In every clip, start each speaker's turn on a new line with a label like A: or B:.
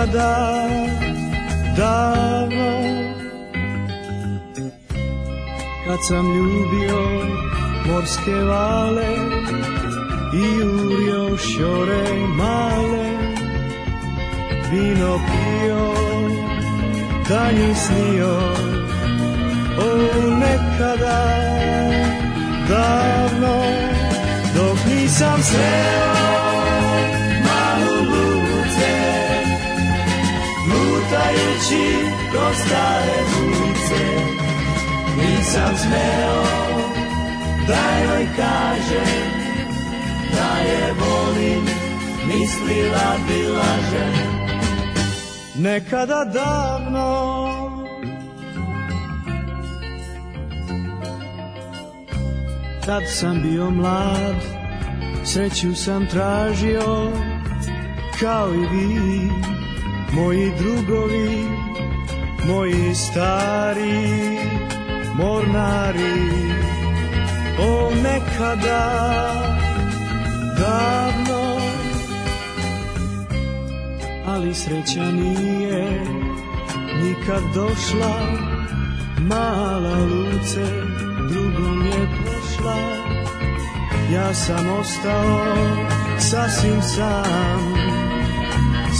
A: nekada davno Kad sam ljubio morske vale I jurio šore male Vino pio, danju snio O nekada davno Dok nisam sreo malu bluce lutajući kroz stare ulice Nisam smeo da joj kažem Da je volim, mislila bi lažem Nekada davno Tad sam bio mlad Sreću sam tražio Kao i vi moji drugovi, moji stari mornari. O nekada davno, ali sreća nije nikad došla, mala luce drugom je prošla. Ja sam ostao sasvim sam,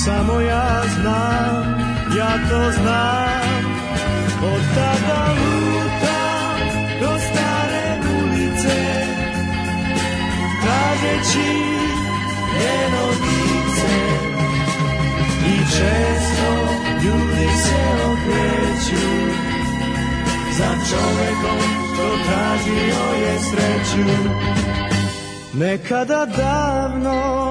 A: samo ja znam, ja to znam Od tada lutam do stare ulice Tražeći njeno lice I često ljudi se okreću Za čovekom što tražio je sreću Nekada davno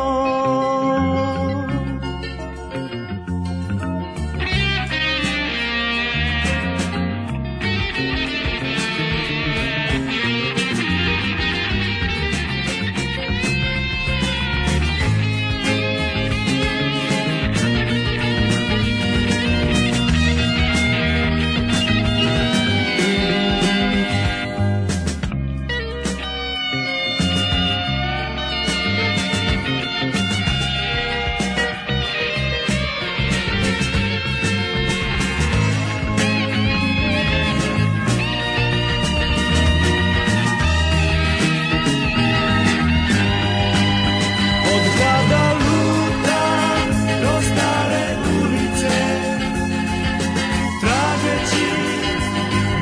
A: Od grada lutam do stare ulice Tražeći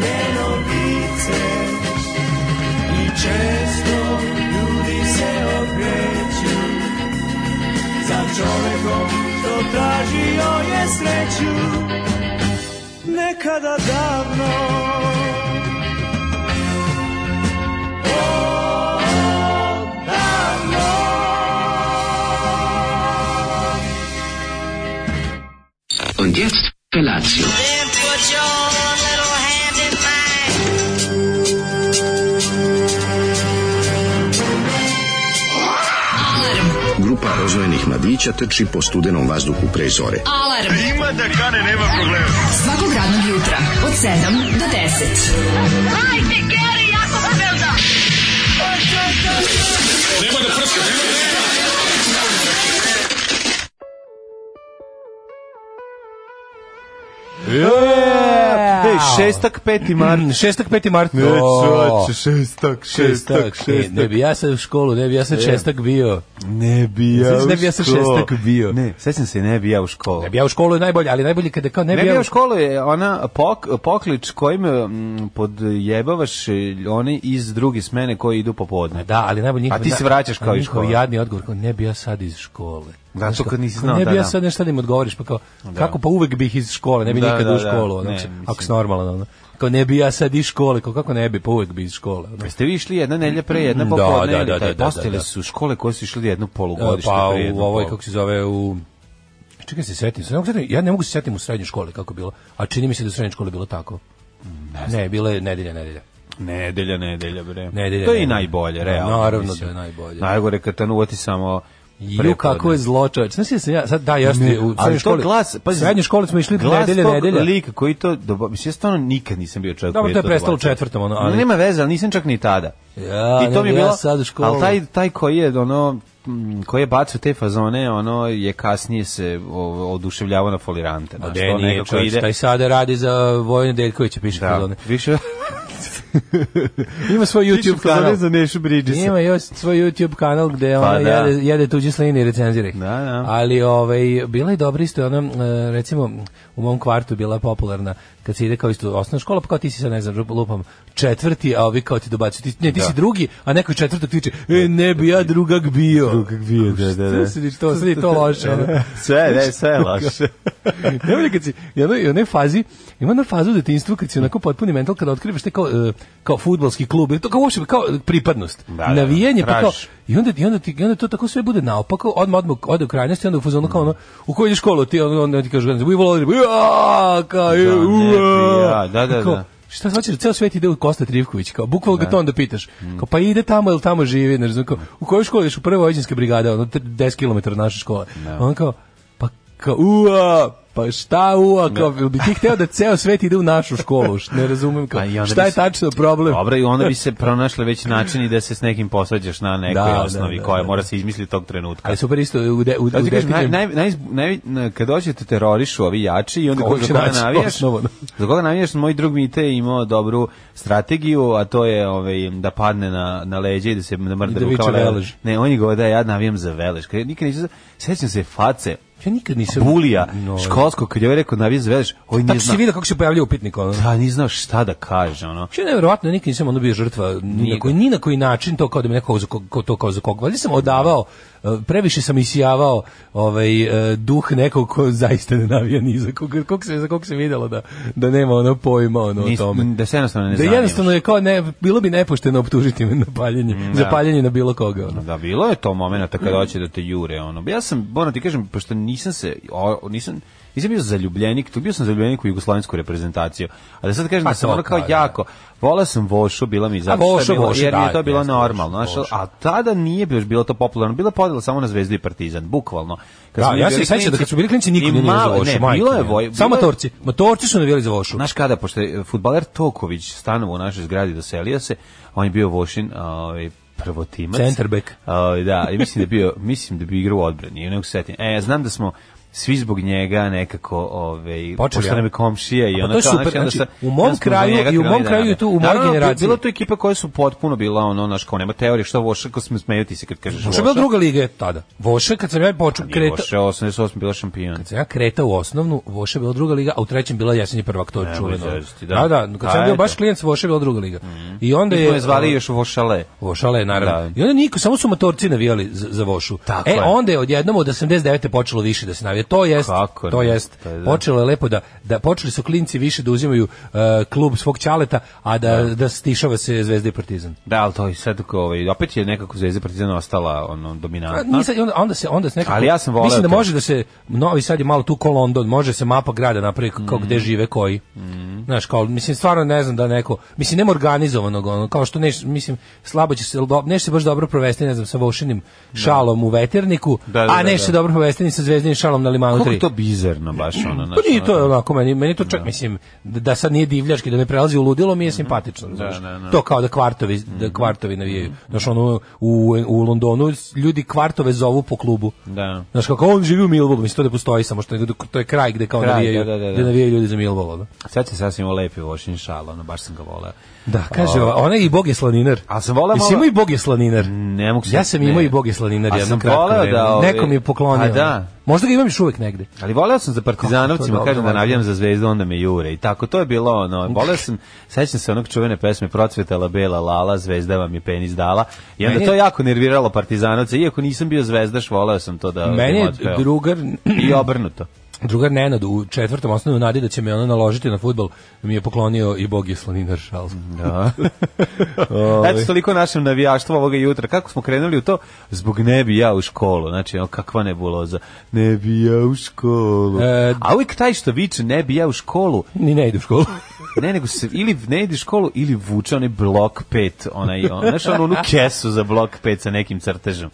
A: njeno lice I često ljudi se okreću Za čovekom što tražio je sreću Nekada davno
B: Und jetzt Felatio.
C: Then put your little hand in mine.
D: Grupa rozvojenih mladića trči po studenom vazduhu pre zore.
E: Alarm. Ima da kane, nema problema. Svakog radnog jutra, od 7 do 10.
C: Hajde, Geri, jako se velda.
F: Ej, šestak, peti mart.
G: Šestak, peti mart.
F: Ne,
G: O,
F: čoveče, šestak, šestak,
G: e, Ne
F: šestak. E.
G: bi ja sad u školu, ne bi ja sad šestak bio.
F: Ne bi ja
G: Sećaš
F: u
G: ne bi ja sa
F: školu.
G: šestak bio?
F: Ne, sećam se, ne bi ja u školu.
G: Ne bi ja u školu je najbolje, ali najbolje kada kao ne bi,
F: Ne bi ja u
G: školu.
F: školu je ona pok, poklič kojim mm, podjebavaš e, one iz druge smene koji idu popodne.
G: Da, ali najbolje njihov,
F: A ti se vraćaš kao iz
G: njihov
F: škole.
G: jadni odgovor, kao ne bi ja sad iz škole.
F: Da,
G: Znaš,
F: to
G: kao,
F: kad nisi
G: kao,
F: znao,
G: Ne
F: da,
G: bi ja
F: da.
G: sad nešto radim, odgovoriš, pa kao, kako pa uvek bih iz škole, ne bi
F: Da,
G: nikad
F: da,
G: u
F: da.
G: školu, ono,
F: Ne,
G: mislim,
F: mislim.
G: ako si normalan, ono. Kao ne bi ja sad iz škole, kao kako ne bi, pa uvek bi iz škole. ono.
F: Jeste vi išli jedna nelja pre, jedna
G: Da,
F: popodne?
G: da,
F: ili
G: da,
F: taj?
G: da, da,
F: Postojale
G: da.
F: su škole koje su išli jednu
G: E,
F: polugodište
G: pa
F: pre jednu
G: u ovoj
F: polu-
G: kako se zove u čekaj se setim se ne mogu setim, ja ne mogu se setim u srednjoj školi kako je bilo a čini mi se da u srednjoj školi bilo tako ne, bilo je nedelja nedelja
F: Nedelja, nedelja, bre.
G: Nedelja,
F: to je i
G: nedelja.
F: najbolje,
G: Da,
F: realno.
G: naravno
F: mislim.
G: da je najbolje.
F: Najgore kad te nuvati samo
G: Ju kako je zločavac. Znaš da sam ja sad da jeste u
F: ali
G: srednjoj
F: to
G: školi.
F: glas-
G: pa
F: pazi,
G: srednjoj školi smo išli
F: Glas
G: nedelja
F: tog
G: nedelja.
F: lika koji to, doba- mislim, ja stvarno nikad nisam bio čovjek
G: Dobro,
F: koji
G: to je prestalo u
F: dobacio.
G: četvrtom, ono, ali-
F: Nema veze, ali nisam čak ni tada.
G: Ja,
F: I to mi je
G: nego ja
F: bilo,
G: sad u školu.
F: ali taj, taj koji je, ono, mm, koji je bacao te fazone, ono je kasnije se o, oduševljavao na folirante.
G: A
F: Znači,
G: de nije čovječ, taj sada radi za Vojna Deljkovića, piše da.
F: da,
G: fazone.
F: više
G: Ima svoj YouTube kanal.
F: za Nešu Bridgesa.
G: Ima još svoj YouTube kanal gde
F: Pa
G: ona
F: da.
G: jede, jede tuđe sline i recenzira ih.
F: Da, da.
G: Ali ovaj, bila je dobra isto ona, e, recimo, u mom kvartu bila je popularna kad se ide kao isto osnovna škola, pa kao ti si sad, ne znam, lupam, četvrti, a ovi kao ti dobacuju, ti, ne, ti si drugi, a neko je četvrtog tiče, e, ne bi ja drugak bio.
F: Drugak bio, da, da, da.
G: Što se ti to, sve je to loše. ono.
F: sve, ne, sve je loše.
G: Najbolje kad si, i onoj, i onoj fazi, ima na fazu u detinjstvu kad si onako potpuni mental, kada otkrivaš te kao, e, kao futbalski klub, i to kao uopšte, kao pripadnost,
F: Da, da, da.
G: navijanje, pa kao,
F: Tražiš.
G: i onda, i onda, ti, i onda to tako sve bude naopako, odmah, odmah ode u krajnosti, onda u fazonu kao ono, u koju ideš školu, ti ono, onda, onda ti kažu, u Ivo Lodribu, ja, kao,
F: ne
G: da,
F: bi ja, da, da,
G: kao,
F: da.
G: Šta hoćeš, ceo svet ide u Kosta Trivković, kao bukvalno ga to onda pitaš. Kao pa ide tamo ili tamo živi, ne znam, kao, u kojoj školi ideš u prvoj vojnička brigada, ono tr- 10 km od naše škole. On kao pa kao ua, pa šta ua, kao jel bi ti hteo da ceo svet ide u našu školu, Š- ne razumem kao.
F: Pa i onda
G: Šta
F: bi
G: je
F: se-
G: tačno problem?
F: Dobro, i onda bi se pronašli već načini da se s nekim posvađaš na nekoj
G: Da, da,
F: osnovi
G: da,
F: koja
G: da.
F: mora se izmisliti tog trenutka.
G: Ali super isto u de, u, u
F: Da ti kažem, naj,
G: detinjem-
F: naj, naj, naj, naj, kad dođe te terorišu ovi jači i onda
G: Ko
F: koga,
G: će
F: za koga
G: naći
F: navijaš,
G: osnovu, da.
F: za koga navijaš, moj drug Mite je imao dobru strategiju, a to je ovaj, da padne na, na leđe i da se da mrde
G: I da viče
F: rukama.
G: Velež.
F: Ne, on je govorio da ja navijam za velež. Kad ja Nikad neću, za- sećam se faca
G: Ja nikad nisam
F: bulija
G: No.
F: školskog, kad je ovaj rekao navijam za velež, ovaj nije
G: Tačno si
F: znao,
G: vidio kako se pojavljuje upitnik ono.
F: da, nije znao šta da kaže, ono.
G: Što je nevjerovatno, ja nikad nisam ono bio žrtva ni na, koji, ni na koji način to kao da me neko za kog, ko- to kao za kog. Valjda sam odavao, e, previše sam isijavao ovaj, e, duh nekog ko zaista ne navija ni za kog, kog se, za kog se videlo da, da nema ono pojma ono, o
F: Nis-
G: tome.
F: da se jednostavno ne
G: Da
F: zanimaš.
G: jednostavno je kao ne, bilo bi nepošteno optužiti me na paljenje,
F: Mm,
G: za paljenje na bilo koga. Ono.
F: Da, bilo je to momenata kada hoće da te jure, ono. Ja sam, moram ti kažem, pošto nisam se, o, nisam, nisam bio zaljubljenik, tu bio sam zaljubljenik u jugoslovensku reprezentaciju, a da sad kažem
G: Pa
F: da sam
G: to
F: ono kao
G: kao, da.
F: jako, vola sam Vošu, bila mi zato
G: A Vošo,
F: što je bilo,
G: Vošo,
F: jer mi je
G: da,
F: to bilo
G: jeste,
F: normalno,
G: Vošo,
F: znaš,
G: Vošo.
F: a tada nije još bilo to popularno, bila je podela samo na Zvezdu i Partizan, bukvalno. Kad
G: Da,
F: smo mi
G: ja se
F: bili
G: sećam da
F: klinci,
G: kad su bili klinci niko
F: ni
G: nije navijao za
F: malo-
G: vošu.
F: ne,
G: majke
F: bilo je
G: mi.
F: voj-
G: Samo
F: bilo je-
G: motorci, motorci su navijali za vošu.
F: Znaš kada, pošto je futbaler Toković stanovo u našoj zgradi doselio se, on je bio Vošin ovaj, prvotimac.
G: Centar back.
F: Ovaj, da, i mislim da, je bio, mislim da bi igrao u odbrani. i Nego se setim. E, znam da smo svi zbog njega nekako ovaj
G: Počeli,
F: pošto nam je
G: ja.
F: komšija i
G: A
F: ona
G: to je
F: kao,
G: super,
F: onda
G: znači,
F: sa-
G: u mom
F: onda smo
G: kraju
F: zbog njega
G: i u mom
F: krenuli
G: kraju
F: da
G: i tu, u mojoj
F: Naravno,
G: generaciji.
F: Bilo to ekipa koja su potpuno bila ono naš kao nema teorije što Voša ko smo smejati se kad kažeš
G: Voša je bila druga liga tada. Voša, kad sam ja počeo
F: Kreta.
G: kreta,
F: Voša 88 bila šampion.
G: Kad sam ja kreta u osnovnu, Voša je bila druga liga, a u trećem bila jesenji prvak, to je
F: Nemoj
G: čuveno.
F: zezati, da.
G: Da, da, kad
F: A,
G: sam bio
F: eto.
G: baš klijent, Voša je bila druga liga. I onda
F: Mi
G: je...
F: smo je zvali još Vošale.
G: Vošale, naravno.
F: Da.
G: I onda niko, samo su matorci navijali za, za Vošu.
F: Tako
G: e,
F: je.
G: onda je odjednom od 89. počelo više da se navija. To jest,
F: Kako
G: to
F: ne,
G: jest.
F: to je da.
G: Počelo je lepo da, da počeli su klinci više da uzimaju e, klub svog ćaleta, a da, da stišava se Zvezda i Partizan.
F: Da, ali to je sad kao, ovaj, opet je nekako Zvezda i Partizan ostala ono,
G: Pa
F: dominantna.
G: nisam, i onda, onda se onda se nekako
F: Ali ja sam voleo
G: Mislim da
F: to.
G: može da se Novi Sad je malo tu ko London, može se mapa grada napravi
F: Mm.
G: kao gde žive koji. Znaš, kao mislim stvarno ne znam da neko, mislim nema organizovanog ono, kao što neš, mislim slabo će se do- neće se baš dobro provesti, ne znam, sa vošinim šalom u veterniku,
F: Da, da,
G: a
F: da,
G: neće se
F: da.
G: dobro provesti ni sa zvezdinim šalom na limanu
F: Kako
G: 3.
F: je to bizarno baš ono, znaš,
G: Pa nije to
F: ono,
G: je onako meni, meni to čak mislim da da sad nije divljački, da ne prelazi u ludilo, mi je simpatično, razumeš.
F: Mhm. da, Mhm. da.
G: To kao da kvartovi, da kvartovi navijaju. Znaš, ono, u, u Londonu ljudi kvartove zovu po klubu.
F: Da.
G: Znaš, kako on živi u Millwallu, mislim, to ne postoji samo što nego to je kraj gde kao
F: Kraj,
G: navijaju,
F: da, da, da,
G: gde
F: da.
G: navijaju ljudi za ono. Millwall. Da.
F: Sad se sasvim ovo lepi vošin šal, ono, baš sam ga voleo.
G: da, kaže,
F: O,
G: ona i Bog je slaninar.
F: A sam voleo
G: Jesi
F: malo-
G: imao i Bog je slaninar?
F: Ne mogu se-
G: Ja sam
F: ne.
G: imao i Bog je slaninar
F: A
G: jedno
F: sam
G: kratko
F: voleo
G: vreme.
F: da, ovaj-
G: Neko mi je poklonio.
F: A da.
G: Možda ga imam još uvek negde.
F: Ali voleo sam za
G: Kako je
F: Partizanocima,
G: to
F: kažem da
G: dobro,
F: navijam za Zvezdu, onda me jure. I tako, to je bilo ono. Voleo sam, sećam se onog čuvene pesme Procvetala bela lala, Zvezda vam je penis dala. I onda
G: Meni je-
F: to jako nerviralo Partizanovce. Iako nisam bio Zvezdaš, voleo sam to da da
G: Meni
F: im
G: je
F: otpeo.
G: drugar
F: I obrnuto.
G: drugar Nenad u četvrtom osnovnom nadi da će me ono naložiti na fudbal mi je poklonio i Bog je slaninar šal.
F: Da. Eto, toliko o našem navijaštvu ovoga jutra. Kako smo krenuli u to? Zbog ne bi ja u školu. Znači, ono, kakva nebuloza. Ne bi ja u školu.
G: E,
F: A uvijek taj što viče ne bi ja u školu,
G: Ni ne ide u školu.
F: ne, nego se, ili ne ide u školu, ili vuče onaj blok 5, onaj, on, znaš, ono, onu kesu za blok 5 sa nekim crtežom.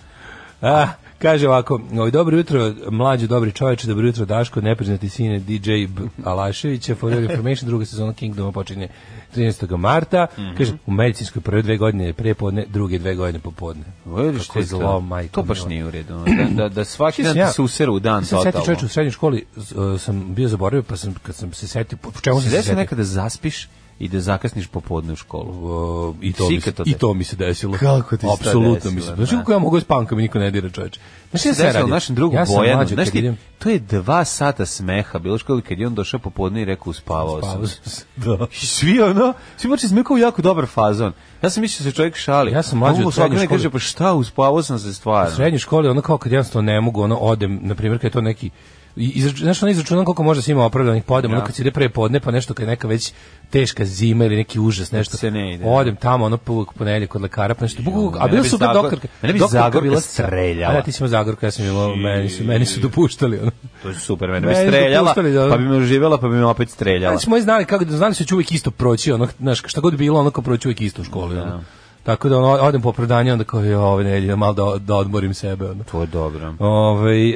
G: A, Ah, Kaže ovako, ovaj, dobro jutro, mlađo, dobri čoveče, dobro jutro, Daško, nepriznati sine DJ B. Alaševića, For Your Information, druga sezona Kingdoma počinje 13. marta.
F: Mhm.
G: Kaže, u medicinskoj prve dve godine prije podne, druge dve godine popodne.
F: Vidiš
G: Kako je
F: ti to?
G: zlo, majko.
F: To baš
G: mila.
F: nije u redu. ono, Da, da, da svaki dan
G: Mislim, ja-
F: ti se useru u dan
G: Sam se setio
F: totalno.
G: čoveče, u srednjoj školi z- e, sam bio zaboravio, pa sam, kad sam se setio, po po čemu sam
F: Se
G: se
F: desi
G: setio?
F: nekada zaspiš i da zakasniš popodne u školu.
G: O, i to mi se,
F: Sika to
G: i
F: te.
G: to mi se desilo.
F: Kako ti se to
G: Apsolutno
F: desilo,
G: mi se.
F: da.
G: Znači kako ja mogu s pankom i niko ne dira, čoveče. Znači ja
F: se
G: se
F: desilo
G: radi.
F: našem drugu
G: ja sam
F: Bojanu,
G: mlađi,
F: znaš
G: kad
F: ti,
G: idem-
F: to je dva sata smeha, bilo što kad je on došao popodne i rekao uspavao
G: Spavao
F: sam.
G: sam se, da.
F: I svi ono, svi počeli smo kao jako dobar fazon. Ja sam mislio da se čovjek šali.
G: Ja sam mlađi
F: Ovo
G: od srednje
F: svakome
G: škole.
F: Kaže, pa šta, uspavao sam se stvarno.
G: U srednjoj školi ono kao kad jednostavno ne mogu, ono odem, na primjer kad je to neki i izrač- znaš ono izračunam koliko možda se ima opravdanih podem, ono kad se ide pre podne, pa nešto kad je neka već teška zima ili neki užas, nešto.
F: se ne ide.
G: Odem tamo, ono puk ponedjeljak kod lekara, pa nešto. Buk, a
F: mene
G: bila
F: bi
G: super
F: Zagor-
G: doktorka.
F: mene bi
G: doktorka
F: Zagorka
G: bila-
F: streljala.
G: A da, ti si imao Zagorka, ja sam imao, meni su, meni su dopuštali. Ono.
F: To je super, mene me
G: Meni su
F: streljala,
G: puštali, da.
F: pa bi me oživjela, pa bi me opet streljala.
G: Znači, moji znali kako da znali su da ću uvijek isto proći, ono, znaš, šta god bilo, ono kao proći uvijek isto u školi. Ono. Tako da ono, odem po opravdanje, onda kao, jo, ove nedelje, malo da, da odmorim sebe. Ono.
F: To je dobro.
G: Ovaj,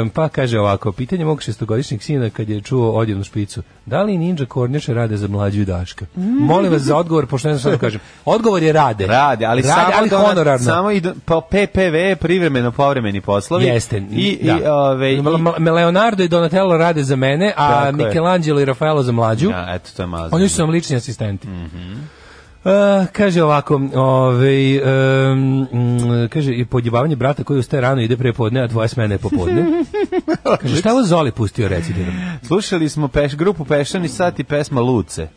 G: em, pa kaže ovako, pitanje mog šestogodišnjeg sina kad je čuo odjevnu špicu, da li ninja kornjače rade za mlađu i daška? Molim vas za odgovor, pošto ne znam šta da kažem. Odgovor je rade.
F: Rade, ali samo
G: ali
F: da ona-
G: honorarno.
F: Samo i do- pa PPV privremeno povremeni poslovi.
G: Jeste.
F: I
G: da.
F: i ovaj i-
G: Ma- ma- Leonardo i Donatello rade za mene, a
F: Tako je.
G: Michelangelo i Rafaelo za mlađu.
F: Ja, eto to je malo.
G: Oni su nam lični asistenti. Mm-hmm. E, kaže ovako, ovaj, em, mm, kaže i podjebavanje brata koji ustaje rano i ide prepodne, a tvoja smena je popodne. kaže, šta je ovo Zoli pustio recidirom?
F: Slušali smo peš, grupu Pešani sat i pesma Luce.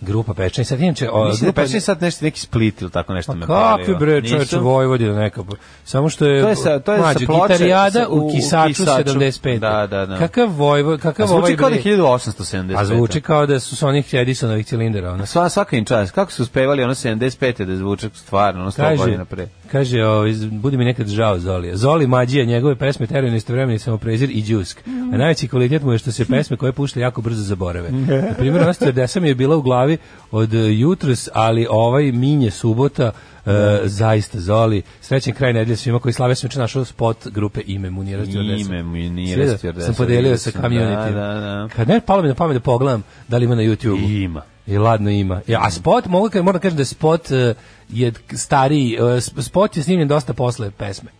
G: Grupa Pečani, sad inače... o,
F: Mislim da
G: grupa-
F: Pa,
G: Pa
F: je Pešani sat nešto neki split ili tako nešto me
G: Kakvi
F: palio.
G: pa- bre
F: Nisu?
G: čoveče Vojvodina neka. bo- Samo što je
F: To je sa- to je sa
G: mlađe,
F: ploče,
G: gitarijada
F: sa- u-
G: u,
F: u
G: kisaču,
F: Kisaču.
G: 75.
F: Da, da, da.
G: Kakav Vojvo, kakav
F: A zvuči
G: ovaj
F: kao da je
G: bre-
F: 1875.
G: A zvuči kao da su sa onih Edisonovih ono. cilindera, ona.
F: Sva, svaka im čast. Kako su uspevali ono 75. da zvuče stvarno, ono 100
G: Kaže,
F: godina pre.
G: kaže o, budi mi nekad žao Zolija. Zoli mađija, njegove pesme teraju na istovremeni samoprezir i džusk. A najveći kvalitet mu je što se pesme koje pušta jako brzo zaborave. Na primjer, ona strdesa mi je bila u glavi od e, jutros, ali ovaj minje subota, e, zaista Zoli. Srećen kraj nedelje svima koji slave sam juče našao spot grupe Ime Munira Stjordesa.
F: Ime Munira
G: Svi da-
F: Stjordesa,
G: Sam podelio
F: vidio
G: sa
F: sam,
G: community.
F: da, da, da.
G: Kad ne palo mi na pamet da pogledam da li ima na YouTube.
F: Ima.
G: I ladno ima. Ja, a spot, mogu ka- moram kažem da je spot eh, je k- stariji, eh, sp- spot je snimljen dosta posle pesme.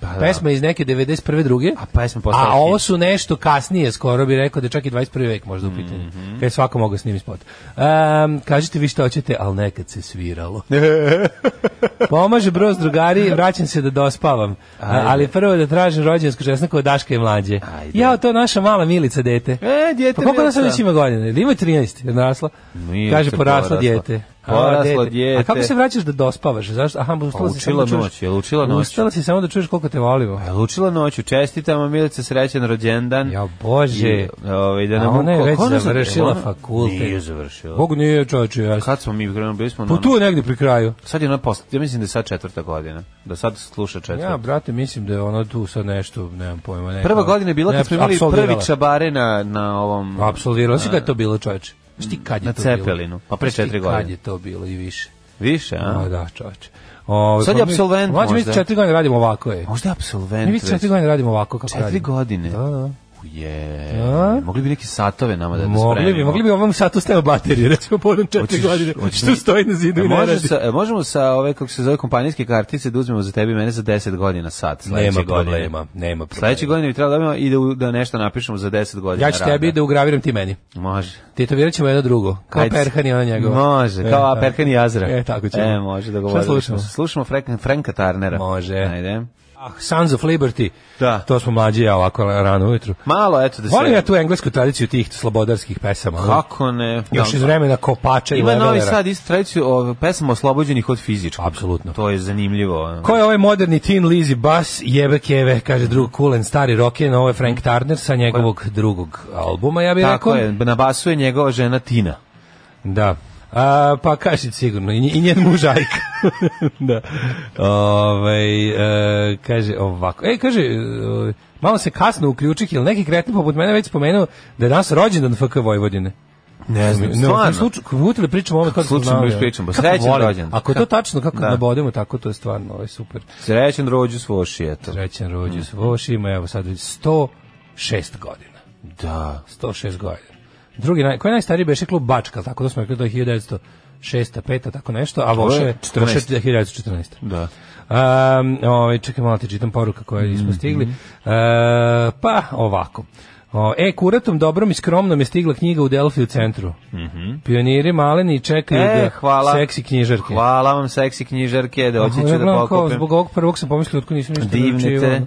F: Pa da.
G: Pesma je iz neke 91. druge. A
F: pesma postala
G: A ovo
F: hit.
G: su nešto kasnije, skoro bi rekao da je čak i 21. vek možda u pitanju.
F: Mhm.
G: Kad je svako mogao snimiti spot. Em, kažete vi što hoćete, ali nekad se sviralo. Pomaže broz drugari, vraćam se da dospavam. A, ali prvo da tražim rođensku česnaku od Daška i mlađe.
F: Ajde.
G: Jao, to je naša mala Milica dete.
F: E, djete
G: Pa koliko nas
F: Milica.
G: već ima godina? Jel Ima 13, jer narasla.
F: Milica
G: Kaže, poraslo
F: porasla.
G: dijete. A,
F: Poraslo
G: dijete.
F: dijete.
G: A kako se vraćaš da dospavaš? Zašto? Aha, ba, ustala
F: Pa,
G: si samo
F: učila
G: da čuješ-
F: noć, jel učila noć?
G: Ustala si samo da čuješ koliko te volimo.
F: Pa je Lučila noću, čestitamo Milice, srećan rođendan.
G: Ja, Bože.
F: I, ovaj, da
G: A
F: nam
G: ona je
F: ko-
G: već
F: ko ona-
G: završila
F: ona-
G: fakultet.
F: Nije završila.
G: Bogu nije čovječe, ja.
F: Kad smo mi krenuli, bili smo... na
G: Pa
F: onom-
G: tu negdje pri kraju.
F: Sad je ona posle, ja mislim da je sad četvrta godina. Da sad sluša četvrta.
G: Ja, brate, mislim da je ono tu sad nešto, nemam pojma. Neka,
F: E, Prva godina je bila
G: ne,
F: kad smo imali prvi
G: apsolvirala.
F: čabare na, na ovom...
G: Apsolvirala si kad je to bilo, čoveče? Šti kad je
F: Na
G: to bilo?
F: Cepelinu. Pa pre
G: Znaš ti
F: četiri
G: Kad
F: godine.
G: je to bilo i više.
F: Više, a?
G: A, da, čoveče. Ove,
F: Sad je apsolvent
G: Mlađe, mi
F: možda.
G: četiri godine radimo ovako, je.
F: Možda je absolvent.
G: Mi već četiri godine radimo ovako kako
F: Četiri
G: radimo.
F: godine.
G: Da, da.
F: Uje,
G: A?
F: mogli bi neke satove nama da, da
G: Mogli bi,
F: spremimo.
G: mogli bi ovom satu stavio baterije, recimo povodom četiri
F: Hoćeš-
G: godine,
F: hoćeš-
G: što stoji na zidu
F: E,
G: i ne
F: može
G: radi.
F: sa, e, možemo sa ove, kako se zove, kompanijske kartice da uzmemo za tebi i mene za 10 godina sad. sledeće
G: Nema
F: godine.
G: problema, nema problema.
F: Sledeće godine bi trebalo da imamo i da, u- da nešto napišemo za 10 godina
G: Ja ću
F: rada.
G: tebi da ugraviram ti meni.
F: Može.
G: Tetovirat ćemo jedno drugo, kao
F: Ajde.
G: Perhan i ona njegova.
F: Može,
G: E,
F: kao
G: tako.
F: Perhan i Azra.
G: E, tako ćemo.
F: E, može, dogovorili
G: Šta slušamo?
F: smo se. Slušamo Frank, Franka Tarnera.
G: Može.
F: Ajde.
G: Ah, Sons of Liberty.
F: Da.
G: To smo mlađi ja ovako rano ujutru.
F: Malo, eto da se...
G: Volim ja tu englesku tradiciju tih slobodarskih pesama. ono.
F: Kako ne?
G: Još iz vremena Kopača i
F: Ima novi
G: Levelera.
F: sad isto tradiciju o pesama oslobođenih od fizičkog.
G: Apsolutno.
F: To je zanimljivo. ono.
G: Ko je ovaj moderni teen Lizzy Bass, jebe keve, kaže drug Kulen, stari roken, ovo je Frank Turner sa njegovog drugog albuma, ja bih
F: Tako
G: rekao.
F: je, na basu je njegova žena Tina.
G: Da. A, pa kaži sigurno, i, nje- i njen muž Ajka. da. Ovaj, e, kaže ovako, e, kaže, e, malo se kasno uključih, jer neki kretni poput mene već spomenuo da je danas rođendan FK Vojvodine.
F: Ne znam,
G: Ne, u
F: stvarno.
G: kom slučaju, kako utile pričamo ovo kako
F: slučaju mi još pričamo,
G: Kako
F: srećan
G: volim.
F: rođendan.
G: Ako je to tačno, kako
F: Da.
G: da. nabodemo, tako to je stvarno, ovo je super.
F: Srećen rođu svoši, eto.
G: Srećan rođus, mm. Voš ima, evo sad, 106 godina.
F: Da.
G: 106 godina. Drugi, naj, koji je najstariji beše klub Bačka, tako da smo rekli, to je 1906. 5. tako nešto, a Voše
F: je
G: je
F: 14.
G: 1914.
F: Da.
G: Um, ovaj, čekaj malo ti čitam poruka koja je
F: Mhm.
G: ispostigli. E, pa ovako. O, e, kuratom dobrom i skromnom je stigla knjiga u Delfi u centru. Pioniri maleni čekaju
F: Mhm. E,
G: da
F: hvala.
G: seksi knjižarke.
F: Hvala vam, seksi knjižarke, da hoći
G: Aha,
F: ću
G: ja
F: da
G: gledam kao,
F: pokupim.
G: Zbog ovog prvog sam pomislio otko nisam ništa
F: Divne
G: naručivao.
F: te.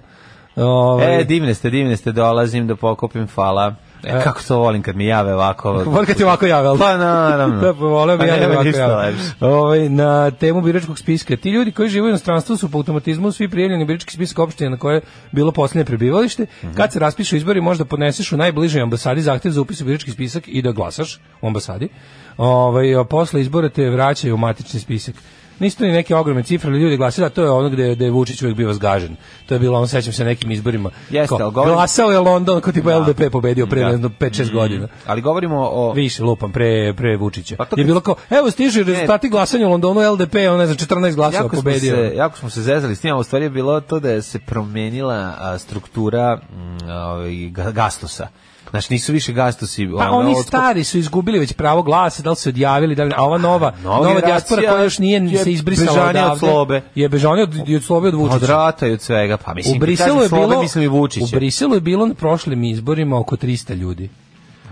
G: Ovaj,
F: E, divne ste, divne ste, dolazim da pokupim, hvala. E, kako to volim kad mi jave ovako.
G: Volim kad ti ovako jave, ali?
F: Pa naravno.
G: Da, pa voleo bi
F: Pa
G: ja
F: nema
G: da ovako
F: ništa
G: ja.
F: lepše.
G: Ovaj, na temu biračkog spiska. Ti ljudi koji žive u inostranstvu su po automatizmu svi prijavljeni u birački spisak opštine na koje je bilo posljednje prebivalište.
F: Mhm.
G: Kad se raspišu izbori, možda podneseš u najbližoj ambasadi zahtjev za upis u birački spisak i da glasaš u ambasadi. Ovaj, a posle izbora te vraćaju u matični spisak. Nisu to ni neke ogromne cifre, ali ljudi glasaju, da to je ono gde, gde je Vučić uvijek bio zgažen. To je bilo, on sećam se nekim izborima.
F: Jeste,
G: Kao,
F: ali govorim-
G: Glasao je London, kao tipa LDP pobedio pre
F: Da. Mhm.
G: ne znam, 5-6 godina.
F: Ali govorimo o...
G: Više lupam pre pre Vučića.
F: Pa to
G: je
F: kad-
G: bilo kao evo stiže rezultati glasanja u Londonu LDP, on ne znam 14 ono, glasova
F: Jako smo,
G: pobedio.
F: se, jako smo se zezali s tim, a u stvari je bilo to da je se promenila a, struktura mm, ovaj, ga- gastusa. Znači, nisu više gastusi.
G: Pa
F: ono,
G: oni
F: otkup-
G: stari su izgubili već pravo glasa, da li su se odjavili, da li, a ova nova,
F: nova
G: nova
F: generacija
G: dijaspora koja još nije
F: je
G: se izbrisala
F: bežanija od
G: odavde,
F: slobe.
G: Je bežanje od, i od slobe od Vučića.
F: Od rata i od svega. Pa mislim,
G: u
F: kad
G: Briselu
F: kažem
G: je
F: slobe,
G: bilo
F: mislim i Vučića.
G: U Briselu je bilo na prošlim izborima oko 300 ljudi.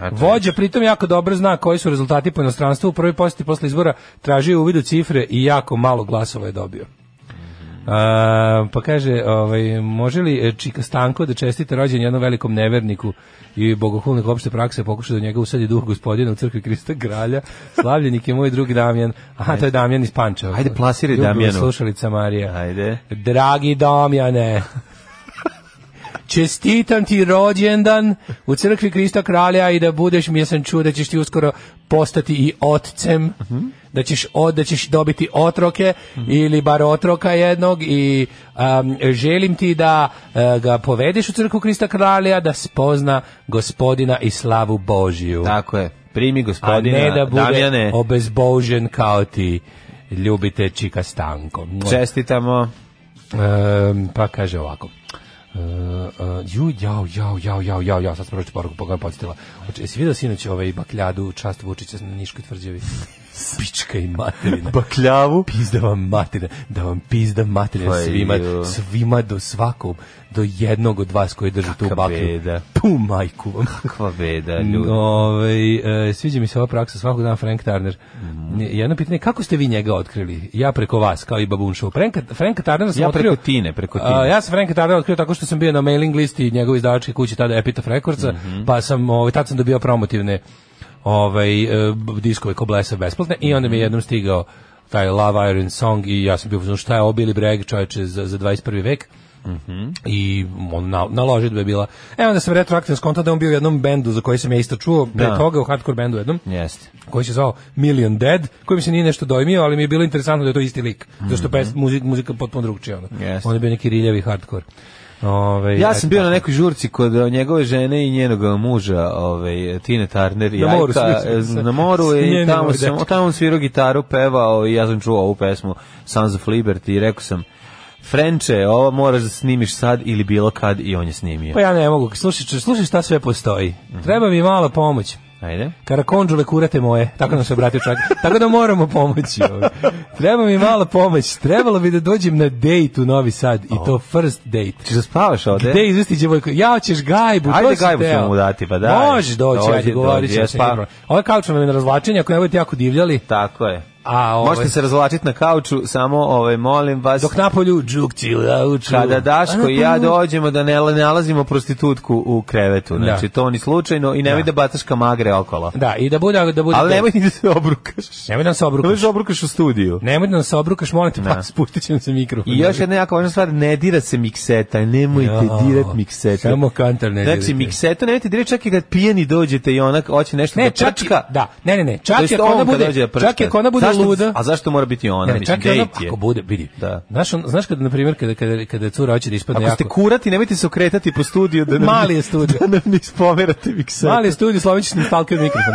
F: Eto,
G: Vođa pritom jako dobro zna koji su rezultati po inostranstvu. U prvoj posjeti posle izbora tražio uvid u cifre i jako malo glasova je dobio.
F: Mhm.
G: A, pa kaže, ovaj, može li e, Čika Stanko da čestite rođen jednom velikom neverniku i bogohulnik opšte prakse pokuša da u njega usadi duh gospodina u crkvi Krista Gralja. Slavljenik je moj drug Damjan. Aha, to je Damjan iz Pančeva.
F: Ajde, plasiraj
G: Ljubljena
F: Damjanu.
G: Slušalica Marija.
F: Ajde.
G: Dragi Damjane, čestitam ti rođendan u crkvi Krista Kralja i da budeš, mi sam čuo da ćeš ti uskoro postati i otcem, da, ćeš, od, da ćeš dobiti otroke ili bar otroka jednog i am, želim ti da e, ga povedeš u crkvu Krista Kralja da spozna gospodina i slavu Božiju.
F: Tako je. Primi
G: A
F: gospodina
G: ne da bude
F: Damjane.
G: obezbožen kao ti ljubite Čika Stanko. Mua.
F: Čestitamo.
G: Ehm, pa kaže ovako. Uh, ju, jao, jao, jao, jao, jao, jao, sad sam pročito poruku, pa pogleda podstila. Oče, jesi vidio sinoć ovaj bakljadu, čast Vučića na Niškoj tvrđavi? Pička i materina.
F: Bakljavu.
G: Pizda vam materina, da vam pizda materina
F: Pa
G: svima,
F: ju.
G: svima do svakom, do jednog od vas koji drži tu
F: Kakva
G: baklju.
F: beda.
G: Pu majku vam.
F: Kakva beda,
G: Mm,
F: ljudi.
G: Ovaj, e, sviđa mi se ova praksa svakog dana Frank Turner.
F: Mhm.
G: Jedno pitanje, kako ste vi njega otkrili? Ja preko vas, kao i Babun Show. Franka, Franka Turnera sam
F: Ja
G: otkrio...
F: preko Tine, preko Tine.
G: A, ja sam Franka Turnera otkrio tako što sam bio na mailing listi njegove izdavačke kuće, tada Epitaph Recordsa,
F: Mhm.
G: pa sam, ovaj, tad sam dobio promotivne ovaj, e, b- diskove ko blesa besplatne i
F: Mhm.
G: onda mi je jednom stigao taj Love Iron Song i ja sam bio, u fazonu, šta je obili breg čoveče za, za 21. vek?
F: Mhm.
G: i on na, naložitba je bila. E onda sam retroaktivno skontao da je on bio u jednom bendu za koji sam ja isto čuo, pre
F: Da.
G: toga u hardcore bendu jednom,
F: Jeste.
G: koji se zvao Million Dead, koji mi se nije nešto dojmio, ali mi je bilo interesantno da je to isti lik, zašto pes, muzi- muzika potpuno drugčija. Ono.
F: Jeste.
G: On je bio neki riljavi hardcore. Ovaj, pa- Ove,
F: Ja sam bio na nekoj žurci kod e, njegove žene i njenog uh, muža, ovaj Tine Turner i
G: Na moru
F: Ajka,
G: svirao
F: e,
G: sam.
F: na moru
G: S
F: i
G: njenim
F: tamo sam,
G: dečkom.
F: tamo on svirao gitaru, pevao i ja sam čuo ovu pesmu Sons of Liberty i rekao sam Frenče, ovo moraš da snimiš sad ili bilo kad i on je snimio.
G: Pa ja ne mogu, slušaj, slušaj šta sve postoji. Mhm. Treba mi mala pomoć.
F: Ajde.
G: Karakonđule kurate moje, tako nam se obratio čovjek. Tako da moramo pomoći. ovaj. Treba mi mala pomoć. Trebalo bi da dođem na date u Novi Sad i to first date.
F: Češ Pa da spavaš ovde?
G: Gde izvesti djevojku? Ja ćeš gajbu,
F: Ajde,
G: to sam
F: gajbu ćemo
G: teo.
F: mu dati, pa daj.
G: Može doći,
F: Dođi,
G: ajde, govorit
F: dođi,
G: ćemo se.
F: jes, pa.
G: dobro. Ovo je kauč nam je na razvlačenje, ako ne budete jako divljali.
F: Tako je.
G: A, ovaj,
F: Možete se razvlačiti na kauču, samo ovaj, molim vas,
G: Dok napolju džukci lauču.
F: kada Daško
G: A,
F: i ja
G: napolju-
F: dođemo da ne nalazimo prostitutku u krevetu. Znači, to ni slučajno i nemoj da, bataš kamagre okolo.
G: Da, i da bude... Da bude
F: Ali nemoj ni da se obrukaš.
G: Nemoj da nam se
F: Nemoj da
G: obrukaš.
F: se obrukaš u studiju.
G: Nemoj da nam se obrukaš, molim te, pa spustit će nam se mikrofon.
F: I još jedna jako važna stvar, ne dira se mikseta, nemojte
G: Jao,
F: dirat mikseta.
G: Samo kantar ne
F: Znači,
G: dirajte.
F: miksetu nemojte dirati čak i kad pijeni dođete i onak hoće nešto
G: Ne,
F: da
G: čak i-
F: prčka.
G: da, ne, ne, ne, čak
F: To jest
G: i ako ona
F: on kad
G: bude-
F: dođe da
G: čak i
F: prčka.
G: ako ona bude
F: Zašto-
G: luda-
F: A zašto mora biti ona?
G: Ne, ne,
F: Mislim,
G: čak i ono,
F: dejt je.
G: ako bude, vidi.
F: Da.
G: Znaš, on- znaš kada, na primjer, kada, kada, kada cura hoće da ispadne
F: Ako
G: jako...
F: ste kurati, nemojte se okretati po studiju da nam,
G: Mali je studio.
F: da nam ne ispomerate miksetu.
G: Mali studij, slovenčić mi stalkio mikrofon.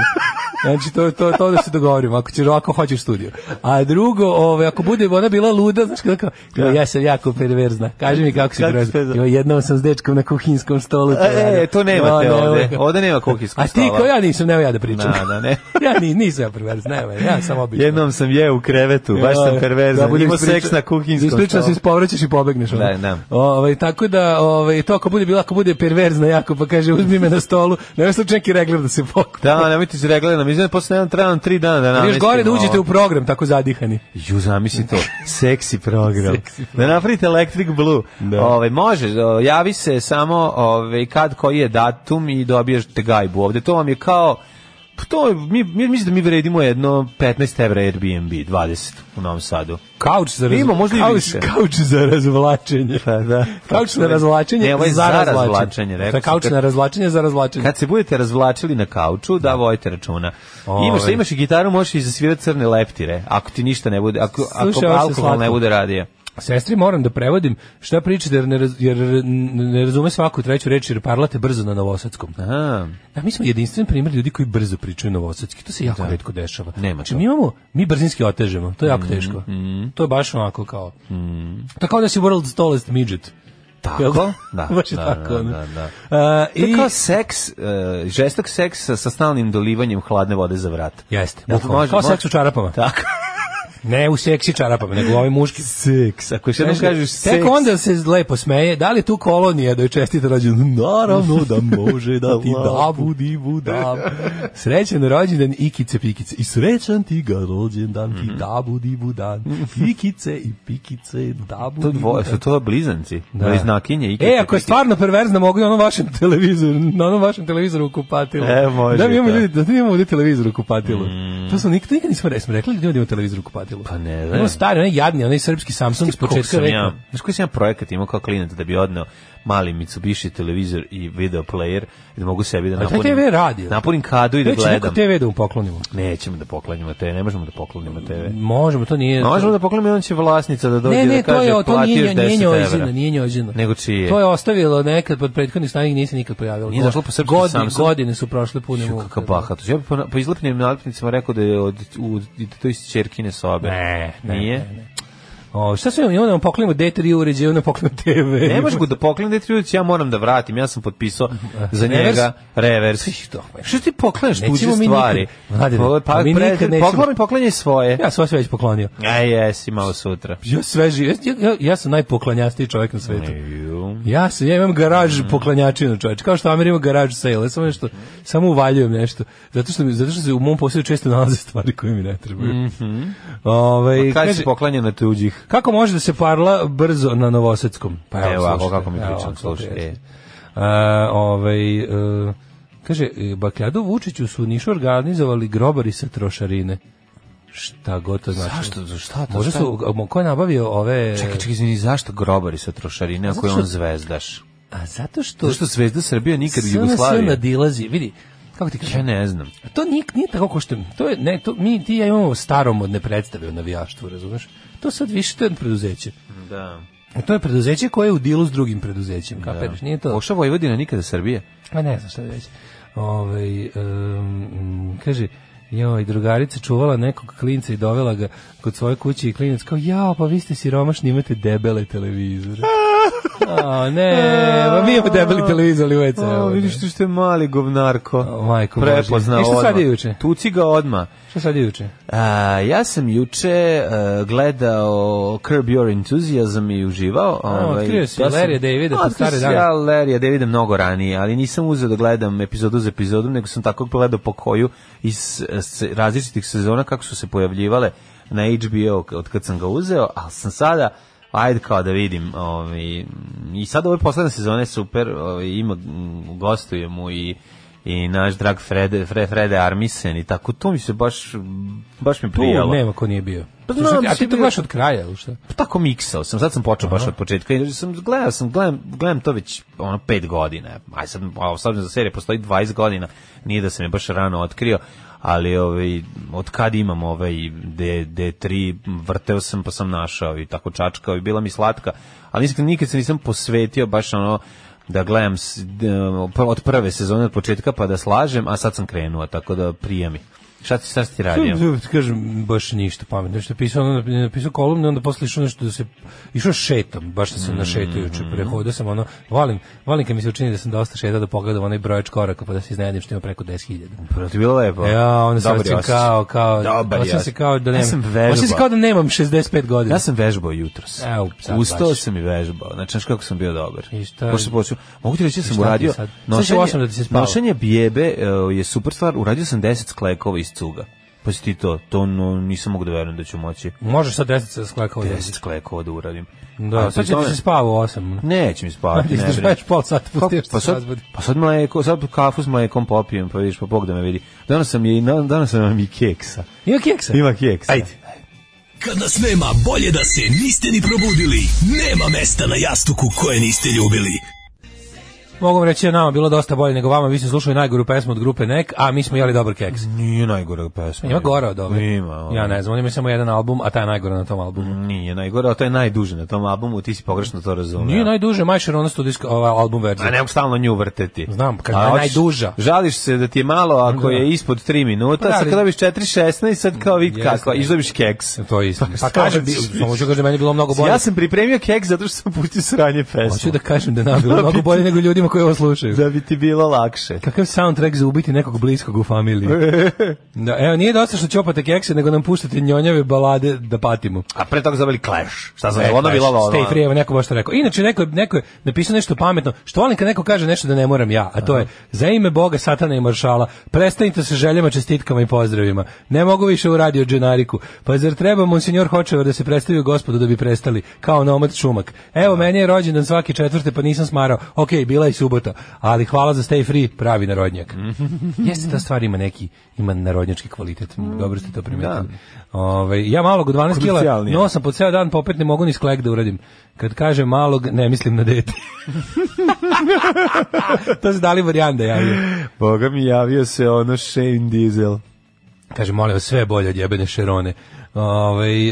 G: Znači, to, to, to da se dogovorimo, ako, ćeš, ako hoćeš studio. A drugo, ove, ako bude ona bila luda, znaš kako, kao, ja sam jako perverzna. Kaži mi kako si
F: Kako
G: perverzna.
F: ste za-
G: Jo, jednom sam s dečkom na kuhinskom stolu. to
F: E,
G: je-
F: e, to nemate
G: Jo, nema
F: ovde.
G: ga.
F: Ovde nema kuhinjskog
G: A ti
F: stola.
G: kao ja nisam, nema ja da pričam.
F: Da, da, ne.
G: ja ni, nisam ja perverzna, nema, ja sam običan.
F: Jednom sam je u krevetu, baš sam perverzan.
G: budem
F: Imao
G: ispričan-
F: seks na kuhinskom
G: Ispričan se,
F: stolu.
G: ispovraćaš i pobegneš. ono.
F: Da, da.
G: Ovaj, tako da, ovaj, to ako bude bila, ako bude perverzna jako, pa kaže, uzmi me na stolu, nema slučaj neki regler da se pokupi.
F: Da, nemojte se regledati, mi znam, posle jedan trebam tri dana da namestimo.
G: Još gore da uđete
F: ovo.
G: u program, tako zadihani.
F: Ju, zamisli to, seksi program. Da napravite Electric Blue. Ove, može, o, javi se samo ove, kad koji je datum i dobijete gajbu ovde. To vam je kao, pa to, je- mi, mi, mislim da mi vredimo jedno 15 evra Airbnb, 20 u Novom Sadu.
G: Kauč za raz...
F: Ima, možda i
G: kauč-
F: više.
G: Kauč za razvlačenje.
F: Pa da.
G: Kauč na razvlačenje
F: Ne, ovo je za
G: razvlačenje.
F: razvlačenje, rekao
G: Za
F: sam.
G: kauč na razvlačenje za razvlačenje.
F: Kad se budete razvlačili na kauču, da vojite računa.
G: Ove.
F: Imaš, imaš i gitaru, možeš i zasvirati crne leptire, ako ti ništa ne bude, ako, ako
G: Slušaj, ovo se
F: alkohol ne
G: slatko.
F: bude radio.
G: Sestri moram da prevodim šta pričate jer ne, raz, jer ne razume svaku treću reč jer parlate brzo na novosadskom.
F: Aha.
G: Da, mi smo jedinstven primjer ljudi koji brzo pričaju novosadski. To se jako redko dešava.
F: Nema
G: znači,
F: to. Mm,
G: mi imamo, mi brzinski otežemo. To je jako teško. To je baš onako kao... To je kao da si world's tallest midget. E, Jel
F: Tako? Da,
G: baš je
F: da,
G: tako.
F: da,
G: ono.
F: da, da.
G: A,
F: To je
G: i-
F: kao seks, e, žestok seks sa, sa stalnim dolivanjem hladne vode za vrat.
G: Jeste.
F: Da,
G: bukvalno.
F: može-
G: kao
F: može-
G: seks u čarapama.
F: Tako.
G: Ne u seksi čarapama, nego u ovim muškim.
F: Seks. Ako još jednom kažeš seks...
G: Tek onda se lepo smeje. Da li tu kolonija da je čestita rođendan? Naravno da može da ti da budi budam. Srećan rođendan Ikice Pikice. I srećan ti ga rođendan
F: Mhm.
G: ti da budi budan. Ikice i Pikice da
F: To,
G: budi
F: dvoje,
G: budan.
F: su to blizanci, da. bliznakinje. i
G: E, ako je
F: kakav-
G: stvarno perverzna, mogu na onom vašem televizoru, na onom vašem televizoru u kupatilu.
F: E, može
G: Da mi imamo
F: to. Mm.
G: ljudi, da mi imamo ovdje televizor u kupatilu. To smo nikad, nikad nismo rekli, smo rekli ljudima da imamo televizor u kupatilu. Pa
F: ne znam.
G: Imamo stari, onaj jadni, onaj srpski Samsung s
F: Koliko
G: početka
F: sam ja,
G: veka.
F: znaš koji sam ja projekat imao kao klinac da bi odneo mali Mitsubishi televizor i video player i da mogu sebi da
G: taj
F: napunim,
G: TV radio.
F: napunim kadu i da
G: Već će neko TV
F: gledam.
G: da mu poklonimo.
F: Nećemo da poklanjamo TV, ne možemo da poklanjamo TV.
G: Možemo, to nije...
F: Možemo da poklanjamo, on će vlasnica da dođe
G: Ne, ne,
F: da
G: to
F: kaže
G: je, to
F: platio
G: nije,
F: 10
G: nije
F: evra.
G: njođeno, nije njođeno.
F: Nego čije?
G: To je ostavilo nekad pod prethodnih stanih, nije se nikad pojavilo.
F: Nije zašlo po srpski
G: Godine-
F: Samsung?
G: Godine su prošle pune
F: Ju,
G: muke,
F: kakav
G: da.
F: bahat. Ja bih po, po izlepljenim nalepnicama rekao da je od, u, da to iz Čerkine sobe.
G: Ne, ne,
F: Nije?
G: ne, O, šta su imamo? Imamo da vam poklonimo D3 uređaj, onda poklonimo TV.
F: Ne možeš ga da poklenem Detriudic, ja moram da vratim. Ja sam potpisao za
G: Revers?
F: njega revers.
G: Ih, to, pa.
F: Što ti pokleneš
G: Nećemo
F: tuđe
G: mi nikad-
F: stvari?
G: Mladine,
F: Pa, pa,
G: pa mi
F: pre-
G: nikad nećemo-
F: pokloni- poklanjaj svoje.
G: Ja sam sve već poklonio.
F: Aj, jesi, malo sutra.
G: Ja sve živ, ja, ja, ja sam najpoklanjastiji čovjek na svetu.
F: Ju.
G: Ja sam, ja imam
F: Mhm.
G: garaž poklanjačina čovječ. Kao što Amir ima garaž sale, ja samo nešto, samo uvaljujem nešto. Zato što, mi- zato što se u mom posjedu često nalaze stvari koje mi ne trebaju. Mm Ove,
F: Kaj
G: kaže,
F: Mhm. si poklanjao na tuđih?
G: kako može da se parla brzo na Novosadskom? Pa
F: Evo E, ovako
G: slušajte.
F: kako mi
G: Evo
F: pričam,
G: ovako,
F: slušajte.
G: jeste. E, ovaj, e, kaže, e, Bakljadu Vučiću su u Nišu organizovali grobari sa trošarine. Šta god to znači.
F: Zašto? Pa Šta to?
G: Možda
F: Šta?
G: su, a, mo- ko je nabavio ove...
F: Čekaj, čekaj, izvini, zašto grobari sa trošarine, ako je
G: zato
F: on
G: što-
F: zvezdaš?
G: A zato što...
F: Zašto zvezda Srbija nikad u
G: SNS
F: Jugoslaviji?
G: nadilazi, vidi, kako ti kažem,
F: Ja ne znam.
G: A To nije, nije tako ko što to je ne to mi ti i ja imamo staromodne predstave o navijaštvu, razumeš? To sad više to je preduzeće.
F: Da.
G: A to je preduzeće koje je u dilu s drugim preduzećem, kapiraš? Nije to.
F: Oša Vojvodina nikada Srbije.
G: Pa ne znam šta da reći. Ovaj em, kaže Joj, drugarica čuvala nekog klinca i dovela ga kod svoje kuće i klinac kao, jao, pa vi ste siromašni, imate debele televizore. A, ne, pa mi imamo debeli televizor ali u E WC.
F: O, vidiš ti što je mali govnarko.
G: O, majko Božja.
F: Prepoznao
G: E, šta sad
F: odmah.
G: je juče?
F: Tuci ga odmah.
G: Šta sad je juče?
F: A, ja sam juče a, gledao Curb Your Enthusiasm i uživao. ovaj,
G: otkrio si
F: ja sam-
G: Larrya Davida
F: A,
G: pod
F: otkrio
G: stare
F: sam
G: dane.
F: Ja Larrya Davida mnogo ranije, ali nisam uzeo da gledam epizodu za epizodom, nego sam tako gledao po koju iz e, se- različitih sezona kako su se pojavljivale na HBO k- od kad sam ga uzeo, ali sam sada ajde kao da vidim ovaj, i sad ove poslednje sezone super ovaj, ima, mm, gostuje mu i i naš drag Frede, Fre, Frede Armisen i tako, to mi se baš baš mi
G: Tu
F: prijalo.
G: nema ko nije bio.
F: Pa
G: Pa
F: znam,
G: a
F: mislim,
G: ti to
F: bio-
G: gledaš od kraja, ili šta?
F: Pa tako miksao sam, sad sam počeo baš od početka i sam gledao sam, gledam, gledam to već ono pet godina, aj sad, a ostavljam za serije, postoji 20 godina, nije da sam je baš rano otkrio, ali ovaj, od kad imam ovaj D, D3, vrteo sam pa sam našao i tako čačkao i bila mi slatka, ali nisam, nikad se nisam posvetio baš ono da gledam s- d- od prve sezone od početka pa da slažem, a sad sam krenuo, tako da prija mi. Šta ti sad ti radio?
G: Ti kažem baš ništa pametno. Nešto je pisao, onda je napisao kolumnu, onda posle išao nešto da se išao šetam, baš sam se našetio juče,
F: Mm.
G: prehodao sam ono, volim, volim kad mi se učini da sam dosta šeta da pogledam onaj brojač koraka pa da se iznenadim što ima preko 10.000.
F: Pa ti bilo lepo.
G: Ja, onda se
F: Dobar
G: osjećam
F: osjećaj.
G: kao, kao,
F: Dobar je
G: osjećam se
F: osjećaj.
G: kao da
F: Ja
G: nemam,
F: sam vežbao.
G: osjećam se kao da nemam 65 godina.
F: Ja sam vežbao jutros.
G: Evo, sad
F: Ustao
G: baš.
F: sam i vežbao. Znači, znaš kako sam bio dobar.
G: I šta?
F: Pošto sam počeo- mogu ti reći da sam
G: šta ti je
F: uradio...
G: sad? Sad će
F: Nošenje,
G: u osam da ti se spava.
F: nošenje bijebe e, je super stvar. Uradio sam 10 sklekova iz cuga. Pa si ti to, to no, nisam mogu da verujem da ću moći
G: Možeš sad 10 sa sklakao
F: 10 sklekova da uradim.
G: Da,
F: A
G: sad
F: pri
G: će ti
F: tome-
G: se spava u 8.
F: Neće mi
G: Pa
F: spavati,
G: ti
F: ne brini.
G: izdržavaš pol sata,
F: Kako?
G: pustiš
F: pa
G: se
F: sad,
G: razbudi.
F: pa sad mleko, sad kafu s mlekom popijem, pa vidiš, pa Bog da me vidi. Danas sam je, i na- danas sam vam i keksa.
G: Ima keksa?
F: Ima keksa.
G: Ajde.
H: Kad nas nema, bolje da se niste ni probudili. Nema mesta na jastuku koje niste ljubili.
G: Mogu vam reći da nama bilo dosta bolje nego vama, vi ste slušali najgoru pesmu od grupe Nek, a mi smo jeli dobar keks.
F: Nije najgora pesma.
G: Pa Ima ono. gore od ove.
F: Ima. ono.
G: Ja ne znam, oni imaju samo jedan album, a ta je najgora na tom albumu.
F: Nije najgore, a to je najduže na tom albumu, ti si pogrešno to razumeo.
G: Nije najduže Majšer ono studijska ova album
F: A ne
G: verzija.
F: mogu stalno nju vrteti.
G: Znam, kad
F: A
G: je
F: hoćeš-
G: najduža.
F: Žališ se da ti je malo ako
G: Da.
F: je ispod 3 minuta,
G: Pa da,
F: sad
G: ali-
F: kad dobiš 4.16, sad kao vidi
G: Jeste.
F: kako, i dobiš keks.
G: To je istina. Pa kažem, bi-
F: hoćeš?
G: samo ću kažem da je meni bilo mnogo bolje.
F: Ja sam pripremio keks zato što sam pustio sranje pesmu.
G: Hoću da kažem da je nama bilo
F: Da bi
G: mnogo
F: ti-
G: bolje nego ljudima koji ovo slušaju.
F: da bi ti bilo lakše.
G: Kakav soundtrack za ubiti nekog bliskog u familiji. Da, evo, nije dosta što čopate kekse, nego nam puštate njonjave balade da patimo.
F: A pre toga zaveli Clash. Šta znam,
G: E,
F: ono
G: baš,
F: bilo ono.
G: Stay free, evo neko baš to rekao. Inače, neko, je- neko je napisao nešto pametno, što volim kad neko kaže nešto da ne moram ja, a to je, za ime Boga, satana i maršala, prestanite sa željama, čestitkama i pozdravima. Ne mogu više u radio dženariku. Pa zar treba monsignor Hočevar da se predstavio gospodu da bi prestali, kao nomad šumak. Evo, meni je rođendan svake četvrte, pa nisam smarao. Ok, bila je i subota, ali hvala za stay free, pravi narodnjak. Jeste, ta stvar ima neki, ima narodnjački kvalitet. Dobro ste to primetili. Ovaj, ja malog u 12 kila,
F: Komercijalni je.
G: no sam po ceo dan, pa opet ne mogu ni sklek da uradim. Kad kažem malog, ne mislim na dete. to se dali varijanda javio.
F: Boga mi javio se ono Shane Diesel.
G: Kaže, molim vas, sve je bolje od jebene šerone. Ovaj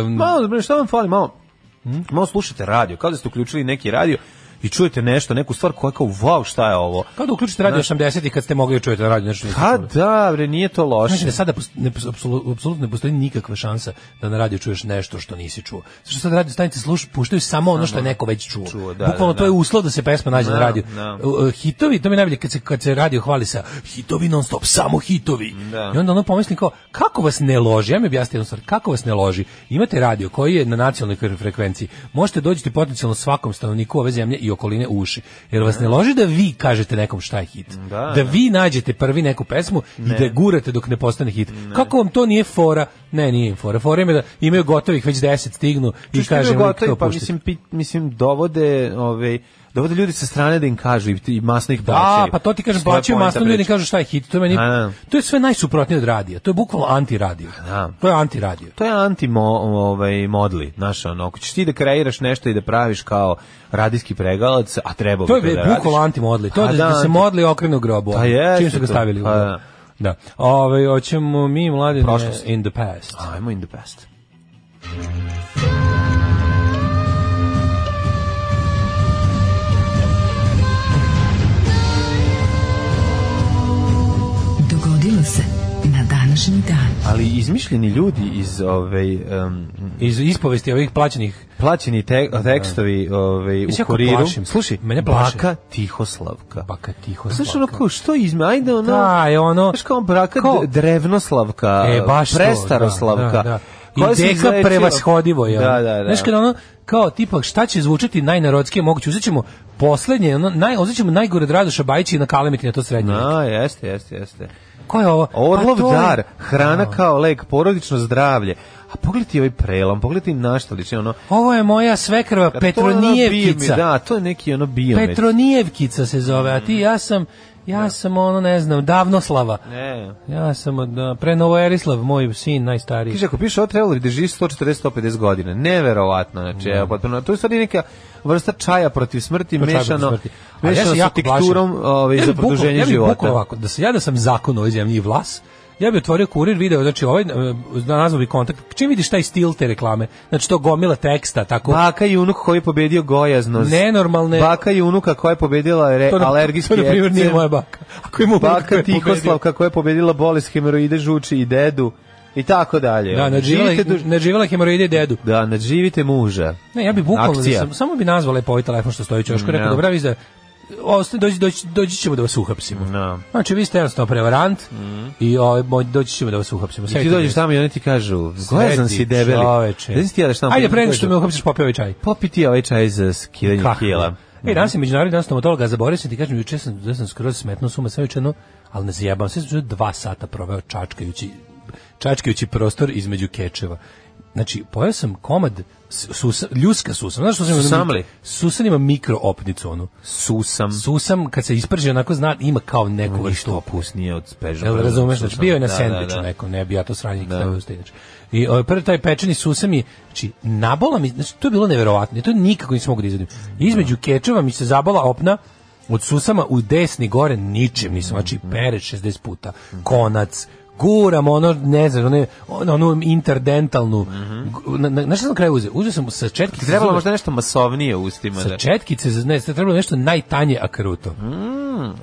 G: em,
F: Malo, Pa, bre, šta vam fali, malo, hm? malo slušate radio, kao da ste uključili neki radio i čujete nešto, neku stvar koja je kao, wow, šta je ovo?
G: kao da uključite radio 80-ih kad ste mogli da čujete na radio znači, nešto. niste čuli.
F: Pa da, bre, nije to
G: Znači
F: loše.
G: da sada pos- ne, pos- apsolu- apsolutno ne postoji nikakva šansa da na radiju čuješ nešto što nisi čuo. Zato što sad radio stanice sluš, puštaju samo ono što je neko već čuo.
F: Čuo, da,
G: Bukvalno
F: da,
G: to je
F: da.
G: uslov da se pesma nađe na
F: Da,
G: radiju.
F: da.
G: U- u, Hitovi, to mi je najbolje kad se, kad se radio hvali sa hitovi non stop, samo hitovi.
F: Da.
G: I onda ono pomisli kao, kako vas ne loži? Ja mi objasnim jednu stvar, kako vas ne loži? Imate radio koji je na nacionalnoj frekvenciji. Možete dođiti potencijalno svakom stanovniku ove zemlje i okoline u uši. Jer vas ne loži da vi kažete nekom šta je hit.
F: Da,
G: da
F: da.
G: vi nađete prvi neku pesmu i da je gurate dok ne postane hit. Kako vam to nije fora? Ne, nije im fora. Fora im je da imaju gotovih već 10 stignu i
F: Što je
G: kaže
F: bilo
G: lik
F: gotovo,
G: to
F: pa
G: pušti.
F: mislim, pi- mislim, dovode, ovaj, dovode ljudi sa strane da im kažu i, i masno ih
G: Da,
F: plaćaju.
G: pa to ti kažem,
F: Što je
G: plaćaju
F: poenta
G: masno ljudi ne
F: priče?
G: kažu šta je hit. To, je meni,
F: A, da.
G: to je sve najsuprotnije od radija. To je bukvalno antiradio.
F: da.
G: To je antiradio.
F: To je anti mo, ovaj modli, znaš, ono, ako ćeš ti da kreiraš nešto i da praviš kao radijski pregalac, a treba bi
G: To je
F: da
G: bukvalno
F: radiš.
G: antimodli. To je
F: Pa
G: da, da se
F: anti-
G: modli okrenu grobu. ono,
F: Pa jeste
G: Čim su ga
F: to,
G: stavili. u
F: pa
G: grob.
F: da.
G: Da. Ove, hoćemo mi, mlade,
F: Prošlost.
G: in the past.
F: Ajmo in the past.
E: Dogodilo se na današnji dan.
F: Ali izmišljeni ljudi iz ovaj em,
G: Iz ispovesti ovih plaćenih
F: plaćeni te, tekstovi ovaj u
G: Ja se jako
F: kuriru.
G: plašim.
F: Slušaj,
G: Mene plaše.
F: Baka Tihoslavka.
G: baka tiho
F: Znaš
G: slaka.
F: ono kao što izme, ajde ono,
G: Da, je ono-
F: znaš kao braka
G: Kao-
F: d- drevnoslavka,
G: E, baš to,
F: prestaroslavka,
G: Da, da, da.
F: koja
G: I
F: se
G: deka
F: izlečila-
G: prevashodivo je. ono.
F: Da, da, da.
G: Znaš kad ono, kao tipa, šta će zvučati najnarodskije moguće? Uzet ćemo poslednje, ono, naj, uzet ćemo najgore od Radoša Bajića i nakalemiti na to srednje.
F: Na, jeste, jeste, jeste.
G: Ko je ovo?
F: Orlov
G: Pa to je-
F: dar, hrana kao lek, porodično zdravlje. A pogledaj ovaj prelom, pogledaj na šta liči ono.
G: Ovo je moja svekrva
F: A to je ono
G: Petronijevkica.
F: biomed, Da, to je neki ono biomet.
G: Petronijevkica se zove, a ti ja sam, ja sam ono, ne znam, Davnoslava.
F: Ne.
G: Ja sam od, da, pre Novo Erislav, moj sin najstariji.
F: Kaže, ako piše ovo trebalo bi da živi 140-150 godina. Neverovatno, znači, evo, potpuno. To je u stvari neka vrsta čaja protiv smrti,
G: To je čaj
F: mešano,
G: Mm. protiv smrti. A ja se
F: mešano sa
G: jako plašim.
F: teksturom ovaj,
G: Ja
F: za
G: bih bukvalno-
F: produženje
G: ja bih bukvalno
F: života.
G: Ovako, da se ja da sam zakon u ovoj zemlji i vlas, ja bih otvorio kurir video, znači ovaj nazvao bi kontakt. Čim vidiš taj stil te reklame, znači to gomila teksta, tako
F: Baka i unuk koji je pobedio gojaznost.
G: nenormalne.
F: Baka i unuka koja je pobedila re,
G: to na,
F: alergijski
G: to, na primjer nije
F: ekcem.
G: moja baka. Ako ima unuk koji
F: Baka
G: je pobedio.
F: Tihoslavka koja je pobedila bolest hemoroide žuči i dedu i tako dalje. Ono,
G: Da, nadživala,
F: Živite duž-
G: nadživala hemoroide i dedu.
F: Da, nadživite muža.
G: Ne, ja bih bukvalno, da
F: Akcija.
G: sam, samo bi nazvao lepo ovaj telefon što stoji u čošku,
F: Mm,
G: rekao,
F: ja.
G: dobra, vi ste, osta- dođi, dođi, dođi ćemo da vas uhapsimo.
F: Da. Mhm.
G: Znači, vi ste jednostavno prevarant i ovaj, moj- doći ćemo da vas uhapsimo.
F: I ti dođeš tamo i oni ti kažu, gojazan si debeli.
G: Čoveče.
F: Da si ti jadeš tamo?
G: Ajde,
F: pa ti
G: pre nego
F: kažu,
G: što me uhapsiš, popio ovaj čaj.
F: Popi ti ovaj čaj za skidanje
G: Kako?
F: kila.
G: Ej, E, danas je međunarodni dan stomatologa, zaboravio sam ti kažem, juče sam, da sam skroz smetno suma, sve juče, no, ali ne zajebam, sve sam juče dva sata proveo čačkajući, čačkajući prostor između kečeva. Znači, pojao sam komad s- susa, ljuska susam. Znaš što sam
F: Susamli?
G: Susan ima mikroopnicu, onu.
F: Susam.
G: Susam, kad se isprži, onako zna, ima kao neku vrstu
F: Ništa
G: opusnje.
F: opusnije od speža.
G: Jel razumeš, znači bio je na
F: Da, da,
G: sendviču
F: da.
G: nekom, ne bi ja to sranje da. stavio inače. I ovaj prvi taj pečeni susam je, znači nabola mi, znači to je bilo neverovatno, ja to nikako nisam mogao da izvedim. Između kečeva mi se zabala opna od susama u desni gore ničim nisam, znači
F: Mhm.
G: pere 60 puta, konac, guram ono, ne znam, ono, ono, onu interdentalnu, gu- na, na, znaš šta sam kraj uzeo? Uzeo sam sa četkice.
F: Ti Mhm. Trebalo
G: zube-
F: možda nešto masovnije u ustima.
G: sa
F: da-
G: četkice, za- ne, trebalo nešto najtanje akruto.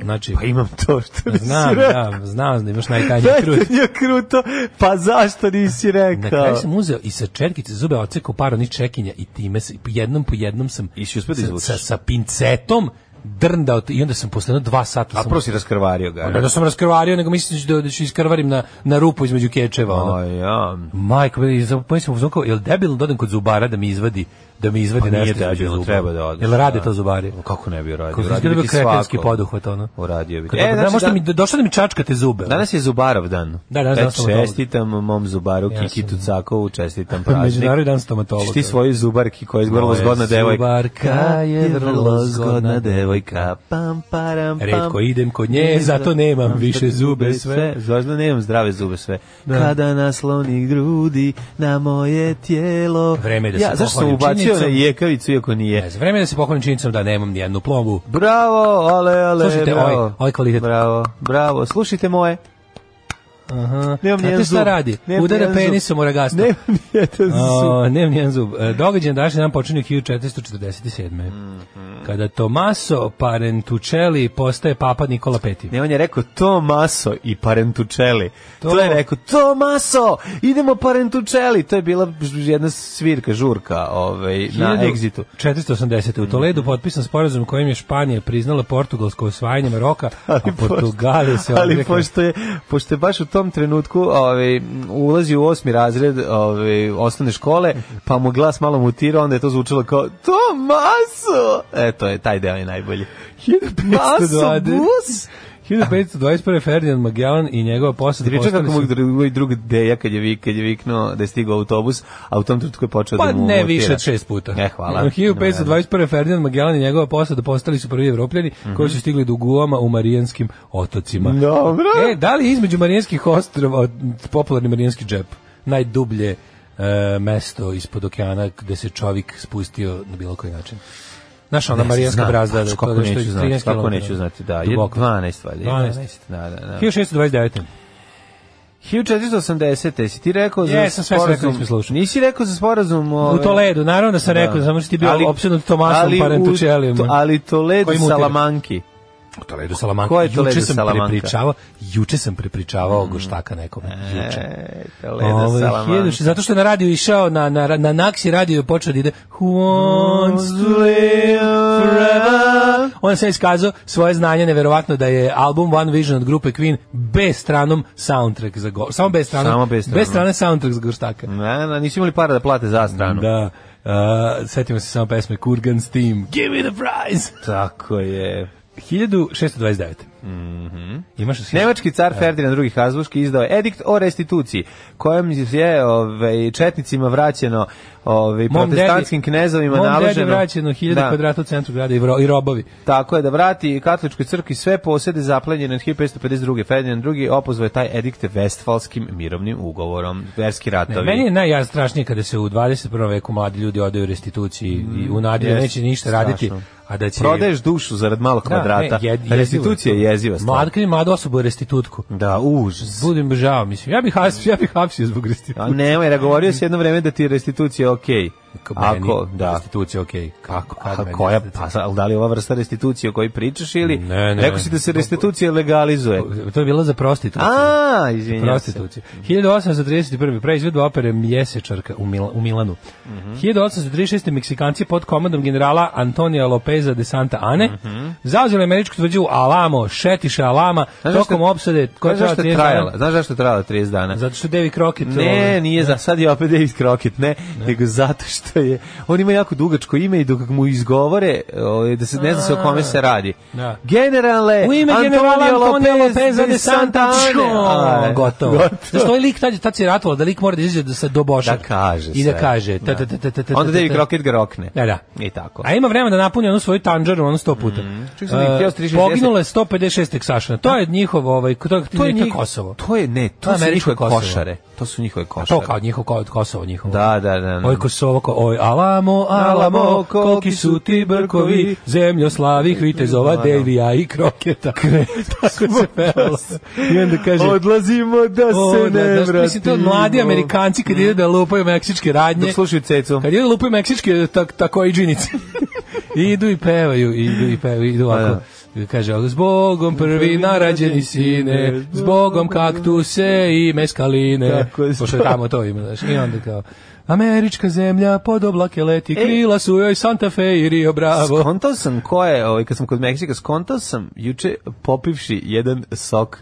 G: Znači,
F: Pa imam to što nisi
G: znam,
F: rekao.
G: znam, znam da imaš najtanje akruto.
F: Dajte nije kruto, pa zašto nisi
G: Na
F: rekao?
G: kraju sam uzeo i sa četkice zube odsekao par onih čekinja i time se, jednom po jednom sam
F: I si uspeo da
G: sa-
F: izvučeš?
G: sa, sa pincetom drndao t- i onda sam posle jedno dva sata
F: A
G: sam-
F: prvo si raskrvario ga.
G: Ne da sam raskrvario, nego mislim da, ću- da ću iskrvarim na, na rupu između kečeva. Ono.
F: A ja,
G: Majko, meni za- pa sam uzmano kao, jel debil da odem kod zubara da mi izvadi, da mi izvadi
F: Pa nije
G: nešto između
F: debilno,
G: zuba?
F: treba da odeš,
G: Jel rade
F: da.
G: to zubari?
F: kako ne bi uradio?
G: Kako
F: Uradio
G: izgleda
F: bi
G: bio
F: ti
G: kretenski
F: svako.
G: poduhvat, ono.
F: Uradio bi E, znači ti.
G: Kad dobro, da, možda
F: dan-
G: mi, došlo E, znači da mi čačkate zube. ono.
F: Pa Danas je Zubarov dan.
G: Da, danas je
F: E,
G: dan stomatologa.
F: čestitam mom Zubaru
G: Ja
F: Kiki
G: sam-
F: Tucakovu, čestitam praznik.
G: Međunarodni dan stomatologa.
F: Ti svoju Zubarki koja je vrlo
G: Moja
F: zgodna devojka.
G: Zubarka je vrlo zgodna
F: devojka. Pam, param, pam.
G: Retko idem kod nje, zato nemam više zube sve.
F: Zvažno nemam zdrave zube sve. Kada nasloni grudi na moje tijelo.
G: Vreme je da se
F: ja, zašto sam
G: pohvalim
F: ubacio na
G: činjenicom.
F: jekavicu, iako
G: Ne
F: nije.
G: znam, vreme je da se pohvalim činjenicom da nemam nijednu plombu.
F: Bravo, ale, ale,
G: Slušajte,
F: bravo.
G: ovaj- ovaj kvalitet.
F: Bravo, bravo. Slušajte moje.
G: Aha.
F: Nemam
G: Znate
F: nijedan
G: šta
F: zub.
G: radi?
F: Nemam
G: Udara
F: nijedan zub.
G: penisom u ragastu.
F: Nemam nijedan zub.
G: O, nemam nijedan zub. E, Događaj na današnji dan počinje 1447.
F: Mhm.
G: Kada Tomaso Parentucelli postaje papa Nikola V.
F: Ne, on je rekao Tomaso i Parentučeli. To,
G: To-
F: je rekao Tomaso, idemo Parentučeli. To je bila ž- jedna svirka, žurka ovaj, na egzitu.
G: 480.
F: Mhm.
G: U Toledu potpisan sporazum kojim je Španija priznala portugalsko osvajanje Maroka, a
F: pošto-
G: Portugali se
F: Ali
G: odrekli.
F: pošto je, pošto je baš u tom trenutku ovaj, ulazi u osmi razred ovaj, osnovne škole, pa mu glas malo mutirao, onda je to zvučalo kao Tomaso! E, to je, taj deo je najbolji. Maso
G: 1520.
F: bus!
G: 1521. Ferdinand Magellan i njegova posada
F: Priča
G: postali
F: kako mu
G: su-
F: drugi drug deja kad je vi kad je viknuo da je stigao autobus, a u tom trenutku je počeo
G: Pa
F: da mu
G: ne
F: mutira.
G: više od šest puta.
F: Ne, E, hvala.
G: 1521. Ferdinand Magellan i njegova posada postali su prvi evropljani
F: Mhm.
G: koji su stigli do Guama u Marijanskim otocima.
F: Dobro.
G: E, da li je između Marijanskih ostrava od- popularni Marijanski džep? Najdublje e, mesto ispod okeana gde se čovjek spustio na bilo koji način. Znaš, ona
F: Ne,
G: Marijanska
F: znam,
G: brazda, da,
F: pač,
G: to
F: kako
G: da što je
F: neću znati,
G: 13
F: kako
G: km.
F: neću znati, da, je
G: Duboko.
F: 12 valjda,
G: 12.
F: 11, da, da, da.
G: 1429.
F: 1480. Jesi ti rekao za
G: Jesam, sve sam rekao, nisam slušao.
F: Nisi rekao za sporazum...
G: U
F: ovaj,
G: Toledu, naravno da sam rekao, samo što ti bio
F: ali-
G: opsednut Tomasom
F: ali u-
G: Parentučelijem.
F: to- Ali Toledo
G: Koji mutira.
F: Salamanki.
G: U Toledo Salamanca.
F: Ko je Toledo
G: juče sam
F: Salamanca? Mm.
G: prepričavao, juče sam prepričavao goštaka nekome. Juče.
F: E,
G: Ovaj,
F: Toledo Salamanki.
G: 1000 zato što je na radiju išao na na na Naxi radio je počeo da ide Who wants to live forever. On se iskazao svoje znanje neverovatno da je album One Vision od grupe Queen B stranom soundtrack za go, samo B stranom.
F: Samo B stranom.
G: B strane soundtrack za goštaka.
F: Na, na, nisu imali para da plate za stranu.
G: Da. Uh, setimo se samo pesme Kurgan's Team. Give me the prize.
F: Tako je. Mhm.
G: 1629. Mm Imaš
F: Nemački car Ferdinand II. Habsburgski izdao je edikt o restituciji, kojom je ovaj, četnicima vraćeno ovaj,
G: Mom dedi-
F: protestantskim knezovima
G: mom
F: naloženo...
G: dedi vraćeno 1000
F: Da.
G: kvadrata u centru grada i, vro, i robovi.
F: Tako je, da vrati katoličkoj crkvi sve posede zaplenjene od 1552. Ferdinand II. opozvao je taj edikt Vestfalskim mirovnim ugovorom. Verski
G: Ne,
F: ratovi.
G: meni je najstrašnije kada se u 21. veku mladi ljudi odaju restituciji i u nadi da
F: Mm, jest,
G: neće ništa
F: strašno.
G: raditi, a da će...
F: Prodaješ dušu zarad malo kvadrata.
G: ne, jed- jezivo je
F: Restitucija
G: to.
F: je jeziva stvar.
G: Mlad kad je mlad osobu restitutku.
F: Da, užas.
G: Budem žao, mislim. Ja bih hapsio, ja bih hapsio zbog restitutke.
F: A nemoj, da govorio si jedno vreme da ti je restitucija okej.
G: Kako
F: Ako,
G: meni
F: da.
G: Restitucija, okej. Kako? kad
F: A
G: meni
F: koja,
G: restitucija?
F: pa, sa- ali da li je ova vrsta restitucije o kojoj pričaš ili?
G: Ne, ne.
F: Rekao si da se restitucija legalizuje.
G: To je bila za prostituciju.
F: A, izvinjam se.
G: prostituciju. 1831. preizvedba opere Mjesečarka u, Mila, u Milanu.
F: Mhm.
G: 1836. Meksikanci pod komandom generala Antonija Lopeza de Santa Ane
F: Mhm.
G: zauzeli američku tvrđu Alamo, šetiše Alama,
F: Znaš
G: tokom
F: zašto-
G: opsade koja
F: Znaš
G: je
F: zašto je
G: trajala 30
F: trajala?
G: dana.
F: Znaš zašto je trajala 30 dana?
G: Zato što David Crockett...
F: Ne,
G: ovaj,
F: nije za sad je opet David Crockett, ne, nego zato što je on ima jako dugačko ime i dok mu izgovore, ovaj, da se ne zna se o kome se radi.
G: Da.
F: Generale,
G: U ime generala
F: Antonio
G: Antonija
F: Lopez
G: Lopeza
F: de
G: de Santa
F: Santana.
G: Ana. Gotovo.
F: Gotovo.
G: Zašto ovaj lik tad, tad se ratovalo da lik mora da izađe da se doboša.
F: Da kaže
G: I da
F: sve.
G: kaže. ta,
F: Da.
G: ta, ta, ta, ta, ta,
F: Onda
G: ta,
F: David
G: ta.
F: Crockett ga rokne.
G: Da, da.
F: I tako.
G: A ima vremena da napuni onu svoju tanđaru, ono sto puta. Mm.
F: Čekaj, sam ih htio s 360.
G: poginulo je 156 teksašana. To je njihov, ovaj, to, je- to je
F: njih-
G: njih... Kosovo.
F: To je, ne, to su
G: Američko
F: njihove
G: Kosovo.
F: košare. To su njihove košare.
G: To kao njihov, kao Kosovo njihovo.
F: Da, da, da. da.
G: Oj Kosovo, ko, oj Alamo, Alamo, koliki su ti brkovi, zemljo slavih vitezova,
F: Ono.
G: Devija i Kroketa. Tako se pevalo. I onda kaže,
F: Odlazimo da
G: O,
F: se
G: da,
F: ne
G: da,
F: vratimo.
G: mislim, to mladi Amerikanci kad idu da lupaju meksičke radnje.
F: Dok slušaju cecu.
G: Kad idu da lupaju meksičke tak, tako i džinice. idu i pevaju, idu i pevaju, idu ovako. Kaže, ovako, s Bogom prvi narađeni sine, s Bogom kaktuse i meskaline.
F: Tako je.
G: Pošto je tamo to ima, znaš. I onda kao, Američka zemlja pod oblake
F: E.
G: leti, krila su joj Santa Fe i Rio Bravo.
F: Skontao sam ko je, ovaj, kad sam kod Meksika, skontao sam juče popivši jedan sok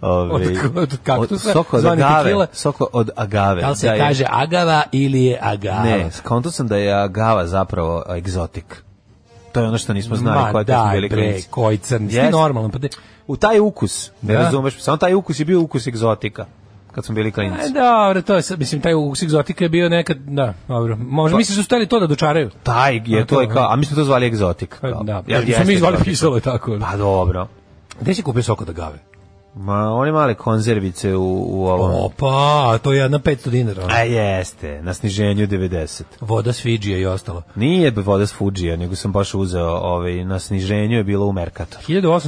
F: ovaj,
G: Od- od kaktusa,
F: sok od
G: zvani
F: agave.
G: tequila.
F: Sok od agave.
G: Da li se
F: je-
G: kaže Agava ili je Agava?
F: Ne, skontao sam da je agava zapravo egzotik. To je ono što nismo znali
G: Ma
F: koja kad smo
G: daj
F: bili
G: bre,
F: klinci.
G: koji crni, yes.
F: Jeste.
G: normalan, pa de,
F: U taj ukus, ne
G: Da.
F: razumeš, samo taj ukus je bio ukus egzotika kad smo bili
G: E,
F: klinci.
G: dobro, to je, sad, mislim, taj ukus egzotika je bio nekad, da, dobro. Možda, pa, misliš da su hteli to da dočaraju?
F: Taj
G: A,
F: je
G: to,
F: to je kao,
G: aha.
F: a mi smo to zvali egzotik.
G: Pa,
F: kao.
G: Da,
F: Jel
G: ja, ja,
F: jeste
G: mi izvali
F: egzotik?
G: pisalo je tako. ono.
F: Pa dobro.
G: Gde si kupio soko da gave?
F: Ma, one male konzervice u, u ovom.
G: Opa, to je jedna 500 dinara. ono.
F: A jeste, na sniženju 90.
G: Voda s Fidžija i ostalo.
F: Nije voda s Fuđija, nego sam baš uzeo ovaj, na sniženju je bilo u Merkatoru.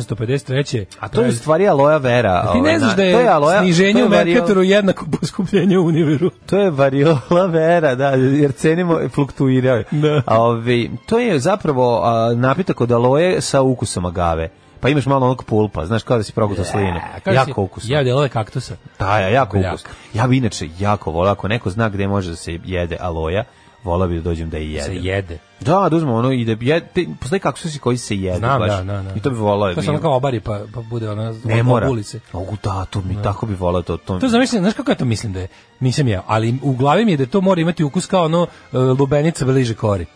G: 1853.
F: A to je u stvari aloja vera.
G: Ti ne
F: ovaj,
G: znaš
F: na-
G: da je,
F: to aloja- to
G: sniženje
F: je
G: u
F: vario-
G: Merkatoru jednako poskupljenje u Univeru.
F: To je variola vera, da, jer cenimo fluktuirao je.
G: Da.
F: A ovaj, to je zapravo a, napitak od aloje sa ukusom agave. Pa imaš malo onog pulpa, znaš, kao da si progutao slinu. Jako ukusno.
G: Ja delove kaktusa.
F: Da, ja, jako
G: Beljak.
F: ukusno. Ja bi inače jako volao, ako neko zna gde može da se jede aloja, volao bi da dođem da je jedem.
G: Se jede.
F: Da, da uzmemo ono i da jede, postoji kaksusi koji se jedu
G: Znam,
F: baš.
G: da, da, da.
F: I to bi volao.
G: To
F: mi.
G: se ono kao obari pa, pa bude ona
F: ne mora.
G: ulice.
F: Mogu da, to mi tako bi volao to. To,
G: To zamišljam, znaš kako ja to mislim da je? Nisam ja, ali u glavi mi je da to mora imati ukus kao ono e, lubenica bliže kori.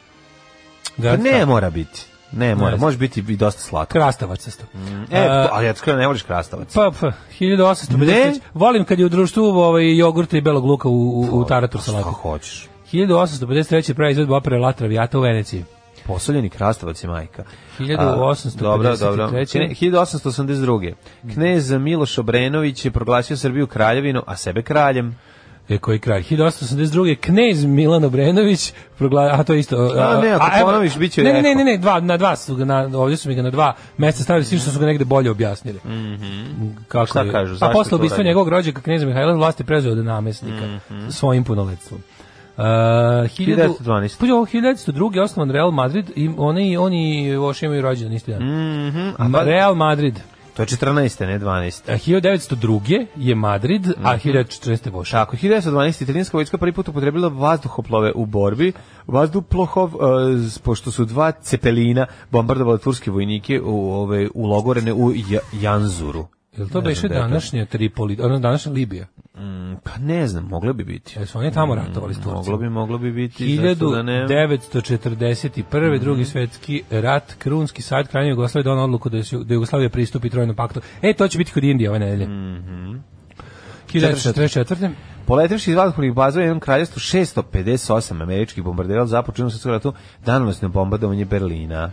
F: Pa
G: Da,
F: ne mora biti. Ne mora,
G: znam.
F: može biti i dosta slatko.
G: Krastavac isto.
F: E,
G: A,
F: to- ali ja ti skoro ne voliš krastavac.
G: Pa, pa, 1853.
F: Ne?
G: Volim kad je u društvu ovaj, jogurta i belog luka u, u, u tarator
F: Šta
G: salatu.
F: hoćeš?
G: 1853. pravi izvedba opere La Traviata u Veneciji.
F: Posoljeni krastavac je majka.
G: 1853.
F: A, Dobro, dobro. Kne- 1882. Knez Miloš Obrenović je proglasio Srbiju kraljevinom, a sebe kraljem.
G: E, koji kraj? 1882. Knez Milan Obrenović progla... A to je isto...
F: A, ne, ako
G: evo-
F: ponoviš, bit će
G: Ne, ne,
F: rekao.
G: ne, ne, ne, dva, na dva su ga, na, ovdje su mi ga na dva mesta stavili, s tim što su ga negde bolje objasnili. Kako
F: Mhm. Šta
G: je?
F: kažu,
G: Pa
F: zašto to
G: posle ubistva
F: radi? Mhm.
G: njegovog rođaka kneza Mihajla vlast je preuzeo od namestnika svojim punoletstvom. Uh,
F: 1912.
G: 1912. Pa, 1902. osnovan Real Madrid i oni, oni još imaju rođendan isti dan.
F: Mhm.
G: Ma- Real Madrid.
F: pa, To je 14. ne 12.
G: A 1902. je Madrid, a 1914. Voša.
F: Mhm. Tako, 1912. italijanska vojska prvi put upotrebila vazduhoplove u borbi. Vazduhoplohov, e, z- pošto su dva cepelina bombardovali turske vojnike u, ove, ulogorene u Ja- Janzuru.
G: Jel to
F: Ne
G: beše
F: znam gde je to.
G: današnja Tripoli, ono današnja Libija?
F: Pa ne znam, moglo bi biti.
G: Jel su oni tamo ratovali s
F: Mm, Moglo
G: Turcima?
F: bi, moglo bi biti. zašto da ne? Mm.
G: 1941. drugi svetski rat, Krunski sad krajnje Jugoslavije donao odluku da, su, da Jugoslavija pristupi trojnom paktu. E, to će biti kod Indije ove nedelje. Mm
F: Mhm.
G: 1944.
F: Poletivši iz vazduhoplovnih baza u jednom kraljestvu 658 američkih bombardirala započinu se ratu danonosno bombardovanje Berlina.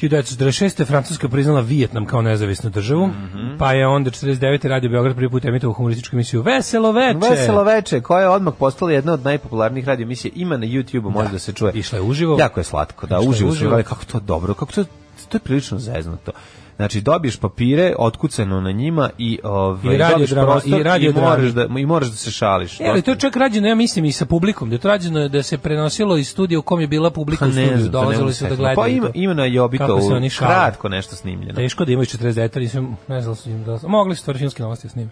G: 1946. Francuska priznala Vijetnam kao nezavisnu državu,
F: Mhm.
G: pa je onda 49. Radio Beograd prvi put emitovao humorističku emisiju Veselo veče.
F: Veselo veče, koja je odmah postala jedna od najpopularnijih radio emisija, ima na YouTubeu, može da se čuje.
G: Išla je uživo.
F: Jako je slatko, da,
G: Išla je
F: uživo se
G: uživo.
F: gledali, kako to dobro, kako to to je prilično zeznuto. Znači dobiješ papire otkucano na njima i ovaj
G: I radio
F: dobiješ
G: drama-
F: prostor
G: i radio
F: moraš da
G: drami.
F: i moraš da se šališ.
G: E, ali to je čak rađeno, ja mislim, i sa publikom, da je to rađeno da se prenosilo iz studija u kom je bila publika
F: Pa
G: u
F: ne
G: studiju,
F: znam, to ne mogu
G: dolazili
F: se
G: su da
F: setiti.
G: gledaju.
F: Pa ima,
G: to.
F: ima na
G: Kako se
F: Jobitovu
G: oni šale.
F: kratko nešto snimljeno.
G: Teško da imaju 49, nisam, ne znam da su im da mogli su stvari filmske novosti da snime.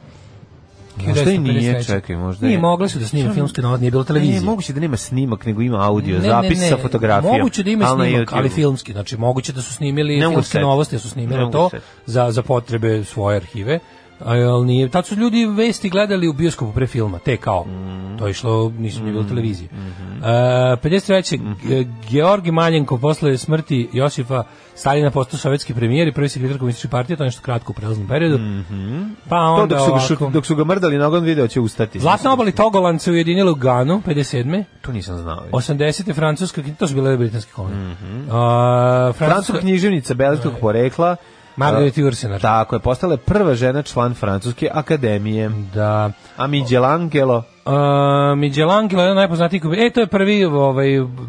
F: Možda i nije, čekaj, možda
G: Nije,
F: je- pa
G: mogli su da snime filmske novosti, nije bilo televizije.
F: Ne, moguće da nema snimak, nego ima audio,
G: Ne, ne,
F: zapis
G: ne,
F: sa fotografijom.
G: Moguće da ima
F: ali na
G: snimak, ali
F: YouTubeu.
G: filmski. Znači, moguće da su snimili
F: Ne mogu
G: filmske
F: setiti.
G: novosti, da su
F: Ne
G: snimili
F: mogu
G: to
F: setiti.
G: za, za potrebe svoje arhive. A, Ali nije, tad su ljudi vesti gledali u bioskopu pre filma, te kao.
F: Mhm.
G: To je išlo, nisam nije bilo televizije. E, 53.
F: Mhm.
G: G- Georgi Maljenko posle smrti Josifa Stalina postao sovjetski premijer i prvi sekretar komunističke partije, to je nešto kratko u prelaznom periodu. Pa
F: Mhm. To
G: onda
F: dok su, ga,
G: ovako-
F: šut- dok su ga mrdali nogom video će ustati.
G: Zlatna obali Togolan se ujedinila u Ganu, 57.
F: To nisam znao.
G: 80. francuska, to su bile britanske kolonije. Mm
F: Mhm. Francuska
G: francuska,
F: književnica belgijskog porekla.
G: Margaret znači.
F: a,
G: Ursenar.
F: Tako je, postala je prva žena član Francuske akademije.
G: da.
F: A Michelangelo,
G: Uh, Michelangelo je jedan najpoznatiji kompjuter. E, to je prvi ovaj,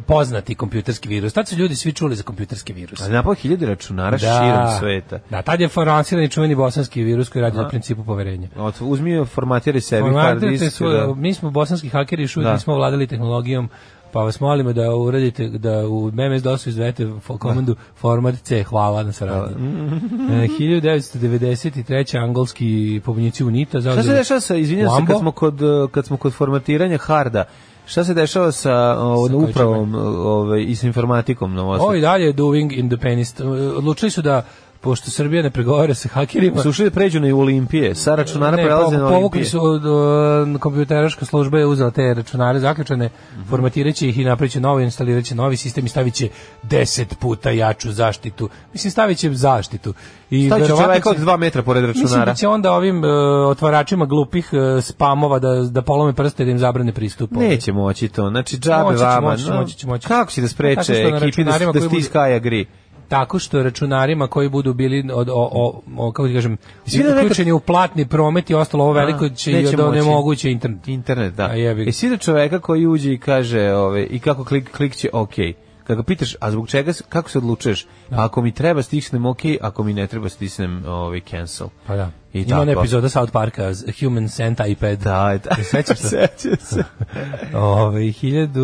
G: poznati kompjuterski virus. Tad su ljudi svi čuli za kompjuterski virus.
F: ali je napao hiljade računara širom sveta.
G: Da, tad je foransiran i čuveni bosanski virus koji radi na principu poverenja.
F: Od, uzmi je formatiraj sebi hard
G: Formatirajte
F: disk.
G: svoje,
F: da.
G: mi Ono, smo bosanski hakeri, još uvijek
F: Da.
G: nismo ovladali tehnologijom, pa vas molimo da uradite, da u MMS DOS-u izvedete fo- komandu format C, hvala na saradnji. E, 1993. angolski pobunjici UNITA
F: Šta se
G: zauzeli
F: dešava sa, izvinjam se, kad
G: Lambo?
F: smo kod, uh, kad smo kod formatiranja harda, šta se dešava sa uh,
G: Sa kojim
F: upravom uh, ovaj, i sa informatikom na Ovo
G: Ovo i dalje je doing in the penist. E, Odlučili su da, pošto Srbija ne pregovara sa hakerima,
F: Slušaj da pređu na Olimpije, sa računara
G: Ne,
F: prelaze
G: po-
F: na
G: povukli
F: Olimpije.
G: su od, e, kompjuteraška služba je uzela te računare zaključane,
F: Mhm.
G: formatiraće ih i napraviće novo, instaliraće novi sistem i staviće 10 puta jaču zaštitu. Mislim staviće zaštitu. I
F: Staviće
G: verovatno
F: čoveka od
G: će-
F: dva metra pored
G: Mislim da
F: računara.
G: će onda ovim e, otvaračima glupih e, spamova da da polome prste i da im zabrane pristup.
F: Neće moći to, znači džabe
G: Moći će,
F: vama.
G: moći će,
F: no,
G: moći će, moći će.
F: Kako će da
G: Tako
F: spreče
G: što na
F: ekipi da,
G: računarima
F: da
G: koji budu-
F: stiska i agri?
G: tako što računarima koji budu bili od o, o, o kako ti kažem
F: Svi da nekad-
G: uključeni u platni promet i ostalo ovo veliko će i
F: neće
G: da
F: moći.
G: onemoguće internet.
F: Internet, da.
G: A jebi ga.
F: I svi da čoveka koji uđe i kaže ove, i kako klik, klik će ok. Kad ga pitaš, a zbog čega, se- kako se odlučuješ? Ako mi treba stisnem ok, ako mi ne treba stisnem ovaj, cancel.
G: Pa da.
F: I
G: Ima
F: tako.
G: ona epizoda South Parka, z- Human Sent iPad.
F: Da, da.
G: Sećaš se?
F: Sećam se.
G: Ove,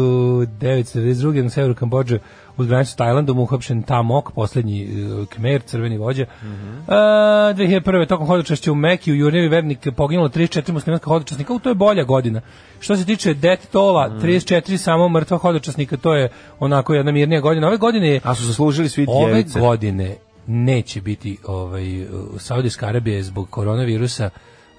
G: 1992. na severu Kambođe uz granicu s Tajlandom uhapšen Tamok, poslednji e, Khmer, crveni vođa.
F: Mhm.
G: E, 2001. tokom hodočašća u Mekiju, Jurjevi vernik poginulo 34 muslimanska hodočasnika. U, to je bolja godina. Što se tiče death tola,
F: Mhm.
G: 34 samo mrtva hodočasnika, to je onako jedna mirnija godina. Ove godine je
F: A su zaslužili svi
G: Ove
F: djevice.
G: godine neće biti ovaj Saudijska Arabija zbog koronavirusa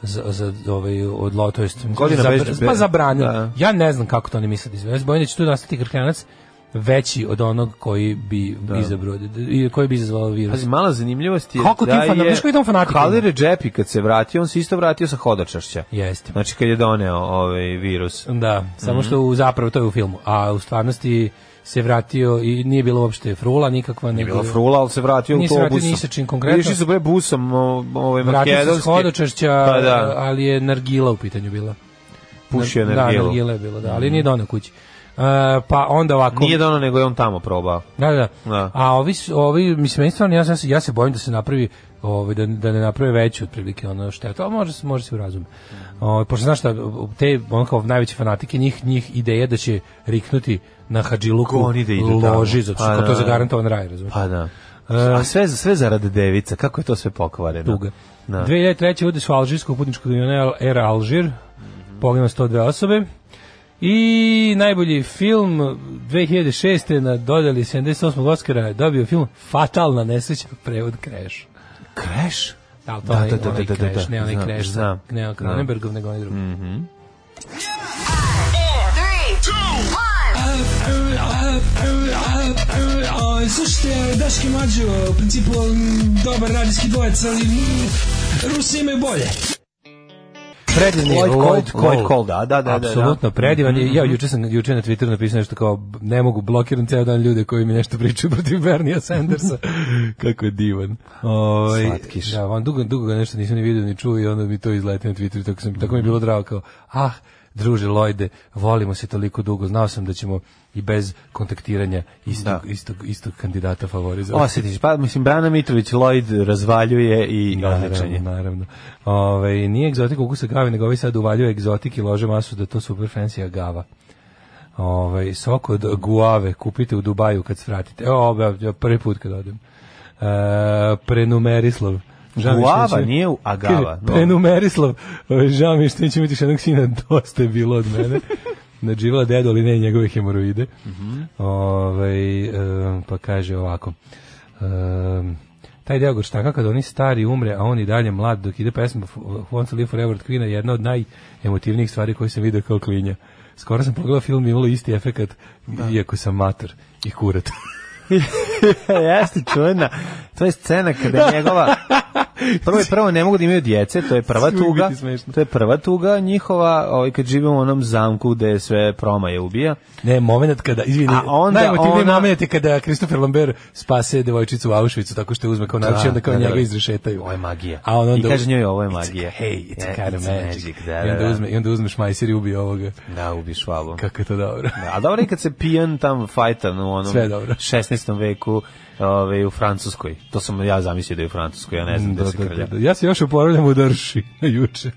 G: za, za ovaj odlo to jest
F: Godina
G: zabra-
F: bez-
G: pa zabranila.
F: Da.
G: Ja ne znam kako to oni misle da izvedu. Ja se bojim da će tu nastati krkljanac veći od onog koji bi izabrao i koji bi izazvao virus.
F: Pazi, mala zanimljivost je
G: Kako ti
F: da
G: fan-
F: je...
G: znaš koji tam fanatik ima?
F: Halil Redžepi kad se vratio, on se isto vratio sa hodočašća.
G: Jeste.
F: Znači kad je doneo ovaj virus.
G: Da,
F: mhm.
G: samo što u zapravo to je u filmu, a u stvarnosti se vratio i nije bilo uopšte frula nikakva,
F: Nije
G: nego
F: bilo frula, ali se vratio
G: Nije se
F: autobusom.
G: vratio ni sa čim konkretno.
F: Išli su bre busom o- ovaj
G: vratio se s
F: makedonski.
G: hodočašća,
F: Pa da,
G: ali je nargila u pitanju bila.
F: pušio
G: Da,
F: energiju.
G: nargila je bilo, da, ali nije donao kući. E, pa onda ovako...
F: Nije donao, nego je on tamo probao.
G: Da, da.
F: Da.
G: A ovi, su- ovi mislim, meni stvarno, ja, se- ja, se, ja se bojim da se napravi, ovaj, da, da ne naprave veću otprilike ono štetu, ali može, se- može se u razum.
F: Mm.
G: Ovaj, pošto znaš šta, te ono kao najveće fanatike, njih, njih ideja da će riknuti na Hadžiluku
F: Ko oni da idu tamo?
G: loži, zato što
F: Pa
G: kao to
F: da.
G: je zagarantovan raj, razumiješ?
F: Pa da. A sve, sve zarad devica, kako je to sve pokvareno?
G: E. tuga.
F: Da.
G: 2003. udes u Alžirskog putničkog aviona Air Alžir,
F: Mhm.
G: poginulo 102 osobe. I najbolji film 2006. na dodali 78. Oscara je dobio film Fatalna nesreća, prevod Crash.
F: Crash?
G: Da, ali to
F: Da,
G: onaj-
F: da, da,
G: onaj
F: da, da, da,
G: Crash, ne onaj
F: znam,
G: Crash, sa-
F: znam,
G: ne onaj
F: znam.
G: Cronenbergov, nego onaj drugi.
H: Slušajte, Daški Mađo, u principu dobar radijski dvojec, ali Rusi imaju bolje.
G: Predivan je
F: Lloyd
G: Lloyd
F: Cole. Lloyd Cole, da, da, da, da.
G: Apsolutno predivan. je. Ja juče sam juče na Twitteru napisao nešto kao ne mogu blokiram ceo dan ljude koji mi nešto pričaju protiv Bernija Sandersa. Kako je divan. Ovaj
F: Slatkiš.
G: Da, on dugo dugo ga nešto nisam ni video ni čuo i onda mi to izleti na Twitteru, tako sam tako mi je bilo drago kao ah druže Lloyde, volimo se toliko dugo, znao sam da ćemo i bez kontaktiranja istog,
F: Da.
G: istog, istog kandidata favorizovati.
F: Osjetiš, pa mislim, Brana Mitrović Lloyd razvaljuje i odličan
G: Naravno,
F: je.
G: naravno. Ove, nije egzotika ukusa gave, nego ovi sad uvaljuju egzotik i lože masu da je to super fancy agava. Ove, sok od guave kupite u Dubaju kad svratite. Evo, ove, ja prvi put kad odem. E, prenumerislov. Žao mi je što
F: Guava,
G: neću-
F: nije u- a gava,
G: Kaže,
F: dobro.
G: Prenumerislov. Ove, žao mi je što neću imati još jednog sina, dosta je bilo od mene. Nadživala dedu, ali ne i njegove hemoroide. Ovaj, e, pa kaže ovako. Um, taj deo Gorštaka kada oni stari umre, a on i dalje mlad dok ide pesma F- Wants to Live Forever od Queen-a je jedna od najemotivnijih stvari koje sam video kao klinja. Skoro sam pogledao film i imalo isti efekat, iako sam mater i kurat.
F: Jeste čudna. To je scena kada je njegova Prvo je prvo ne mogu da imaju djece, to je prva
G: Sve mi
F: tuga.
G: biti smešno.
F: To je prva tuga njihova, ovaj kad živimo u onom zamku gde je sve promaje ubija.
G: ne, moment kada, izvini,
F: A onda
G: najemotivniji
F: ona-
G: moment je kada Christopher Lambert spase devojčicu u Auschwitzu tako što je uzme kao naručio, onda kao
F: da, da,
G: njega
F: da.
G: izrešetaju.
F: Ovo je magija.
G: A on
F: I
G: onda
F: kaže njoj, ovo je
G: It's a-
F: magija.
G: Hey, it's
F: Yeah,
G: a kind of
F: it's
G: magic.
F: magic, da,
G: I, onda
F: da, da.
G: uzme, I onda uzme šmajser i ubije ovoga.
F: Da, ubi švabu.
G: Kako je to dobro.
F: Da, a dobro je kad se pijan tam fajta u onom
G: Sve dobro.
F: 16. veku ovaj, u Francuskoj. To sam ja zamislio da je u Francuskoj, ja ne znam da, se krlja.
G: Ja se još oporavljam u Darši na juče.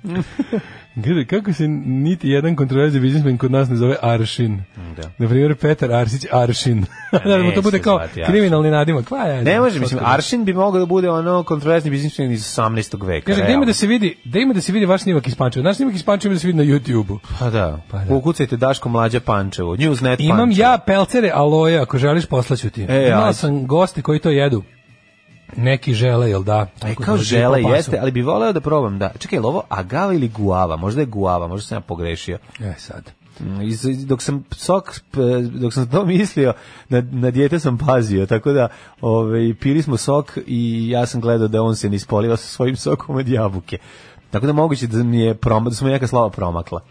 G: Gledaj, kako se niti jedan kontroverzni biznismen kod nas ne zove Aršin.
F: Da.
G: Na primjer, Petar Arsić Aršin. da, mu
F: neće
G: to bude
F: se
G: kao
F: zvati Aršin.
G: kriminalni nadimak. Pa, ja
F: Ne
G: znam,
F: može, mislim,
G: potpuno.
F: Aršin bi mogao da bude ono kontroverzni biznismen iz 18. veka.
G: Kaže, gde ima
F: realno.
G: da se vidi, gde ima da se vidi vaš snimak iz Pančeva? Naš snimak iz Pančeva ima da se vidi na YouTubeu.
F: Pa da,
G: Pa da.
F: ukucajte Daško Mlađa Pančevo, Newsnet
G: Imam
F: Pančevo.
G: ja pelcere aloje, ako želiš poslaću ti.
F: E,
G: Imala
F: ajde.
G: sam goste koji to jedu. Neki žele, jel da?
F: E,
G: Tako
F: kao
G: da
F: žele
G: žipao pasom.
F: jeste, ali bi voleo da probam, da. Čekaj, je li ovo agava ili guava? Možda je guava, možda sam ja pogrešio.
G: E, sad.
F: Mm, iz- iz- Dok sam sok, p- dok sam to mislio, na, na dijete sam pazio, tako da ove, pili smo sok i ja sam gledao da on se ne ispoliva sa svojim sokom od jabuke. Tako da moguće da mi je prom, da smo neka slava promakla.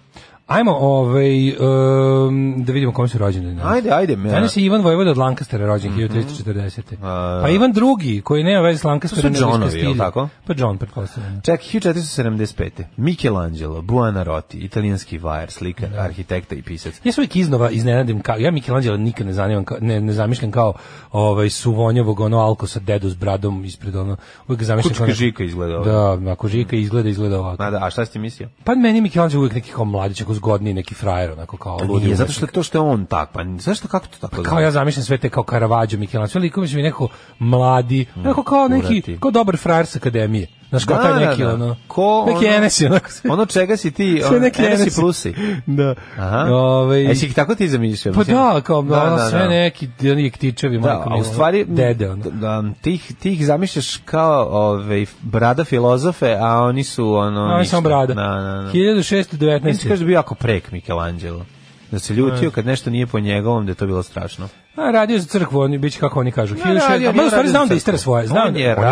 G: Ajmo, ovaj, em, da vidimo kom su rođeni.
F: Ajde, ajde. me-
G: Danas je Ivan Vojvoda od Lancastera rođen, 1340.
F: A-
G: Pa Ivan drugi, koji nema veze s Lancasterom.
F: To su
G: nego iz
F: Johnovi,
G: Kastilja.
F: jel tako?
G: Pa John, pretpostavljam.
F: Čak 1475. Michelangelo Buonarroti, italijanski vajar, slikar, arhitekta i pisac.
G: Ja se uvijek iznova iznenadim, kao, ja Michelangelo nikad ne, zanimam, kao- ne, ne zamišljam kao ovaj, suvonjevog ono alko sa dedu s bradom ispred ono, uvijek ga zamišljam
F: Kučka
G: kao neko-
F: žika ovaj. izgleda ovo.
G: Da, ako žika izgleda, izgleda ovako.
F: Mada, a šta si ti mislio?
G: Pa meni je Michelangelo uvijek neki kao mladić, ako zgodniji, neki frajer, onako kao ludi.
F: Pa Nije, zato
G: umetnik.
F: što to što je on tak, pa zašto kako to tako?
G: kao ja zamišljam sve te kao Caravaggio, Michelangelo, ali kao mi je neko mladi, onako kao neki,
F: Kurati.
G: kao dobar frajer sa akademije. Znaš, kao
F: Mm, Da,
G: taj
F: da,
G: neki,
F: da.
G: ono,
F: Ko
G: neki
F: ono-
G: Enes je, onako sve.
F: Ono čega si ti,
G: Sve
F: on,
G: neki
F: ene
G: NS.
F: si plusi.
G: Da.
F: Aha.
G: Ovaj-
F: E, si ih tako ti zamišljao?
G: Pa
F: mislim?
G: da, kao
F: Da,
G: ono,
F: da,
G: sve
F: da.
G: neki oni ktičevi,
F: Da,
G: majko
F: a u
G: mila,
F: stvari
G: dede ono.
F: Da, tih tih zamišljaš kao ovaj brada filozofe, a oni su ono
G: Oni
F: ništa.
G: samo brada.
F: Da, da, da. Meni se
G: 1619.
F: kaže da je bio jako prek Michelangelo. Da se ljutio kad nešto nije po njegovom, da je to bilo strašno.
G: A radio za crkvu, oni biće kako oni kažu.
F: Ne,
G: 1600
F: radio,
G: Ma u
F: nije
G: stvari
F: radio
G: znam
F: za
G: da istera
F: crkvu.
G: svoje.
F: On
G: Znam,
F: je
G: radio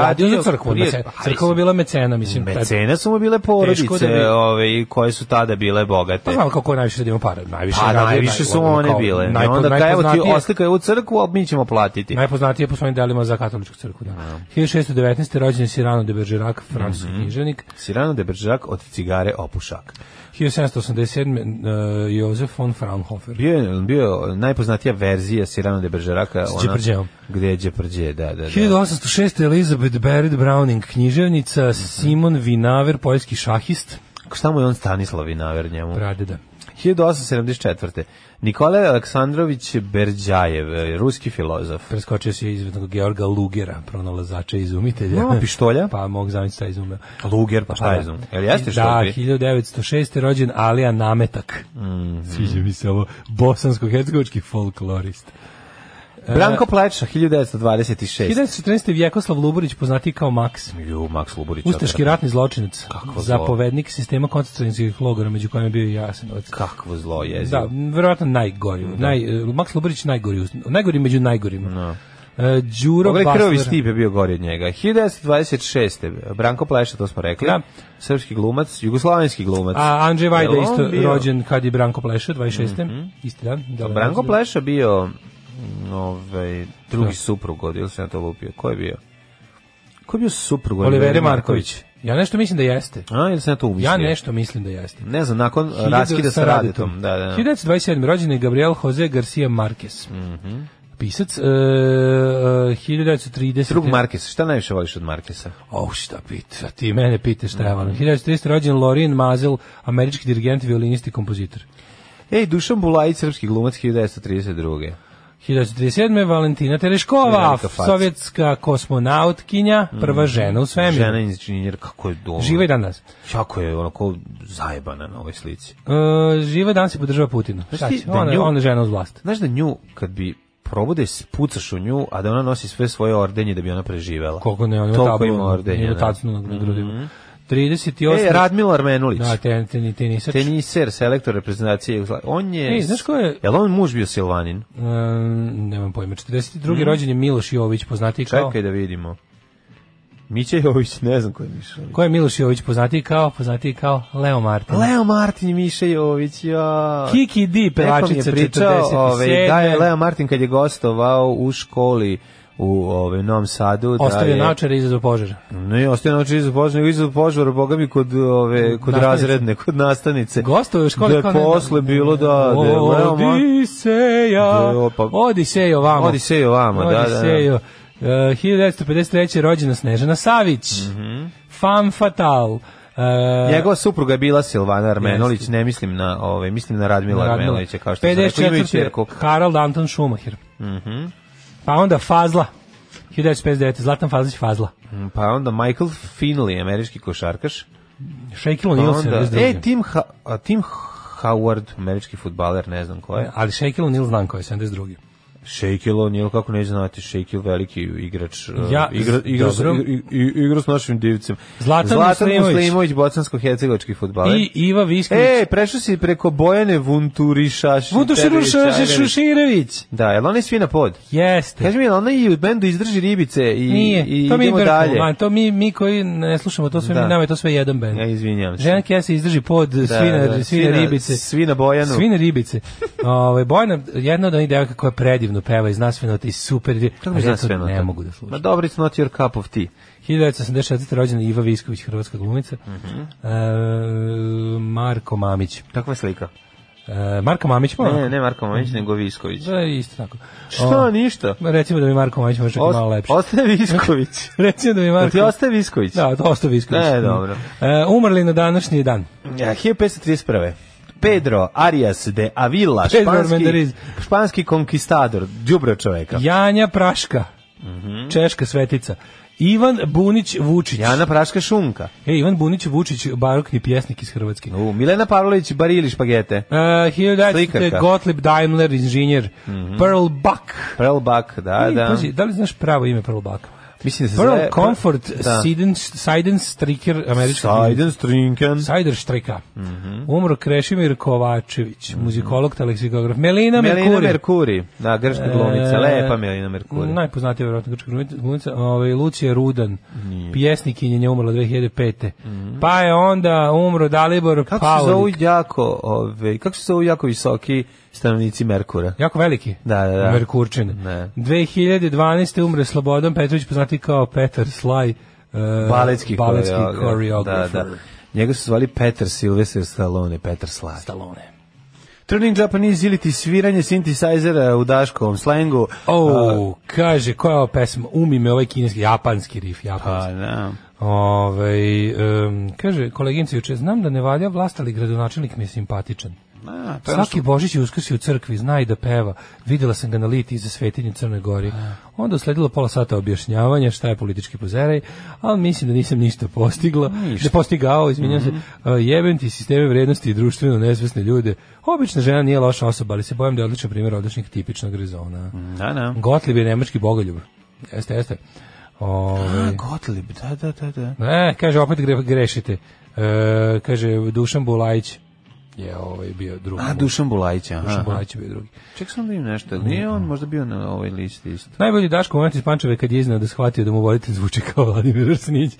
G: za
F: radio
G: crkvu.
F: prije-
G: mece-
F: ali
G: Crkva je
F: mislim-
G: bila mecena, mislim. tad-
F: Mecene su mu bile
G: Pa- Teško
F: porodice,
G: da bi-
F: ovaj, koje su tada bile
G: Pa
F: bogate.
G: znamo kako najviše da ima para, najviše.
F: Pa
G: radio,
F: najviše
G: naj-
F: su
G: ono,
F: one
G: kao
F: bile.
G: najpo-
F: Ne, onda kao evo ti
G: najpoznatije-
F: oslikaj u crkvu, ali mi ćemo platiti.
G: Najpoznatije po svojim delima za katoličku crkvu, da. 1619. rođen je Cyrano de Bergerac, francuski
F: Mhm.
G: književnik.
F: Sirano de Beržak od cigare opušak.
G: 1787. Uh, Josef von Fraunhofer.
F: Bio je, bio je najpoznatija verzija Sirano de Beržeraka.
G: S Đeprđeom.
F: Gde je Đeprđe, da, da, da.
G: 1806. Elizabeth Barrett Browning, književnica,
F: Mhm.
G: Simon Vinaver, poljski šahist,
F: Šta mu je on Stanislav Vinaver njemu?
G: pradeda.
F: 1874. Nikolaj Aleksandrović Berđajev, e, ruski filozof.
G: Preskočio si izvednog Georga Lugera, pronalazača i izumitelja.
F: No, pištolja.
G: pa mog zamisliti šta je izumeo.
F: Luger, pa šta je znam? Jel jeste što
G: Da,
F: bi?
G: 1906. rođen Alija Nametak.
F: Mhm.
G: Sviđa mi se ovo bosansko-hercegovički folklorist. e-
F: Branko Pleča, 1926.
G: 1914. Vjekoslav Luburić, poznati kao Max.
F: Ju, Maks Luburić.
G: Ustaški ratni zločinac,
F: Kakvo zlo.
G: zapovednik sistema koncentracijskih logora, među kojima je bio i Jasenovac.
F: Kakvo zlo je.
G: Da, verovatno najgori. Naj, eh, Max Lubarić najgori, us- najgori među najgorima. E, Đuro
F: Pogledaj, Ovaj krvavi
G: Basler.
F: stip je bio gori od njega. 1926. Branko Pleša, to smo rekli.
G: Da.
F: Srpski glumac, jugoslavenski glumac.
G: A Andrzej Vajda
F: Jel on
G: isto
F: bio- Mhm.
G: rođen kad je Branko Pleša, 26. Isti dan. Da,
F: Branko Pleša bio mm, ovaj, drugi suprug od, ili se na to lupio? Ko je bio? Ko je bio suprug? od
G: Olivere
F: Olivera
G: Marković. Ja nešto mislim da jeste.
F: A, ili se na to umislio?
G: Ja nešto mislim da jeste.
F: Ne znam, nakon uh, raskida sa Radetom. Da, da, da.
G: 1927. rođen je Gabriel Jose Garcia Marquez.
F: Mhm.
G: Pisac. E, e, 1930.
F: Drug Markesa, šta najviše voliš od Markesa?
G: Oh, šta pita, ti mene pita šta ja volim. 1930. rođen Lorin Mazel, američki dirigent, violinist i kompozitor.
F: Ej, Dušan Bulajić, srpski glumac 1932.
G: 1937. Valentina Tereškova,
F: Velika faca.
G: sovjetska kosmonautkinja, prva žena u svemiru.
F: Mhm. Žena inženjer, kako je doma.
G: Živa i danas.
F: Jako je onako zajebana na ovoj slici.
G: E, živa danas i podržava Putina. Šta
F: Pa ti
G: će?
F: da
G: Ona,
F: nju-
G: ona je žena uz vlast.
F: Znaš da nju, kad bi probude, pucaš u nju, a da ona nosi sve svoje ordenje da bi ona preživela.
G: Koliko ne, ona ima
F: Toliko
G: tablu,
F: ima ordenja,
G: ima
F: da. Mhm.
G: tacnu na grudima. 38.
F: E, Radmilo Armenulić.
G: Da, ten, ten, tenisač.
F: Teniser, selektor reprezentacije Jugoslavije. On je...
G: Ej, znaš ko je-
F: Jel on muž bio Silvanin?
G: Em, nemam pojma. 42. rođen je Miloš Jović, poznati kao...
F: Mhm. Čekaj da vidimo. Mića Jović, ne znam ko je Miša.
G: Ko je Miloš Jović poznati kao? Poznati kao Leo Martin.
F: Leo Martin i Miša Jović, ja.
G: Kiki Di,
F: Neko mi
G: pevačica
F: je pričao,
G: 47.
F: ovaj, da je Leo Martin kad je gostovao u školi u ovaj, Novom Sadu.
G: Ostavio
F: da je,
G: naočare i izazvao požar.
F: Ne, ostavio naočar iza požara, nego iza požara, boga mi, kod, ove, kod
G: Nastavnice.
F: razredne, kod nastanice.
G: Gostovao je u školi
F: Da je
G: kao ne-
F: posle bilo, da, da je Leo Martin.
G: Odiseja.
F: Da, o, pa-
G: Odisejo ovamo.
F: Odisejo vamo, da, da, da.
G: Odisejo. Uh, 1953. rođena Snežana Savić.
F: Mhm.
G: Fan Fatal. Uh,
F: Njegova supruga je bila Silvana Armenolić,
G: Jeste.
F: ne mislim na, ove, mislim na Radmila
G: Radmila.
F: Armenolića, kao što sam rekao, imaju
G: 54.
F: čerku. Mhm.
G: Harald Anton Schumacher. Pa onda Fazla. 1959. Zlatan Fazlić Fazla.
F: Pa onda Michael Finley, američki košarkaš.
G: Shaquille
F: Pa
G: O'Neal
F: onda,
G: 72.
F: e, Tim, ha, a, Tim Howard, američki futbaler, ne znam ko je.
G: Ali Shaquille O'Neal znam ko je 72.
F: Shaquille O'Neal, kako ne znate, Shaquille veliki igrač, e,
G: Ja,
F: igra, igra, s-
G: dobro.
F: i- i- igra s našim divcem.
G: Zlatan Muslimović.
F: Muslimović, bocansko-hercegovački futbaler.
G: I Iva Visković.
F: E, prešao si preko Bojane Vunturišaš.
G: Vudoširušaširuširević.
F: Da, jel ona je svi na pod?
G: Jeste.
F: Kaži mi, jel ona i u bendu izdrži ribice i,
G: Nije,
F: i
G: to mi
F: idemo
G: je
F: dalje.
G: dalje. to mi, mi koji ne slušamo, to sve,
F: Da.
G: nama je to sve jedan band.
F: Ja izvinjam se.
G: Žena Kesa izdrži pod da, svina,
F: da,
G: svina, ribice.
F: Svina Bojanu.
G: Svine ribice. Ovaj Bojana jedna od onih devojka koja predivno peva i zna sve note i super.
F: Kako
G: Ali
F: mi
G: ja
F: zna
G: to
F: Pa sve na
G: Ne
F: to?
G: mogu da
F: Ma
G: slušam.
F: dobro, it's not your cup of tea.
G: 1984. rođena Iva Visković, hrvatska glumica.
F: Mhm.
G: E, Marko Mamić.
F: Kakva je slika?
G: E, Marko Mamić, pa?
F: Ne, ne Marko Mamić, nego Visković.
G: Da, Pa. isto tako.
F: Šta, ništa?
G: Ma, Recimo da mi Marko Mamić može čak i malo
F: Ost-
G: lepše.
F: Ostaje Visković.
G: Recimo da mi
F: Da
G: Marko...
F: ti ostaje Visković?
G: Da, to ostao Visković.
F: E, dobro.
G: E, umrli na današnji dan.
F: Ja, 1531. Pedro Arias de Avila,
G: Pedro Armendariz.
F: španski, španski konkistador, đubro čoveka.
G: Janja Praška, češka svetica. Ivan Bunić Vučić.
F: Mhm. Jana Praška Šunka.
G: E, Ivan Bunić Vučić, barokni pjesnik iz Hrvatske.
F: U, Milena Pavlović Barili špagete.
G: Uh, 1900.
F: Slikarka.
G: Gottlieb Daimler, inženjer. Pearl Buck.
F: Prelbak, da,
G: E,
F: da.
G: pazi, da li znaš pravo ime Pearl Bucka?
F: Mislim da se
G: Pearl
F: zove...
G: Comfort
F: da.
G: Siden, Siden Striker, američka knjižnica.
F: Sajden Strinken.
G: Sajder Štrika.
F: Mhm.
G: Umro Krešimir Kovačević, muzikolog, te leksikograf. Melina,
F: Melina
G: Merkuri.
F: Merkuri. Da,
G: E,
F: grška glumica. Lepa Melina Merkuri.
G: Najpoznatija vjerojatno grčka glumica, ovaj Lucija Rudan, pjesnikinja, nje umrla 2005. Pa je onda umro Dalibor
F: Mhm. Kako se zovu
G: Paulik.
F: jako, ove, kako se zovu jako visoki stanovnici Merkura?
G: Jako veliki.
F: Da, da, da.
G: Merkurčin.
F: Ne.
G: 2012. umre Slobodan Petrović, poznati kao Petar Slaj, uh,
F: Baletski,
G: baletski
F: koreograf. Da, da. Njega su zvali Peter Sylvester Stallone, Peter Slaj.
G: Stallone.
F: Turning Japanese ili ti sviranje synthesizera u daškovom slengu.
G: Oh, kaže, koja je ova pesma? Umi me ovaj kineski, japanski rif, japanski.
F: Pa, da.
G: Ovaj em, kaže, koleginica juče, znam da ne valja vlast, ali gradonačelnik mi je simpatičan.
F: A, to je ono
G: Svaki Božić je uskrsi u crkvi, zna i da peva. Videla sam ga na liti iza svetinje Crne Gori. Onda usledilo pola sata objašnjavanja šta je politički pozeraj, ali mislim da nisam ništa postigla. Da postigao, izvinjam
F: Mhm.
G: se. E, Jebem ti sisteme vrednosti i društveno nezvesne ljude. Obična žena nije loša osoba, ali se bojim da je odličan primjer odličnih tipičnog rezona.
F: Da, da.
G: Gotlib je nemački bogoljub. Jeste, jeste. Ovaj,
F: A, Gottlieb, da, da, da, da.
G: ne, kaže, opet gre- grešite. E, kaže, Dušan E, Bulajić. je ovaj, bio drugi.
F: A, Dušan Bulajić, aha.
G: Dušan Bulajić je bio drugi.
F: Ček sam da im nešto, nije on možda bio na ovoj listi isto.
G: Najbolji Daško moment iz Pančeve kad je iznao da shvatio da mu voditelj zvuči kao Vladimir Arsenić.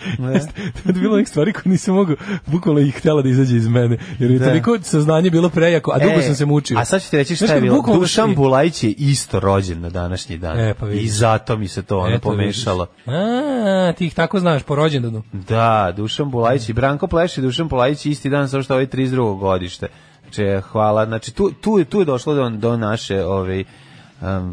G: to je bilo onih stvari koje nisam mogao, bukvalno ih htjela da izađe iz mene. Jer je
F: Da.
G: toliko saznanje bilo prejako, a dugo
F: E,
G: sam se mučio.
F: A sad ću ti reći šta
G: Znaš,
F: je
G: kad
F: bilo.
G: bukvalno
F: Dušan
G: si-
F: Bulajić je isto rođen na današnji dan.
G: E, pa vidiš.
F: I zato mi se to ono
G: Eto, vidiš.
F: pomešalo.
G: A, ti ih tako znaš po rođendanu.
F: Da, Dušan Bulajić i Branko Pleš i Dušan Bulajić isti dan, samo što ovaj 32. godište. Znači, hvala. Znači, tu, tu, je- tu je došlo do, do naše, ovaj, um, um,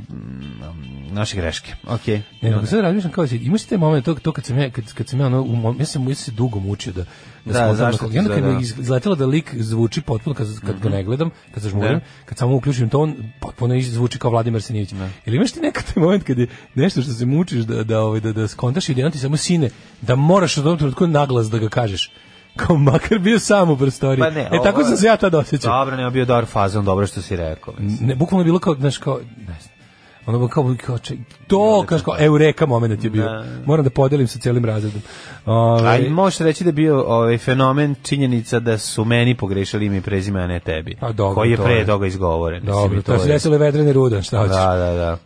F: naše greške. Ok.
G: Ne, nego sad razmišljam kao si, imaš te momente to, to kad sam ja kad, kad sam ja ono, u mom- ja sam ja sam se dugo mučio da
F: Da,
G: da, da zašto
F: zašto ti
G: ja kad
F: za-
G: mi
F: da.
G: iz- izletelo da lik zvuči potpuno kad, kad ga ne gledam, kad se žmurim,
F: Da.
G: kad samo uključim ton, potpuno iz- zvuči kao Vladimir Sinijević. Ili imaš ti nekad taj moment kad je nešto što se mučiš da da ovaj da da skontaš i da ti samo sine da moraš u tom trenutku naglas da ga kažeš. Kao makar bio sam u prostoriji.
F: Pa ne,
G: e tako
F: ovo-
G: sam se ja tad osjećao.
F: Dobro, nema bio dobar fazon, dobro što si rekao. mislim.
G: Ne, bukvalno je bilo kao, znaš, kao, ne znam, ono kao, kao če, to, kao, kao, eureka moment je bio.
F: Da.
G: Moram da podelim sa celim razredom. Ove,
F: A i možeš reći da je bio ovaj fenomen činjenica da su meni pogrešili ime i prezime, a ne tebi.
G: A dobro,
F: koji Pa je
G: to
F: pre
G: je.
F: toga izgovoren. mislim,
G: Dobro,
F: i
G: to se
F: je-
G: desilo je vedrene rudan, šta hoćeš.
F: Da, da, da.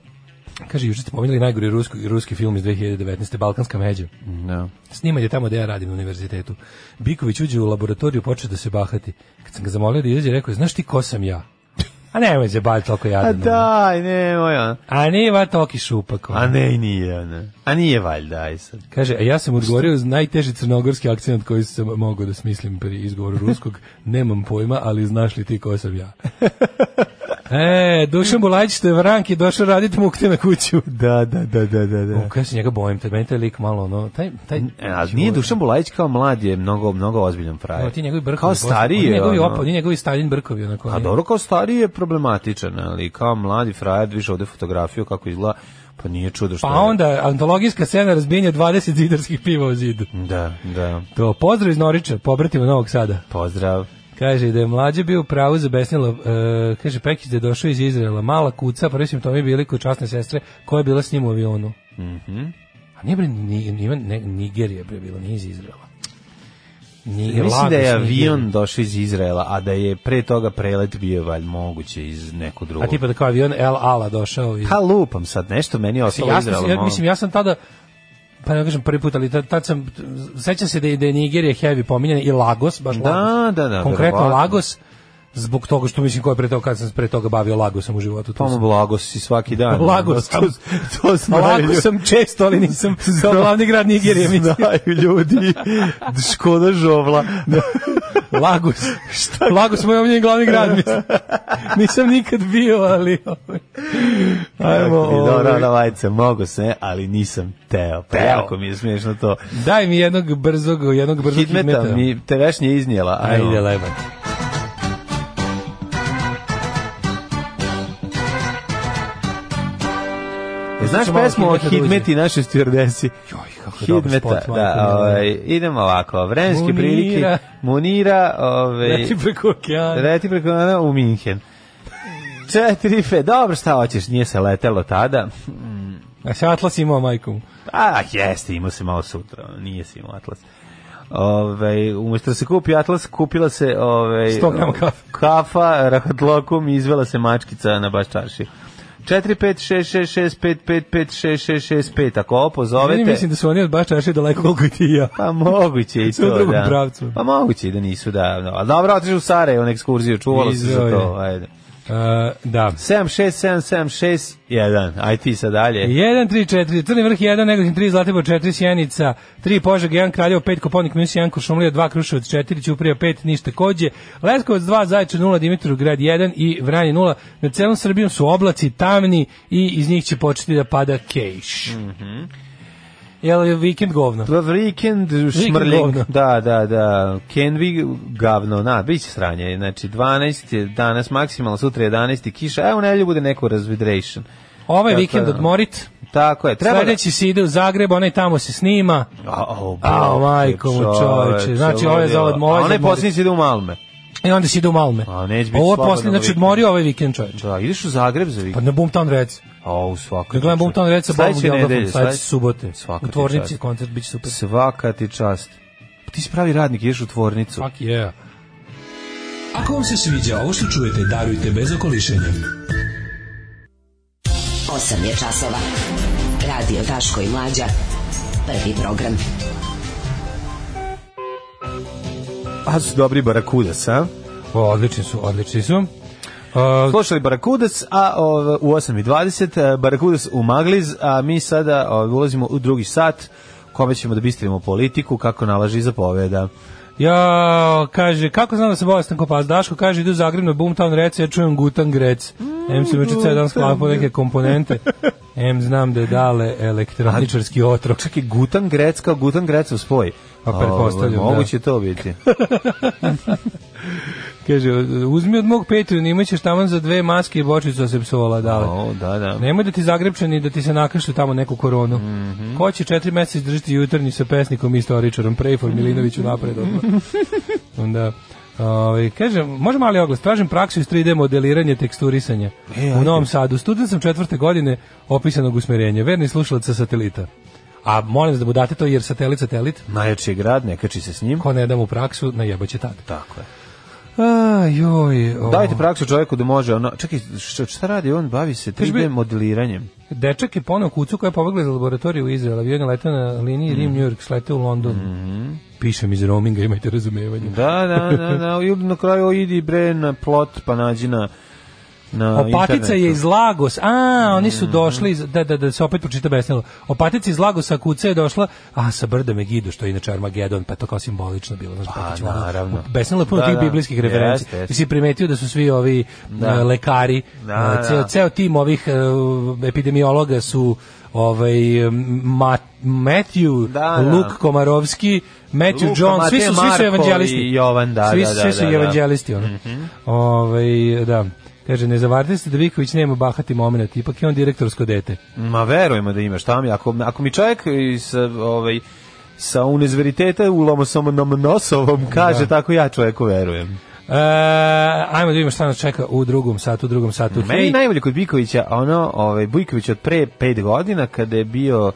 G: Kaže, juče ste pominjali najgori ruski, ruski film iz 2019. Balkanska međa.
F: da.
G: Sniman je tamo gde ja radim na univerzitetu. Biković uđe u laboratoriju, počne da se bahati. Kad sam ga zamolio da izađe, rekao je, znaš ti ko sam ja? A nemoj se baviti toliko
F: A
G: jadan.
F: Pa daj, nemoj, a.
G: A ne, va toki šupak. ono.
F: A ne, i nije, a ne. A nije valjda, aj sad.
G: Kaže, a ja sam odgovorio uz najteži crnogorski akcent koji sam mogao da smislim pri izgovoru ruskog. Nemam pojma, ali znaš li ti ko sam ja? e, Dušan Bulajić ste vranki došao raditi mukte na kuću.
F: Da, da, da, da, da. da.
G: U, kaj se njega bojim, taj meni taj lik malo ono, taj, taj,
F: E, a nije Dušan Bulajić kao mlad je mnogo, mnogo ozbiljan frajer.
G: Evo, ono, ti njegovi brkovi.
F: Kao
G: posle-
F: stariji
G: Oni
F: je,
G: njegovi
F: ono.
G: opa, oni njegovi Stalin brkovi, onako.
F: A
G: oni-
F: dobro, kao stariji je problematičan, ali kao mladi frajer, viš ovde fotografiju kako izgleda, pa nije čudo što
G: Pa
F: je.
G: onda, antologijska scena razbijenja 20 zidarskih piva u zidu.
F: Da, da.
G: To, pozdrav iz Norića, pobratimo Novog Sada.
F: Pozdrav.
G: Kaže da je mlađe bio u pravu zabesnila, e, kaže Pekić da je došao iz Izraela, mala kuca, pa prvi simptomi bili kod časne sestre koja je bila s njim u avionu.
F: Mhm.
G: A nije bre, ni, ni, ne, Nigerija je bre bila, nije iz Izraela. Ni,
F: Ja mislim da je
G: Lagos, Nigerija.
F: avion došao iz Izraela, a da je pre toga prelet bio valj moguće iz nekog drugog.
G: A tipa da kao avion El Ala došao iz...
F: Pa lupam sad, nešto meni je ostalo
G: ja sam,
F: Izraela.
G: ja,
F: malo.
G: mislim, ja sam tada pa ne kažem prvi put, ali tad, tad sam sećam se da je, da je Nigerija heavy pominjan i Lagos, baš
F: Da,
G: Lagos.
F: da, da,
G: Konkretno
F: verovatno.
G: Lagos, zbog toga što mislim ko je pre toga, kad sam se pre toga bavio Lagosom u životu. tu
F: Pa mu
G: sam-
F: blago si svaki dan. ono,
G: Lagos
F: To, to znaju
G: Lako
F: ljudi.
G: Pa sam često, ali nisam kao glavni grad Nigerije, mislim.
F: Znaju ljudi. Škoda žovla.
G: Lagos. Šta? Lagos moj omljeni glavni grad, mislim. Nisam nikad bio, ali... ovaj, Ajmo,
F: Ajmo,
G: ovaj,
F: dobro, da vajce, mogo se, ali nisam teo. Pa Jako mi je smiješno to.
G: daj mi jednog brzog, jednog brzog hitmeta.
F: Hitmeta mi te vešnje iznijela.
G: Ajde, ovaj. lepo.
F: E, Znaš
G: Slušaj malo
F: pesmu o
G: Hitmeta da uđe.
F: hitmeti naše stjordesi?
G: Joj, kako je dobar
F: Hitmeta,
G: spot, majko
F: da,
G: mila.
F: ovaj, idemo ovako, vremenske
G: Munira.
F: prilike, Munira, ovaj,
G: Leti preko okeana.
F: leti preko dana u Minhen. Četiri fe, dobro, šta hoćeš, nije se letelo tada,
G: A se Atlas imao majku.
F: a Pa, jeste, imao se malo sutra, nije se imao Atlas. Ove, umjesto da se kupi Atlas, kupila se ove,
G: 100 grama kafe.
F: kafa rahatlokom i izvela se mačkica na baš čarši. 4, 5, 6, 6, 6, 5, 5, 5, 6, 6, 6, 5. Ako ovo
G: Meni
F: pozovete...
G: mislim da su oni od baš čaši daleko koliko i ti i ja.
F: Pa moguće i
G: Sve u
F: to,
G: drugom
F: da.
G: pravcu.
F: Pa moguće i da nisu, da. No, a dobro, otišu u Sarajevo na ekskurziju, čuvalo se za
G: Izveo je.
F: to. Ajde.
G: Uh, da.
F: 7, 6, 7, 7, 6, 1. Aj ti sad dalje.
G: 1, 3, 4, Crni vrh 1, Negotin 3, Zlatibor 4, Sjenica 3, Požeg 1, Kraljevo 5, Koponik minus 1, Košumlija 2, Kruševac 4, Ćuprija 5, Niš takođe, Leskovac 2, Zaječar 0, Dimitrov grad 1 i Vranje 0. Na celom Srbijom su oblaci tamni i iz njih će početi da pada kejš. Mm
F: Mhm.
G: Jel je vikend govno?
F: The Weekend šmrlik.
G: govno.
F: Da, da, da. Can we gavno. Na, bit će sranje. Znači, 12 je danas maksimalno, sutra 11 je kiša. Evo, nelju bude neko razvidration.
G: Ovaj
F: Tako
G: vikend
F: da.
G: odmorit,
F: Tako je. Treba da...
G: sledeći se ide u Zagreb, onaj tamo se snima.
F: Au,
G: Au, majko mu, čoveče. Znači, ovo je za odmor-
F: A onaj
G: za odmor-
F: posljednji ide u Malme.
G: I onda se ide u Malme.
F: A, neće biti
G: Ovo je
F: slobodno
G: posle, znači
F: vikend.
G: odmorio ovaj vikend čovječ.
F: Da, ideš u Zagreb za vikend.
G: Pa na Boomtown Reds.
F: A u svaka.
G: Da Pa- gledam
F: ti čast.
G: Boomtown Reds sa Bobom
F: Znači, Sledeće nedelje,
G: Geldofom, sledeće
F: sledeće-
G: subote.
F: Svaka
G: U
F: ti
G: tvornici
F: čast.
G: koncert biće super.
F: Svaka ti čast. Pa Ti si pravi radnik, ideš u tvornicu.
G: Fuck yeah.
H: Ako vam se sviđa ovo što čujete, darujte bez okolišenja.
I: 8 je časova. Radio Daško i Mlađa. Prvi program.
F: A su dobri Barakudas, a?
G: O, odlični su, odlični su. Uh,
F: Slušali Barakudas, a ov, u 8.20 e, Barakudas u Magliz, a mi sada ov, ulazimo u drugi sat, kome ćemo da bistrimo politiku, kako nalaži i zapoveda.
G: ja, kaže, kako znam da se bolestan ko pas? Daško kaže, idu u Zagreb na Boomtown Rec, ja čujem Gutan Grec.
F: Mm,
G: M se već cedan sklapao neke komponente. M znam da je dale elektroničarski otrok.
F: Čak i Gutan Grec kao Gutan Grec u spoj.
G: Pa pretpostavljam,
F: Ovaj, Moguće to biti.
G: Kaže, uzmi od mog Patreon, imaćeš taman za dve maske i bočicu asepsola, dale.
F: O, da, da.
G: Nemoj da ti zagrepčani da ti se nakašlju tamo neku koronu. Ko će četiri meseca izdržati jutarnji sa pesnikom i istoričarom? Prejfor Milinoviću napred. odmah. Onda, ovaj, kaže, može mali oglas, tražim praksu iz 3D modeliranja teksturisanja. u Novom Sadu, student sam četvrte godine opisanog usmerenja, verni slušalac sa satelita. A molim vas da mu date to jer satelit, satelit,
F: Najjači je grad, ne kači se s njim.
G: ko ne da mu praksu, najebaće tad.
F: Tako je.
G: A, joj, o.
F: Dajte praksu čovjeku da može, ono, čekaj, šta, šta radi on? Bavi se
G: Kaži mi-
F: 3D modeliranjem.
G: Dečak je poneo kucu koja je pobegla iz laboratorije u Izrael. Avion je letao na liniji Rim-New York, sletao u London. Pišem iz roaminga, imajte razumevanje.
F: Da, da, da, da, i na kraju idi bre na plot, pa nađi na, na
G: Opatica
F: internetu. Mm.
G: je iz Lagos. A, oni su došli, iz, da, da, da se opet pročita besnilo. Opatica iz Lagosa, kuca je došla, a sa brda Megido, što je inače Armagedon, pa to kao simbolično bilo. Znaš, pa,
F: naravno.
G: Besnilo je puno
F: Da,
G: tih
F: da.
G: biblijskih referenci.
F: Jeste, jeste.
G: Ti si primetio da su svi ovi e, lekari,
F: Da,
G: e, ceo,
F: da.
G: ceo tim ovih e, epidemiologa su ovaj m- Ma, Matthew,
F: Da, da.
G: Luke Komarovski, Matthew
F: Luka,
G: John, svi su, svi
F: Matej,
G: su
F: Marko
G: evanđelisti.
F: i Jovan, da,
G: svi,
F: da, da,
G: svi su
F: da, Mhm. da.
G: evanđelisti, ono. Ovaj, da. Kaže, ne zavarite se da Viković nema bahati moment, ipak je on direktorsko dete.
F: Ma verujemo da ima, šta mi, ako, ako mi čovjek iz, ovaj, sa unezveriteta u lomosomonosovom kaže, tako ja čovjeku verujem.
G: E, ajmo da vidimo šta nas čeka u drugom satu, u drugom satu.
F: Meni
G: Hej,
F: najbolje kod Bikovića, ono, ovaj, Bujković od pre pet godina, kada je bio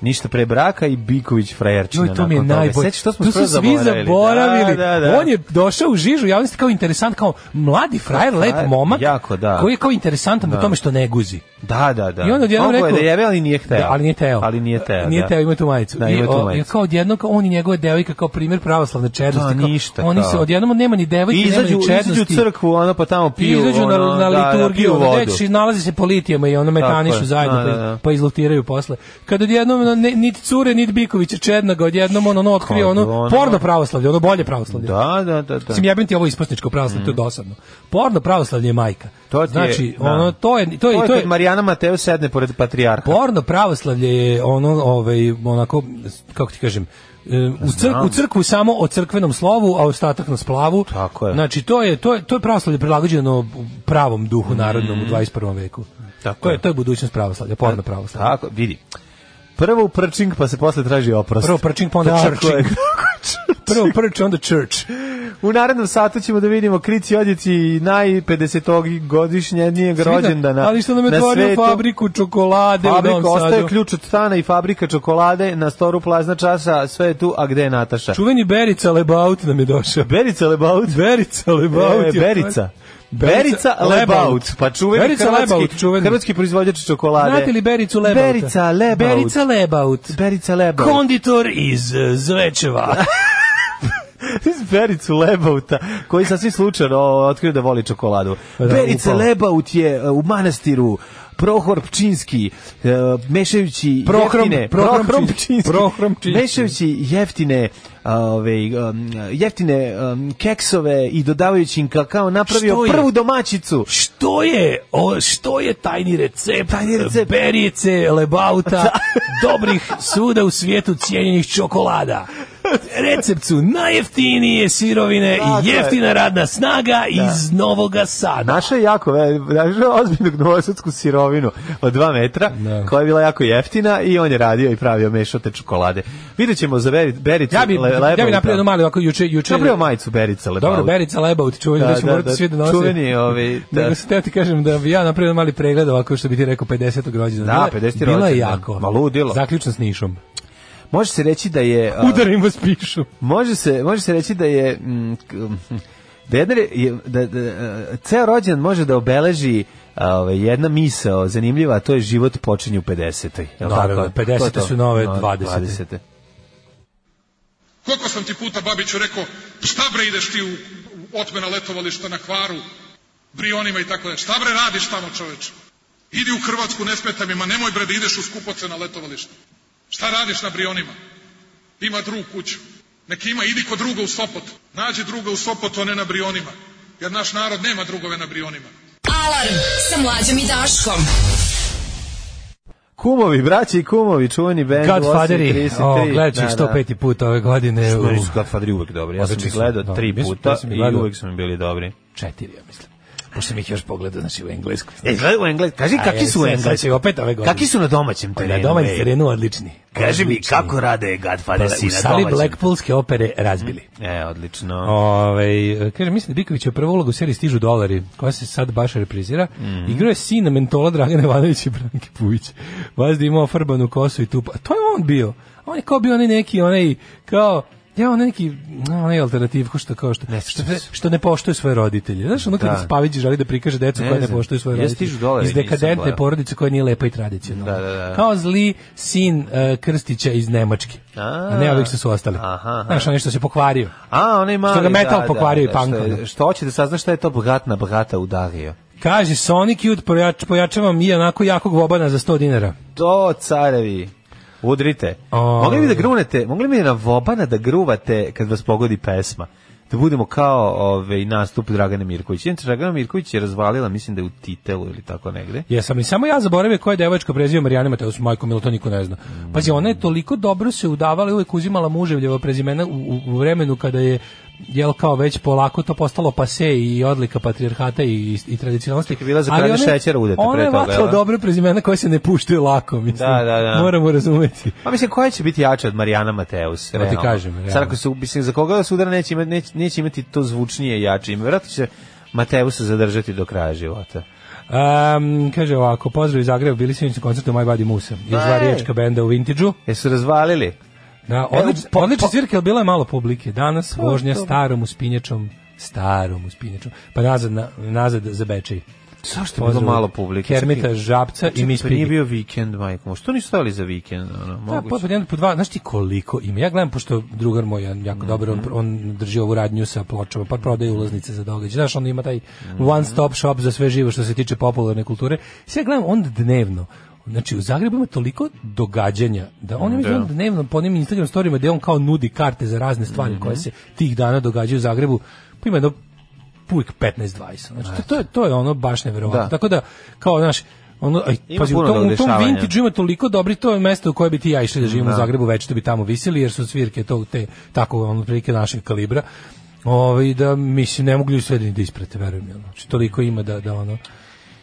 F: ništa pre braka i Biković frajerčina.
G: Joj, to mi je
F: nakon toga.
G: najbolje.
F: Sećaš, to smo
G: tu su
F: skroz
G: svi zaboravili.
F: Da, da, da.
G: On je došao u žižu javnosti kao interesant, kao mladi frajer, lep
F: frajer,
G: momak,
F: jako, da.
G: koji je kao interesantan po tome što ne guzi.
F: Da, da, da.
G: I on odjednom
F: Mogao je
G: rekao-
F: da jebe, ali nije hteo.
G: Da, ali nije teo.
F: Ali nije teo,
G: Nije
F: da.
G: teo, ima tu majicu.
F: Da,
G: I,
F: ima tu
G: o,
F: majicu.
G: I kao odjedno, kao on i njegova devojka, kao primjer pravoslavne čednosti.
F: Da,
G: kao,
F: ništa,
G: Oni
F: da.
G: se odjednom nema ni devojke, nema
F: Izađu,
G: ni čednosti.
F: izađu u crkvu, ono pa tamo
G: I
F: piju,
G: izađu
F: ono,
G: na, na
F: da, da,
G: liturgiju,
F: piju
G: da,
F: vodu.
G: deči, nalaze se po litijama i ono metanišu
F: je,
G: zajedno,
F: da, da,
G: pa-
F: da.
G: pa izlutiraju posle. Kad odjednom ono, ne, niti cure, niti Bikovića Čednaga, odjednom ono, ono otkrio
F: Kad
G: ono,
F: ono-
G: porno pravoslavlje, ono bolje pravoslavlje.
F: Da, da, da, da.
G: Mislim, jebem ti ovo isprsničko pravoslavlje, to je dosadno. Porno pravoslavlje je majka.
F: To ti je,
G: znači,
F: da.
G: ono, to je, to je, to je,
F: kad Marijana Mateo sedne pored patrijarha.
G: Porno pravoslavlje je ono ovaj onako kako ti kažem e, u, crk, u crkvu samo o crkvenom slovu, a ostatak na splavu.
F: Tako je.
G: Znači, to je, to je, to je pravoslavlje prilagođeno pravom duhu narodnom u 21. veku.
F: Mm. Tako
G: to je,
F: je. E,
G: to je budućnost pravoslavlja, porno pravoslavlje.
F: Tako, vidi. Prvo u prčing, pa se posle traži oprost.
G: Prvo prčing, pa onda
F: Tako
G: črčing.
F: je.
G: Prvo prč, onda church.
F: U narednom satu ćemo da vidimo Krici Odjeci naj 50. godišnje njeg rođendana
G: Ali što nam je
F: na
G: otvorio
F: svetu.
G: fabriku čokolade u
F: Fabrika,
G: Novom
F: ostaje
G: Sadu.
F: ključ od stana i fabrika čokolade na storu plazna časa, sve je tu, a gde je Nataša?
G: Čuveni Berica Lebaut nam je došao.
F: Berica Lebaut?
G: Berica Lebaut.
F: E,
G: je-
F: Berica. Berica Lebaut, pa čuveni
G: Berica
F: hrvatski,
G: Lebaut, čuveni.
F: hrvatski proizvođač čokolade.
G: Znate li Bericu Lebauta?
F: Berica Lebaut.
G: Berica Lebaut.
F: Berica Lebaut.
G: Konditor iz eh, Zvečeva.
F: Iz Bericu Lebauta, koji sasvim slučajno otkrio da voli čokoladu.
G: Pa Da,
F: Berica
G: upravo.
F: Lebaut je e, u manastiru Prohor Pčinski, e, mešajući
G: Prohrom-
F: jeftine...
G: Prohrom Pčinski. Prohrom Pčinski.
F: Mešajući jeftine, a, ove, um, jeftine um, keksove i dodavajući im kakao, napravio
G: Što je?
F: prvu domaćicu.
G: Što je, o, što je tajni recept,
F: Tajni recept.
G: Berice Lebauta, dobrih suda u svijetu cijenjenih čokolada? Recept su najjeftinije sirovine
F: Tako
G: i
F: je.
G: jeftina radna snaga iz Novoga Sada.
F: Naša je jako, ve- našao je ozbiljnu novosadsku sirovinu od 2 metra,
G: Da.
F: koja je bila jako jeftina i on je radio i pravio mešote čokolade. Vidjet ćemo za Beri- Bericu
G: Ja bi,
F: Le-
G: ja bi
F: Lebauta.
G: napravio jednu malu, ovako juče, juče...
F: Napravio majicu Berica Lebaut.
G: Dobro, Berica Lebaut, čuveni, da,
F: Da,
G: da,
F: da,
G: morate
F: da,
G: svi da nose.
F: čuveni, ovi, da.
G: Nego se teo ti kažem da bi ja napravio mali pregled ovako što bi ti rekao 50. rođena.
F: Da,
G: Bila-
F: 50.
G: Bila je
F: rođendan.
G: jako.
F: Ma, ludilo.
G: Zaključno s Nišom.
F: Može se reći da je... a,
G: Udarim vas pišu.
F: Može se, može se reći da je... mm, k- mm, Dedner je, da, da, e, ceo rođendan može da obeleži Ove, jedna misao zanimljiva, a to je život počinje u 50. Jel
G: Naravno,
F: tako?
G: 50-te
F: To je to.
G: su nove
F: No,
G: 20-te.
F: 20-te.
J: Koliko sam ti puta, Babiću, rekao, šta bre ideš ti u, u otmena letovališta na kvaru, brionima i tako da, šta bre radiš tamo čoveče? Idi u Hrvatsku, ne smeta mi, ma nemoj bre da ideš u skupoce na letovalište. Šta radiš na brionima? Ima drug kuću. Nek ima, idi kod druga u Sopot. Nađi druga u Sopotu, a ne na brionima. Jer naš narod nema drugove na brionima.
E: Alarm sa mlađom i Daškom.
F: Kumovi, braći i kumovi, čuveni bend
G: Godfatheri,
F: 833.
G: o, gledat ću ih 105. put ove godine u
F: Meni su Godfatheri uvek dobri. Ja sam
G: Odlični
F: ih
G: su,
F: gledao
G: da.
F: tri
G: Mi smo-
F: puta
G: mi smo ih
F: i
G: gledali.
F: uvek su mi bili dobri.
G: četiri, ja mislim. Pošto sam ih još pogledao, znači u engleskom.
F: E, gledaj u Englesku. Kaži, kakvi su u
G: sad
F: Englesku?
G: će opet ove godine.
F: Kakvi su na domaćem
G: Pa na
F: terenu?
G: domaćem
F: ej?
G: terenu odlični.
F: Kaži mi,
G: Odlični.
F: kako rade
G: Pa,
F: Godfather si
G: u
F: na
G: sali
F: domaćem?
G: Blackpoolske opere razbili.
F: E, odlično.
G: Ove, Ovaj, kaže, mislim da Biković je prvo ulogu u seriji Stižu dolari, koja se sad baš reprizira.
F: Mhm.
G: Mm. Igrao je sina mentola Dragana Ivanovića i Branke Pujić. Vazda imao farbanu kosu i tupa. A to je on bio. On je kao bio onaj neki, onaj, kao, ja on neki no, onaj alternativ ko što kao što
F: Ne
G: što,
F: sjećam se.
G: što ne poštuje svoje roditelje. Znaš, ono kad
F: Da.
G: da. Spavić želi da prikaže decu
F: Ne
G: koja ne
F: znam.
G: poštuju svoje
F: Ja
G: roditelje.
F: Stižu dolari
G: Iz
F: nisam
G: dekadentne
F: gledao.
G: porodice koja nije lepa i tradicionalna.
F: Da, da, da.
G: Kao zli sin eh, Krstića iz Nemačke.
F: A.
G: A, ne, ovih su ostali.
F: Aha, aha.
G: Znaš, onaj što se pokvario.
F: A, onaj mali,
G: Što ga metal
F: da,
G: pokvario
F: da,
G: i punk,
F: što je-
G: ono.
F: Što hoće da sazna šta je to bogatna bagata udario?
G: Kaže, Sonic Youth pojač, pojačavam i onako jakog vobana za 100 dinara.
F: To, carevi, udrite.
G: O.
F: Mogli bi da grunete, mogli bi na Vobana da gruvate kad vas pogodi pesma? Da budemo kao ove, nastup Dragane Mirković. Inače, Dragana Mirković je razvalila, mislim da je u titelu ili tako negde.
G: Jesam li samo ja zaboravio koja je devojčka prezivio Marijana Mateus, majko Milo, to niko ne zna. Pazi, ona je toliko dobro se udavala i uvek uzimala muževljeva prezimena u, u, u vremenu kada je jel kao već polako to postalo pase i odlika patrijarhata i, i, i tradicionalnosti.
F: Čekaj, bila za
G: Ali
F: kralja
G: ona je-
F: šećera udeta pre
G: Ona je
F: toga,
G: vatala
F: jel?
G: dobro prezimena koja se ne puštaju lako, mislim.
F: Da, da, da.
G: Moramo razumeti.
F: Pa mislim, koja će biti jača od Marijana Mateus?
G: ti
F: realno?
G: kažem, realno.
F: Sad ako se, mislim, za koga da se udara neće imati, neće, neće imati to zvučnije i jače ime. Vjerojatno će Mateusa zadržati do kraja života.
G: Um, kaže ovako, pozdrav iz Zagreba, bili sinoć na koncertu My Body Musa, iz
F: Ej.
G: dva riječka benda u Vintage-u.
F: Jesu razvalili?
G: Da,
F: Evo,
G: odlič,
F: po-
G: odlična
F: po- Pa,
G: svirka, ali bilo je malo publike. Danas vožnja
F: to-
G: starom uspinjačom, starom uspinjačom, pa nazad, na, nazad za Bečej.
F: Zašto je bilo
G: Pozdrav
F: malo publike?
G: Kermita
F: Čekaj,
G: Žabca i
F: čekaj,
G: Miss
F: pa nije
G: Piggy.
F: bio vikend, majko. Što nisu stavili za vikend? Ono,
G: Da,
F: moguće.
G: po, po jedan, po dva, znaš ti koliko ima? Ja gledam, pošto drugar moj, jedan
F: Mhm.
G: jako dobar, on, on drži ovu radnju sa pločama, pa prodaje ulaznice za događaj. Znaš, on ima taj
F: Mhm.
G: one stop shop za sve živo što se tiče popularne kulture. Sve ja gledam, on dnevno, Znači, u Zagrebu ima toliko događanja da on ima
F: Da.
G: dnevno po onim Instagram storijima gde on kao nudi karte za razne stvari
F: Mhm.
G: koje se tih dana događaju u Zagrebu. Pa ima jedno uvijek 15-20. Znači, to, to, je, to je ono baš neverovatno.
F: Da.
G: Tako da, kao, znaš, ono, aj,
F: Ima
G: Pazi, u,
F: puno
G: tom, u tom
F: dodešavanja.
G: vintage ima toliko dobri, to je mesto u koje bi ti i ja išli da živimo u Zagrebu, već to bi tamo visili, jer su svirke tog, te, tako, ono, prilike našeg kalibra. Ove, da, mislim, ne mogu ljudi sve da ni da isprate, verujem, jel? Znači, toliko ima da, da ono,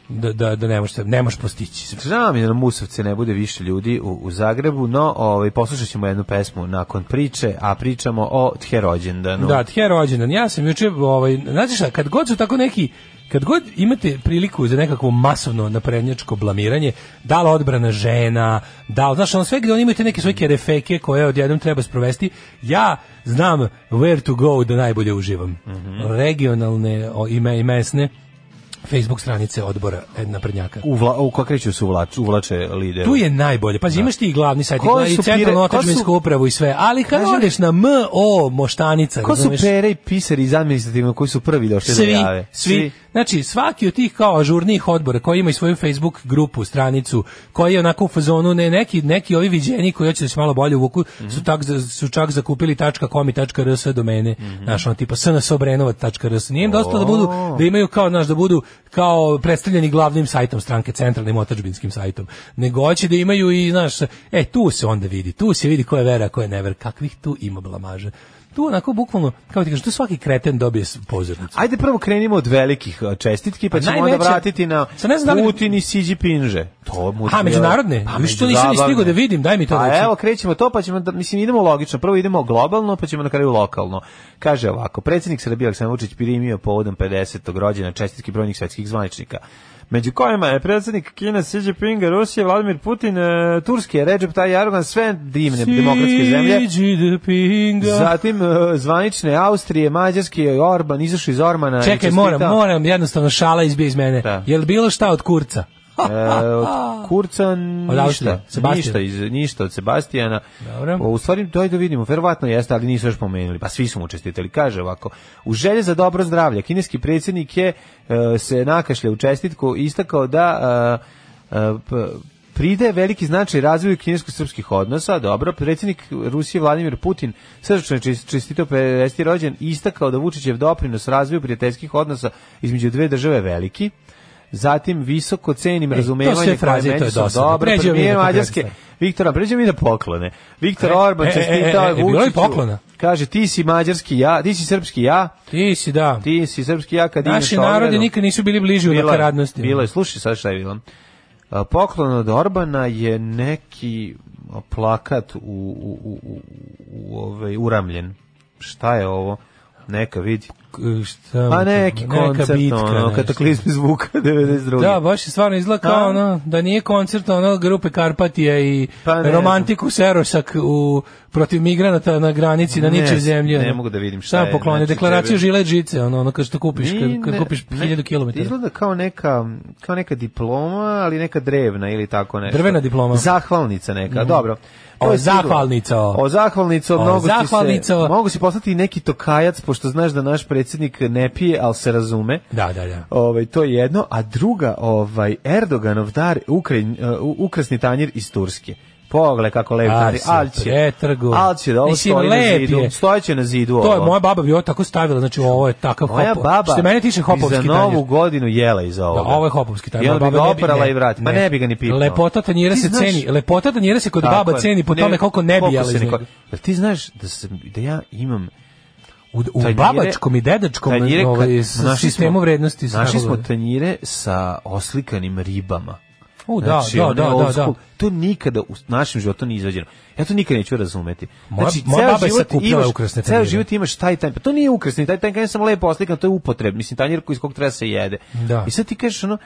G: da, da, da ne možeš, ne možeš postići sve.
F: Žao mi je da na Musovce ne bude više ljudi u, u Zagrebu, no ovaj, poslušat ćemo jednu pesmu nakon priče, a pričamo o Therođendanu.
G: Da, tje rođendan. Ja sam juče, ovaj, znate šta, kad god su tako neki, kad god imate priliku za nekakvo masovno naprednjačko blamiranje, da li odbrana žena, da li, znaš, ono sve gde oni imaju te neke svoje kerefeke koje odjednom treba sprovesti, ja znam where to go da najbolje uživam.
F: Mhm.
G: Regionalne o, i, me, i mesne Facebook stranice odbora e, naprednjaka.
F: U, vla, u kakreću se uvlač, uvlače lidera.
G: Tu je najbolje. Pazi, imaš ti i glavni sajt, i
F: Ko
G: gla- i
F: su
G: centralnu
F: pire- ko su-
G: otadžbinsku upravu i sve, ali kad
F: Kažem-
G: odeš na MO Moštanica,
F: Ko su
G: razumeš?
F: pere i pisari iz administrativno koji su prvi došli
G: svi,
F: da jave?
G: Svi, Znači, svaki od tih kao ažurnih odbora koji ima i svoju Facebook grupu, stranicu, koji je onako u fazonu, ne, neki, neki ovi viđeni koji hoće da se malo bolje uvuku,
F: Mhm.
G: su, tak, za- su čak zakupili .com i .rs domene,
F: Mhm.
G: znaš, ono tipa snsobrenovac.rs. Nije im dosta da budu, da imaju kao, znaš, da budu kao predstavljeni glavnim sajtom stranke, centralnim otačbinskim sajtom, nego hoće da imaju i, znaš, e, tu se onda vidi, tu se vidi ko je vera, ko je never, kakvih tu ima blamaže. Tu onako bukvalno, kao ti kažeš, tu svaki kreten dobije s- pozornicu.
F: Ajde prvo krenimo od velikih eh, čestitki, pa
G: A
F: ćemo
G: najveće-
F: onda vratiti na
G: Sad ne znam da li-
F: Putin i Xi Jinpinže. To mu
G: A, međunarodne?
F: Pa,
G: A, još to nisam ni
F: međuzabavne.
G: stigao da vidim, daj mi to
F: Pa
G: reci.
F: evo, krećemo to, pa ćemo, da, mislim, idemo logično. Prvo idemo globalno, pa ćemo na kraju lokalno. Kaže ovako, predsjednik Srbije Aleksandar Vučić primio povodom 50. rođena čestitki brojnih svetskih zvaničnika. među kojima je predsjednik Kina Xi Jinpinga, Rusije, Vladimir Putin, e, Turske, Recep Tayyip Erdogan, sve divne demokratske zemlje. Zatim e, zvanične Austrije, Mađarske, Orban, izašao iz Ormana. i
G: Čekaj, moram,
F: Znači, čestitao.
G: moram, jednostavno šala izbije iz mene.
F: Da.
G: Jel bilo šta od kurca?
F: E, od Kurca
G: Austrije,
F: ništa,
G: Sebastijan.
F: ništa, iz, ništa od Sebastijana.
G: Dobro.
F: O, U stvari, daj da vidimo, verovatno jeste, ali nisu još pomenuli. Pa svi su mu čestitali. Kaže ovako, u želje za dobro zdravlje, kineski predsjednik je e, se nakašlja u čestitku i istakao da e, e, p- pridaje veliki značaj razvoju kinesko-srpskih odnosa, dobro, predsjednik Rusije Vladimir Putin srčno je čest- čestitao 50. rođen i istakao da Vučićev doprinos razvoju prijateljskih odnosa između dve države je veliki, zatim visoko cenim razumevanje
G: sve fraze, to je
F: međusobno
G: dosadno.
F: dobro,
G: Pređemo mi na
F: premijer
G: konkretne
F: Mađarske,
G: stvari.
F: Viktora, pređemo mi na poklone. Viktor
G: E,
F: Orban
G: e, e,
F: čestitao
G: e,
F: je
G: e, bilo je
F: Vučiću.
G: poklona?
F: Kaže, ti si mađarski ja, ti si srpski ja,
G: Ti si, da.
F: ti si srpski ja kad ideš
G: Naši
F: Orlenu.
G: narodi nikad nisu bili bliži u
F: Bilo je,
G: nakaradnosti.
F: Bilo je, slušaj sad šta je bilo. A, Poklon od Orbana je neki plakat u, u, u, u, u ovaj, uramljen. Šta je ovo? Neka vidi.
G: K- Šta,
F: Pa neki
G: neka
F: koncert,
G: bitka,
F: ono,
G: nešto.
F: kataklizmi zvuka 92.
G: Da, baš je stvarno izgleda kao
F: A?
G: ono, da nije koncert ono grupe Karpatija i
F: Pa ne
G: romantiku Serosak u, protiv migranata na granici na
F: Ne,
G: ničoj zemlji.
F: ne
G: ono.
F: mogu da vidim šta
G: Šta
F: je,
G: pokloni,
F: znači,
G: deklaraciju
F: tebe-
G: žile žice, ono, ono kad što kupiš, kad,
F: Ni-
G: kad
F: ne-
G: kupiš
F: ne-
G: 1000 km.
F: Izgleda kao neka, kao neka diploma, ali neka drevna ili tako nešto.
G: Drvena diploma. Mhm.
F: Zahvalnica neka, dobro. To
G: O,
F: je sigurno.
G: zahvalnica, o.
F: O, zahvalnica,
G: O,
F: mnogo si se,
G: zahvalnica.
F: mogu si poslati i neki tokajac, pošto znaš da naš predsjednik ne pije, ali se razume.
G: Da, da, da.
F: Ovaj to je jedno, a druga ovaj Erdoganov dar Ukrajin, uh, ukrasni tanjir iz Turske. Pogledaj kako lep
G: Aj,
F: tanjir,
G: se
F: al će.
G: pretrgu.
F: Al će da ovo
G: Mislim,
F: stoji na
G: lep
F: zidu.
G: je.
F: Stojeće na zidu
G: To je
F: ovo.
G: moja baba bi ovo tako stavila, znači ovo je takav
F: Moja
G: hop.
F: baba
G: Što se mene tiče
F: bi
G: hopovski
F: za
G: tanjir.
F: novu godinu jela iz ovoga.
G: Da, ovo je hopovski tanjir.
F: I onda
G: Moja
F: bi ga
G: baba ne
F: oprala
G: ne,
F: i vratila. Ma ne bi ga ni pipnula.
G: Lepota tanjira
F: Ti
G: se
F: znaš-
G: ceni. Lepota tanjira se kod
F: Tako
G: baba
F: je.
G: ceni po
F: Ne,
G: tome koliko ne bi
F: koliko
G: jela
F: se
G: iz
F: neko-
G: njega.
F: Jel ti znaš da, sam, da ja imam
G: U, u
F: tanjire-
G: babačkom i dedačkom
F: tanjire kad-
G: ovaj, s-
F: našli
G: sistemu
F: smo-
G: vrednosti.
F: Našli smo
G: stavili.
F: tanjire sa oslikanim ribama.
G: U, da,
F: Znači,
G: da,
F: ono
G: da,
F: je old
G: da, da.
F: school. To nikada u našem životu nije izvađeno. Ja to nikad neću razumeti.
G: Moja-
F: Znači,
G: moja
F: ceo
G: baba je
F: život
G: sakupljala
F: imaš-
G: ukrasne
F: Ceo
G: tanjire.
F: život imaš taj tanjir. Pa to nije ukrasni, taj tanjir sam lepo oslikan, to je upotreb. Mislim, tanjir koji iz kog treba se jede.
G: Da.
F: I sad ti kažeš ono,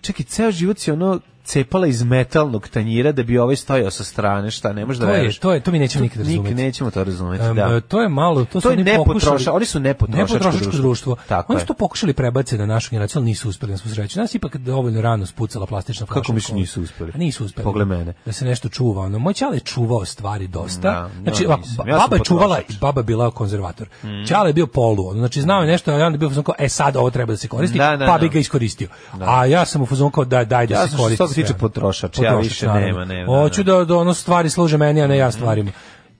F: čekaj, ceo život si ono cepala iz metalnog tanjira da bi ovaj stojao sa strane, šta, ne možeš da
G: To je,
F: veruješ.
G: to je, to mi nećemo nikad
F: Nik-
G: razumeti.
F: nećemo to razumeti,
G: Em, e,
F: da.
G: To je malo, to, su
F: je
G: oni
F: nepotroša-
G: pokušali-
F: oni su nepotrošačko
G: nepotrošačko
F: društvo.
G: društvo.
F: Tako
G: oni
F: je.
G: su to pokušali prebace na našu generaciju, ali nisu uspeli, na svu sreću. Nas je ipak dovoljno rano spucala plastična flaša.
F: Kako
G: u
F: misliš
G: školi.
F: nisu uspeli?
G: A nisu uspeli.
F: Pogledaj mene.
G: Da se nešto čuva. Ono, moj ćale je čuvao stvari dosta.
F: Da, da,
G: znači,
F: nisam.
G: ovako, ba-
F: Ja sam
G: baba je čuvala,
F: potrošač. Mhm.
G: baba je bila konzervator. Ćale je bio polu. Ono, znači, znao je nešto, ali onda je bio u fazonu kao, e sad ovo treba da se koristi,
F: Da, da,
G: pa bi
F: da.
G: ga iskoristio. A ja sam u fazonu kao, daj, daj da
F: Ja
G: se
F: sam što
G: koristi.
F: se tiče
G: sve.
F: potrošač, ja više
G: naravno.
F: nema, nema, Mhm.
G: Hoću da, da ono stvari služe meni, a ne ja stvarima.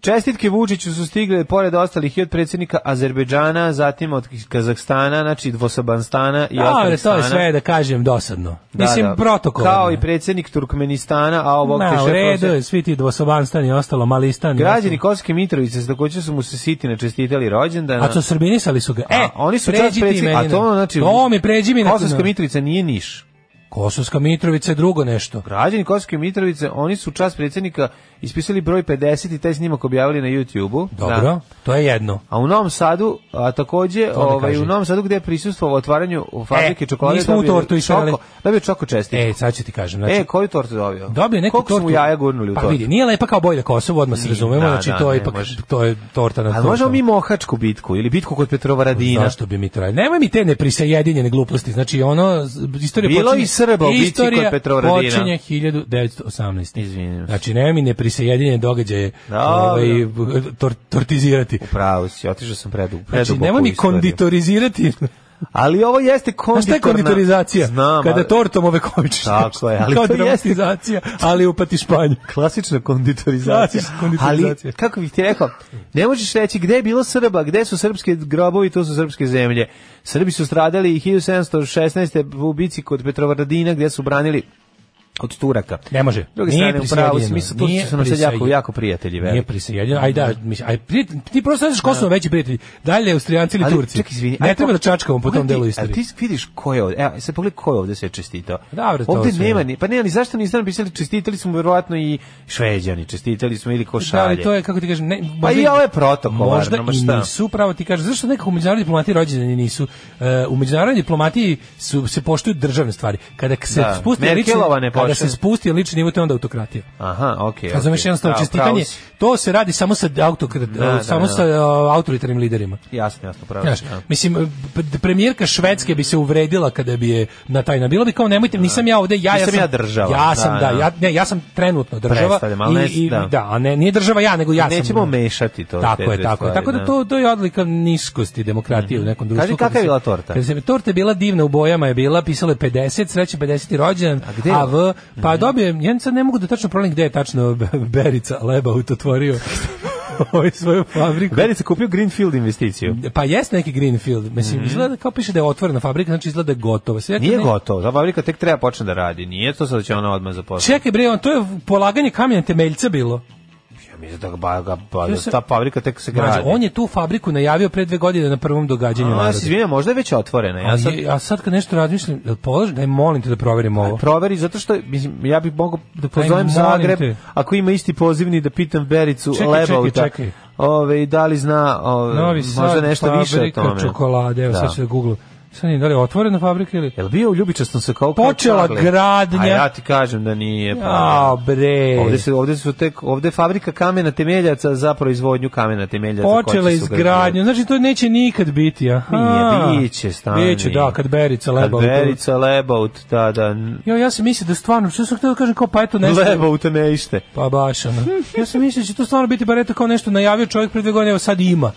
F: Čestitke Vučiću su stigle pored ostalih i od predsjednika Azerbejdžana, zatim od Kazahstana, znači Dvosobanstana i
G: Da, ali to
F: Afganistana.
G: je sve da kažem dosadno.
F: Da,
G: Mislim
F: da.
G: protokol.
F: Kao i predsjednik Turkmenistana, a ovog
G: Na,
F: te
G: u
F: šef-
G: redu je, svi ti dvosobanstan i ostalo, malistan. i
F: Građani
G: ostalo.
F: Kosovske Mitrovice, takođe su mu se Sitina čestitali rođendan.
G: A to srbinisali su ga. E,
F: A, oni su čas
G: pređi ti
F: predsjednik,
G: meni
F: a to
G: na-
F: ono, znači...
G: To mi pređi mi na...
F: Kosovska Mitrovica nije Niš.
G: Kosovska Mitrovica je drugo nešto.
F: Građani Kosovske Mitrovice, oni su čas predsjednika ispisali broj 50 i taj snimak objavili na YouTube-u.
G: Dobro,
F: Da.
G: to je jedno.
F: A u Novom Sadu, a takođe,
G: ne
F: ovaj,
G: kaži.
F: u Novom Sadu gde je prisustvovao otvaranju fabrike
G: E,
F: čokolade,
G: nismo u
F: dobio
G: tortu išli, ali-
F: čoko, dobio čoko čestitku.
G: E, sad ću ti kažem. Znači,
F: E, koju tortu dobio?
G: Dobio je neku
F: Koliko
G: tortu.
F: su mu jaja gurnuli u
G: pa
F: tortu?
G: vidi, nije lepa kao boj na Kosovu, odmah se razumemo,
F: da,
G: znači
F: da,
G: to je
F: ne
G: ipak
F: može.
G: to je torta na
F: A
G: tortu.
F: možemo mi mohačku bitku ili bitku kod Petrovaradina?
G: Zašto bi mi to radili? Nemoj mi te neprisjedinjene gluposti. Znači, ono, z- istorija
F: Bilo
G: počinje...
F: i Srba u bici kod
G: istorija
F: Petrovaradina.
G: počinje 1918.
F: Izvinim se.
G: Znači, nemoj mi neprisjedinjene događaje
F: Dobro.
G: ovaj, b- tor- tortizirati.
F: Pravo si, otišao sam predu, preduboko
G: Znači, nemoj
F: u
G: mi
F: istoriju.
G: konditorizirati.
F: Ali ovo jeste
G: Znaš šta
F: konditorna...
G: je konditorizacija?
F: Znam,
G: Kada
F: ali-
G: tortom ove kovičiš.
F: Tako je, ali
G: Kao
F: to jeste-
G: dramatizacija, ali u patišpanju.
F: klasična konditorizacija.
G: Klasična konditorizacija.
F: Ali, kako bih ti rekao, ne možeš reći gde je bilo Srba, gde su srpske grobovi, tu su srpske zemlje. Srbi su stradali i 1716. u bici kod Petrovaradina, gde su branili od Turaka.
G: Ne može.
F: S druge
G: Nije
F: strane, u pravu
G: prisjedinjeno.
F: smislu, Turci
G: Nije
F: su nam sad jako,
G: prisjedinjeno.
F: jako prijatelji.
G: Nije
F: veliki.
G: prisjedinjeno. Aj da, mislim, aj prijatelj, ti prosto ne znaš ko su nam veći prijatelji. Dalje Austrijanci ili
F: Ali,
G: Turci.
F: Ček, izvini,
G: ne
F: ajde,
G: treba da čačkamo po
F: pogledaj
G: tom delu
F: ti-
G: istorije.
F: Ali ti vidiš ko je ovde, evo, sad pogledaj ko je ovde sve čestitao.
G: Da, bre, to
F: ovde
G: sve.
F: nema, ni, pa ne, ali zašto niste napisali, čestitali smo verovatno i šveđani, čestitali smo ili
G: Da,
F: košalje.
G: ali to je, kako ti kažem, ne,
F: Pa i ovo je protokolarno,
G: Možda
F: ma
G: i
F: šta?
G: nisu, pravo ti kažem, zašto nekako u međunarodnoj diplomatiji rođeni nisu? E, u međunarodnoj diplomatiji su, se poštuju državne stvari. Kada k- se,
F: Da,
G: spusti,
F: Merkelova
G: lični,
F: ne
G: kada se
F: poštuje.
G: spusti lični nivo, to je onda autokratija.
F: Aha, okej. Okay,
G: Razumeš jednostavno čestitanje, to se radi samo sa autokrat,
F: Da, da,
G: samo
F: da.
G: sa uh, autoritarnim liderima.
F: Jasno, jasno, pravo.
G: Znaš,
F: si, da.
G: mislim, p- premijerka Švedske bi se uvredila kada bi je na taj na bilo bi kao nemojte, nisam ja ovde, ja, ja
F: Nisam
G: sam
F: ja država.
G: Ja sam,
F: Da,
G: da,
F: da.
G: ja, ne, ja sam trenutno država.
F: Predstavljam, ali ne-
G: i, i,
F: da.
G: da. a ne, nije država ja, nego ja sam.
F: Nećemo mešati to. te
G: Tako je,
F: dve
G: tako je.
F: stvari, Mhm.
G: Tako da to, to je odlika niskosti demokratije u nekom društvu.
F: Kaži, kakva
G: Kada
F: je
G: se-
F: bila torta?
G: Kada se torta je bila divna, u bojama je bila, pisalo je 50, sreće 50. rođendan,
F: A gde je? Mhm.
G: a v, pa dobio je, ja sad ne mogu da tačno pronađem gde je tačno Be- Berica Lebaut otvorio ovaj svoju fabriku.
F: Verica kupio Greenfield investiciju.
G: Pa jest neki Greenfield, mislim, izgleda kao piše da je otvorena fabrika, znači izgleda da je gotova. Sve
F: Mhm. Nije
G: ne-
F: gotovo, ta fabrika tek treba počne da radi. Nije to sad da će ona odmah zaposliti.
G: Čekaj bre, on, to je polaganje kamena temeljca bilo.
F: Ja mislim da, ba, ga-
G: To
F: ba, da
G: se-
F: ta fabrika tek se gradi.
G: Mlađe, Znači, on je tu fabriku najavio pre dve godine na prvom događanju
F: A, ja
G: naroda.
F: se izvinjam, možda je već otvorena. Ja
G: A
F: sad
G: je- a sad kad nešto razmišljam, jel polaže, daj molim te da proverim ovo.
F: proveri zato što mislim ja bih mogao da pozovem
G: molim
F: Zagreb
G: te.
F: ako ima isti pozivni da pitam Bericu
G: Čekaj,
F: Lebauta.
G: čekaj, čekaj.
F: Ove, da li zna ove,
G: Novi
F: možda
G: Sad,
F: nešto više o
G: fabrika
F: tome.
G: čokolade, evo
F: Da.
G: sad ću da googlam. Sad nije, da li je otvorena fabrika ili...
F: Jel bio u Ljubičastom se kao
G: Počela
F: kao-
G: gradnja.
F: A ja ti kažem da nije. Pa.
G: A, bre.
F: Ovde, se, ovde su tek, ovde je fabrika kamena temeljaca za proizvodnju kamena temeljaca. koja će
G: Počela
F: se ugrađivati.
G: izgradnju, znači to neće nikad biti, aha.
F: Nije, biće stani.
G: Biće, da, kad Berica
F: Kad
G: Lebaut.
F: Berica Lebaut, da, da. n-
G: Jo, ja sam mislio da stvarno, što sam htio da kažem, kao pa eto nešto...
F: Lebaut ne ište.
G: Pa baš, ono. Ja sam mislio da će to stvarno biti, bar eto kao nešto najavio čovjek pre dve godine, evo sad ima.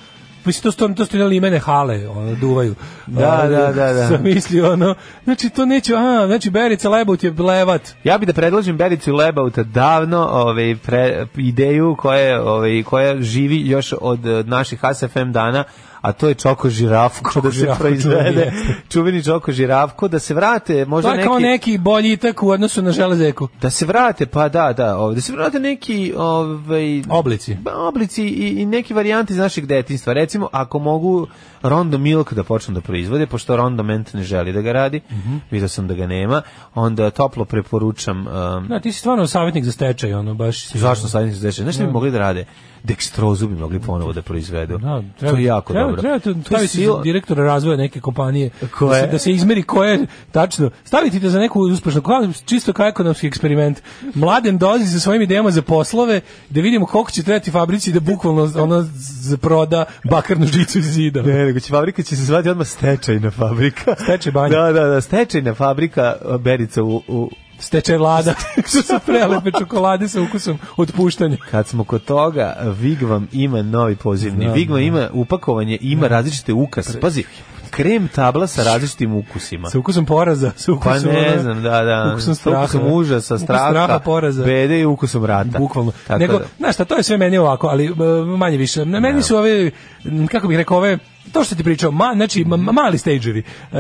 G: Mislim, to, stvarno, to su imali imene hale, ono, duvaju.
F: Da,
G: Ono,
F: da, da, da.
G: Sam mislio, ono, znači to neće, aha, znači Berica Lebaut je blevat.
F: Ja bih da predložim Bericu Lebauta davno, ovaj pre, ideju koja ovaj koja živi još od, eh, naših ASFM dana, a to je čoko žirafko da se
G: žirafko, čuveni
F: proizvede.
G: jeste.
F: Čuveni čoko žirafko da se vrate, možda
G: To je
F: neki
G: Pa, kao neki boljitak u odnosu na železeku.
F: da se vrate, pa da, da, ovde se vrate neki ovaj
G: Oblici.
F: ba, oblici i, i neki varijanti iz našeg detinjstva. Recimo, ako mogu Rondo Milk da počnu da proizvode, pošto Rondo Ment ne želi da ga radi,
G: Mhm.
F: vidio sam da ga nema, onda toplo preporučam... Um,
G: Da, ti si stvarno savjetnik za stečaj, ono, baš... si-
F: zašto sad se deše? Znaš što bi mogli da rade? Dekstrozu bi mogli ponovo da proizvedu.
G: Da, treba,
F: to je jako
G: treba,
F: dobro.
G: Treba tu
F: To je
G: staviti
F: sila-
G: za direktora razvoja neke kompanije
F: Koje?
G: Da, se, da se izmeri koje tačno. Staviti te za neku uspešnu kao čisto kao ekonomski eksperiment. Mladen dolazi sa svojim idejama za poslove da vidimo koliko će trebati fabrici da bukvalno ona z- proda bakarnu žicu iz zida.
F: Ne, nego će fabrika će se zvati odmah stečajna fabrika.
G: Stečaj banja.
F: Da, da, da, stečajna fabrika eh, Berica u, u,
G: Steče vlada. Što su prelepe čokolade sa ukusom otpuštanja.
F: Kad smo kod toga, Vigvam ima novi pozivni.
G: Znam,
F: Vigvam ima upakovanje, ima različite ukase. Pazi, krem tabla sa različitim ukusima.
G: Sa ukusom poraza, sa
F: Pa
G: ukusom...
F: ne
G: ono,
F: znam, da, da.
G: Ukusom
F: Sa
G: straha.
F: Ukusom užasa,
G: Ukus
F: straha,
G: poraza.
F: bede i ukusom rata.
G: Bukvalno.
F: Tako
G: Nego,
F: da-
G: znaš šta, to je sve meni ovako, ali e, manje više. Na meni su ove, m, kako bih rekao, ove, to što ti pričao, ma, znači, ma- ma- mali stage-evi, e,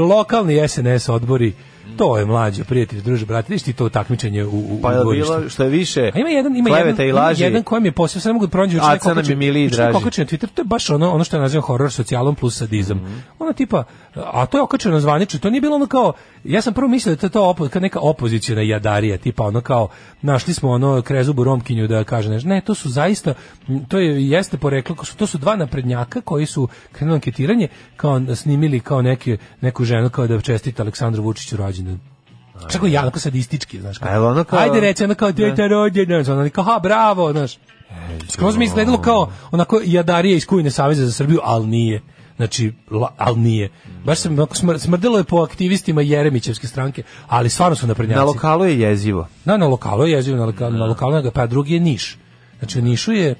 G: lokalni SNS odbori, to je mlađe, prijatelj, druže, brate, viš ti to takmičenje u, u,
F: Pa
G: u
F: je
G: dvorištu.
F: bilo što je više
G: A ima jedan ima
F: kleveta
G: jedan,
F: i
G: ima
F: laži.
G: jedan kojem je posebno samo mogu pronaći juče
F: Aca
G: neko
F: nam je
G: okačio-
F: miliji i
G: juče
F: draži.
G: neko okačio na Twitter, to je baš ono ono što je nazivam horor socijalom plus sadizam.
F: Mhm.
G: Ono tipa a to je okačeno zvanično, to nije bilo ono kao ja sam prvo mislio da to je to opo, kao neka opoziciona jadarija, tipa ono kao našli smo ono krezubu romkinju da kaže nešto. Ne, to su zaista m, to je jeste poreklo, kao su- to su dva naprednjaka koji su krenuli anketiranje kao snimili kao neke neku ženu kao da čestita Aleksandru Vučiću rođendan. Čako ja, onako sadistički, znaš
F: A jel
G: kao.
F: ono kao-
G: Ajde reći, ono kao, djeta rođena, znaš, ono, kao, ha, bravo, znaš. Skroz mi je izgledalo kao onako jadarije iz Kujne Saveza za Srbiju, ali nije. Znači, la, ali nije. Baš se onako smr- smrdelo je po aktivistima Jeremićevske stranke, ali stvarno su naprednjaci.
F: Na lokalu je jezivo.
G: Na, na lokalu je jezivo, na, loka, na lokalu je, pa drugi je Niš. Znači, u Nišu je e,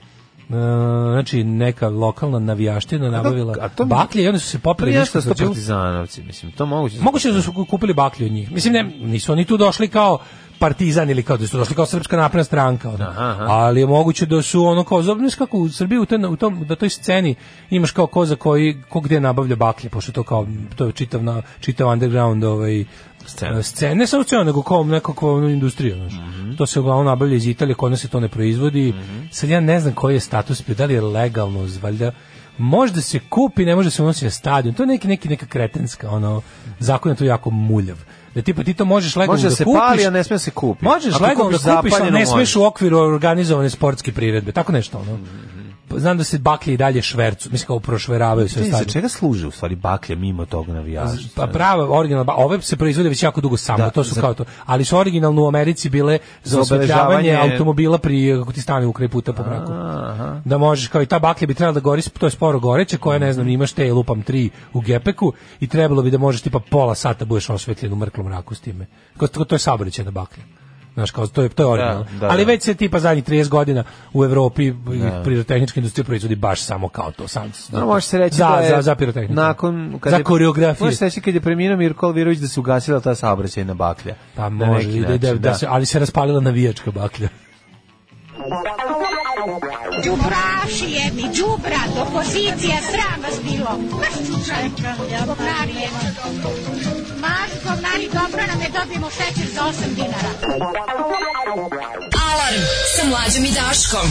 G: znači neka lokalna navijaština nabavila
F: a to mi-
G: baklje i oni su se
F: Pa
G: popili Nišku
F: jeste da su to
G: tvrđavu.
F: partizanovci, mislim, to moguće.
G: Moguće je da su kupili baklju od njih. Mislim, ne, nisu oni tu došli kao partizan ili kao da su došli kao srpska napredna stranka. ono. Ali je moguće da su ono kao, zobno kako u Srbiji u, ten, u tom, na toj sceni imaš kao ko za koji, ko gde nabavlja baklje, pošto to kao, to je čitav, na, čitav underground ovaj,
F: Scene.
G: scene, ne samo scene, nego kao nekakva ono, industrija, znaš.
F: Mhm.
G: To se uglavnom nabavlja iz Italije, kod nas se to ne proizvodi. Sad ja ne znam koji je status, bio, da li je legalno, valjda, možda se kupi, ne može se unosi na stadion. To je neki, neki, neka kretenska, ono, zakon je to jako muljav. Da tipa ti to možeš legalno
F: Može
G: da
F: da se
G: kupiš.
F: pali, a ne smije da se kupi.
G: Možeš
F: Ako
G: legalno
F: kupiš
G: da kupiš, ali
F: zapaljeno,
G: ne smeš
F: možeš.
G: u okviru organizovane sportske priredbe. Tako nešto, ono.
F: Mhm.
G: Znam da se baklje i dalje švercu, mislim kao prošveravaju sve
F: Čekaj, za
G: stadion.
F: čega služe u stvari baklja mimo tog navijača?
G: Pa prava originalna, ba- ove se proizvode već jako dugo samo,
F: Da,
G: to su
F: za-
G: kao to. Ali su originalno u Americi bile za
F: Za
G: osvetljavanje
F: obeležavanje-
G: automobila pri kako ti stane u kraj puta po mraku. Da možeš kao i ta baklja bi trebala da gori, to je sporo goreće, koja ne znam, imaš te lupam tri u gepeku i trebalo bi da možeš tipa pola sata budeš osvetljen u mrklom mraku s time. Kao to, to je saobraćajna baklja. Znaš, kao to je to je originalno.
F: da,
G: Ali
F: da.
G: već se tipa zadnjih 30 godina u Evropi pirotehnička industrija proizvodi baš samo kao to sam.
F: No, Pa može se reći
G: za,
F: da je
G: za, za pirotehniku.
F: Nakon, kad
G: za
F: je-
G: koreografiju.
F: Može se reći kad je preminuo Mirko Alvirović da se ugasila ta saobraćajna baklja.
G: Pa
F: Na
G: može,
F: neki
G: da, da, da,
F: način,
G: se, ali se raspalila navijačka baklja.
E: Đubraši jedni, đubra, opozicija, sram vas bilo. Maš čučanka, govnari jedni. Maš govnari, dobro nam je, dobijemo šećer za 8 dinara.
I: Alarm sa mlađom i Daškom.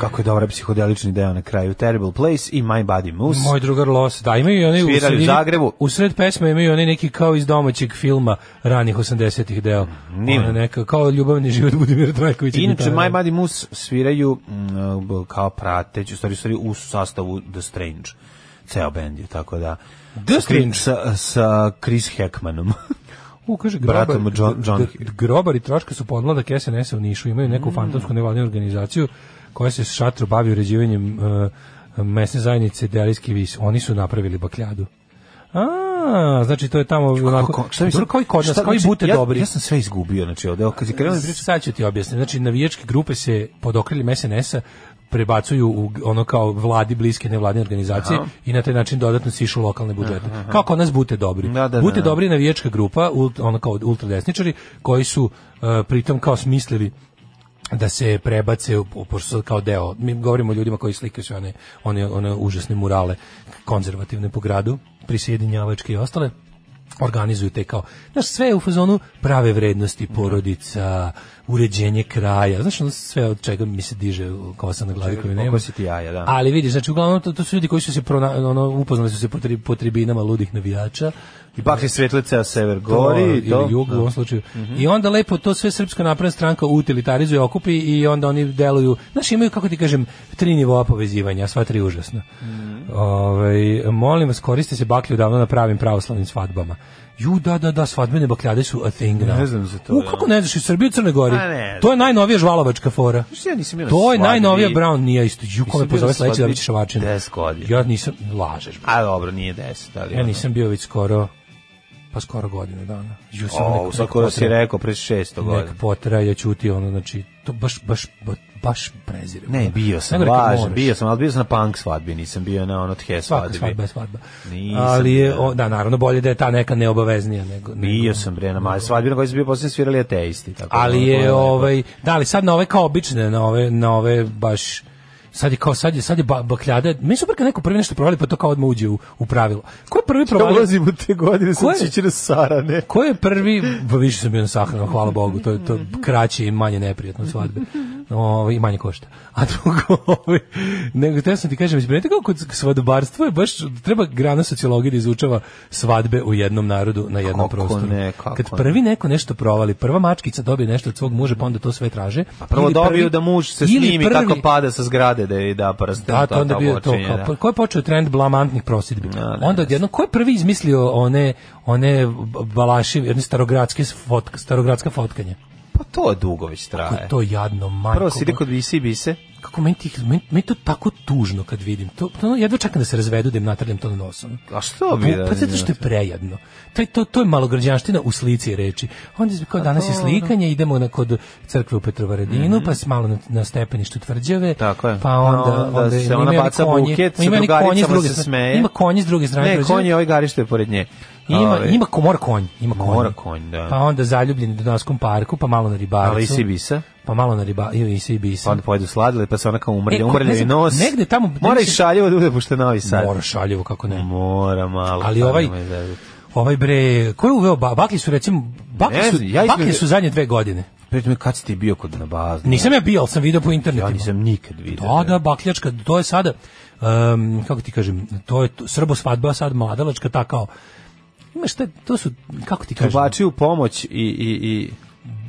F: Kako je dobar psihodelični deo na kraju. Terrible Place i My Body Moves.
G: Moj drugar Los, da, imaju i oni
F: Svirali u
G: sredini-
F: Zagrebu.
G: U sred pesme imaju oni neki kao iz domaćeg filma ranih 80-ih deo.
F: nije.
G: Ona neka, kao ljubavni život Budimira Trajkovića.
F: Mm, Inače,
G: gitara.
F: My Body Moose sviraju mm, b- kao prateći, u stvari, u stvari u sastavu The Strange. Ceo bend je, tako da...
G: The
F: Sa Chris-
G: Strange.
F: Sa, sa Chris Hackmanom.
G: U, kaže,
F: Bratom
G: grobar,
F: John- John-
G: g- g- grobar i troška su podmladak SNS-a u Nišu, imaju
F: Mm.
G: neku fantomsku nevladnu organizaciju koja se s šatru bavi uređivanjem e, mesne zajednice Delijski vis. Oni su napravili bakljadu. A, znači to je tamo onako,
F: Kako- Pa šta mi sad-
G: Dobro, kao i kod nas,
F: šta-
G: kao i
F: znači,
G: bute
F: ja,
G: dobri.
F: Ja sam sve izgubio, znači, ovde, evo, kad je krenuo da pričam,
G: Sad ću ti objasniti. Znači, navijačke grupe se pod okriljem SNS-a prebacuju u g- ono kao vladi bliske nevladine organizacije i na taj način dodatno sišu lokalne budžete. Kao kod nas Bute Dobri.
F: Da, da,
G: Bute
F: da.
G: Dobri je navijačka grupa, ult- ono kao ultradesničari, koji su e, pritom kao smislili da se prebace u- po- pošto sad kao deo mi govorimo o ljudima koji slikaju sve one one one užasne murale konzervativne po gradu prisjedinjavačke i ostale organizuju te kao znaš sve je u fazonu prave vrednosti porodica uređenje kraja znaš ono sve od čega mi se diže kosa na glavi koju nema
F: pokositi jaja, da.
G: ali vidiš znači uglavnom to, to su ljudi koji su se prona, ono, upoznali su se po, tri, po tribinama ludih navijača
F: I bakli svetle ceo sever
G: to,
F: gori i to. Mhm.
G: ili jug u ovom slučaju. I onda lepo to sve srpska napredna stranka utilitarizuje, okupi i onda oni deluju, znaš imaju kako ti kažem tri nivoa povezivanja, a sva tri užasna.
F: Mhm.
G: Ovaj, molim vas koriste se baklje odavno na pravim pravoslavnim svadbama. Ju, da, da, da, svadbene bakljade su a thing now.
F: Ne znam za to,
G: U,
F: da.
G: kako ne znaš, iz Srbije i Crne Gori.
F: A, ne znam.
G: to je najnovija žvalovačka fora.
F: Što ja nisam bio na
G: To je
F: svadbi?
G: najnovija Brown, nije isto. Ju, ko me
F: Nisam bio
G: pozove
F: na
G: sledeće da
F: svadbi
G: biće šavačina.
F: 10 godina.
G: Ja nisam, lažeš.
F: A dobro, nije deset, ali...
G: Ja
F: ono.
G: nisam bio već skoro pa skoro godinu dana. Ju samo
F: O,
G: nek-
F: skoro
G: nek
F: si
G: potra-
F: rekao, pred šesto godina.
G: Nek potra, ja ćuti ono, znači, to baš, baš, ba- baš prezirem.
F: Ne, bio sam,
G: Nego rekao,
F: važan,
G: moraš.
F: bio sam, ali bio sam na punk svadbi, nisam bio na ono tje
G: Svaka
F: svadbi.
G: svadba je svadba.
F: Nisam
G: Ali je,
F: bio.
G: o, da, naravno, bolje da je ta neka neobaveznija nego...
F: Bio
G: nego-
F: sam bre na maj svadbi na kojoj sam bio posle svirali ateisti tako. da ono,
G: Ali
F: to
G: je,
F: lepo.
G: ovaj, da, ali sad na ove kao obične, na ove, na ove baš sad je kao sad je sad je ba, bakljada mi super kad neko prvi nešto provali pa to kao odmah uđe u, u pravilo ko je prvi
F: Ja
G: provalio
F: ulazim u te godine sam
G: Ko je?
F: čičira sarane.
G: Ko je prvi, pa više sam bio na sahranu, hvala Bogu, to je to je kraće i manje neprijatno od svadbe. Ovaj i manje košta. A drugo, ovaj nego te sam ti kažem, izbrete kako kod svadobarstvo je baš treba grana sociologije da izučava svadbe u jednom narodu na jednom
F: Kako
G: prostoru.
F: ne, kako
G: Kad
F: ne.
G: prvi neko nešto provali, prva mačkica dobije nešto od svog muža, pa onda to sve traže. A
F: Prvo dobio da muž se snimi kako pada sa zgrade da je da prsten.
G: da, to onda
F: ta
G: bio to.
F: počinje,
G: Kao,
F: da.
G: Ko je počeo trend blamantnih prosjedbi?
F: Da, da,
G: onda odjedno, ko je prvi izmislio one, one balaši, one starogradske fotka, starogradska fotkanja?
F: Pa to dugo već
G: Ko
F: traje.
G: je to jadno, majko?
F: Pa Prvo si ide
G: moja.
F: kod visi i bise.
G: Kako meni, tih, meni, meni to tako tužno kad vidim. To, to ono, jedva čekam da se razvedu, da im natrljam to na nosom.
F: A što bi da?
G: Pa zato što je prejadno. Taj, to, to je malograđanština u slici i reči. Onda je
F: Pa
G: kao danas je slikanje, idemo na kod crkve u Petrovaradinu, pa s malo na, na stepeništu tvrđave.
F: Mhm. Tako je.
G: Pa onda,
F: Pa onda se
G: ima
F: ona
G: oni
F: baca
G: konji-
F: buket, sa
G: ima oni konji s
F: drugaricama
G: druge
F: se
G: strane.
F: smeje.
G: Ima konji s druge strane.
F: Ne,
G: tvrđave.
F: konj je ovaj garište pored nje.
G: Ima,
F: Ovaj,
G: ima ko- mora konj, ima konj.
F: Mora konj, da.
G: Pa onda zaljubljeni u Dunavskom parku, pa malo na ribarcu.
F: Ali si bisa.
G: Pa malo na riba, i se i
F: Pa
G: bisa.
F: onda pojedu sladile, pa se ona kao umrlja,
G: E,
F: e,
G: ko-
F: umrlja
G: ne
F: i
G: znam,
F: nos.
G: negde tamo-
F: Mora i
G: negde se-
F: šaljivo da bude pošto novi sad. Mm.
G: Mora šaljivo, kako ne.
F: Mora malo.
G: Ali
F: pa
G: ovaj-
F: nemoj zezati.
G: Ovaj bre, ko je uveo ba- baklje su recimo baklje
F: Ne
G: su,
F: znam, ja iskreno-
G: baklje su zadnje dve godine.
F: Pritom, kad si ti bio kod na bazni?
G: Nisam ja bio, ali sam video po internetu.
F: Ja nisam nikad vidio.
G: Da, da, bakljačka, to je sada, em, kako ti kažem, to je to, srbo svadba, sad mladalačka, ta kao, imaš te, to su, kako ti kažem,
F: Bači u pomoć i, i, i...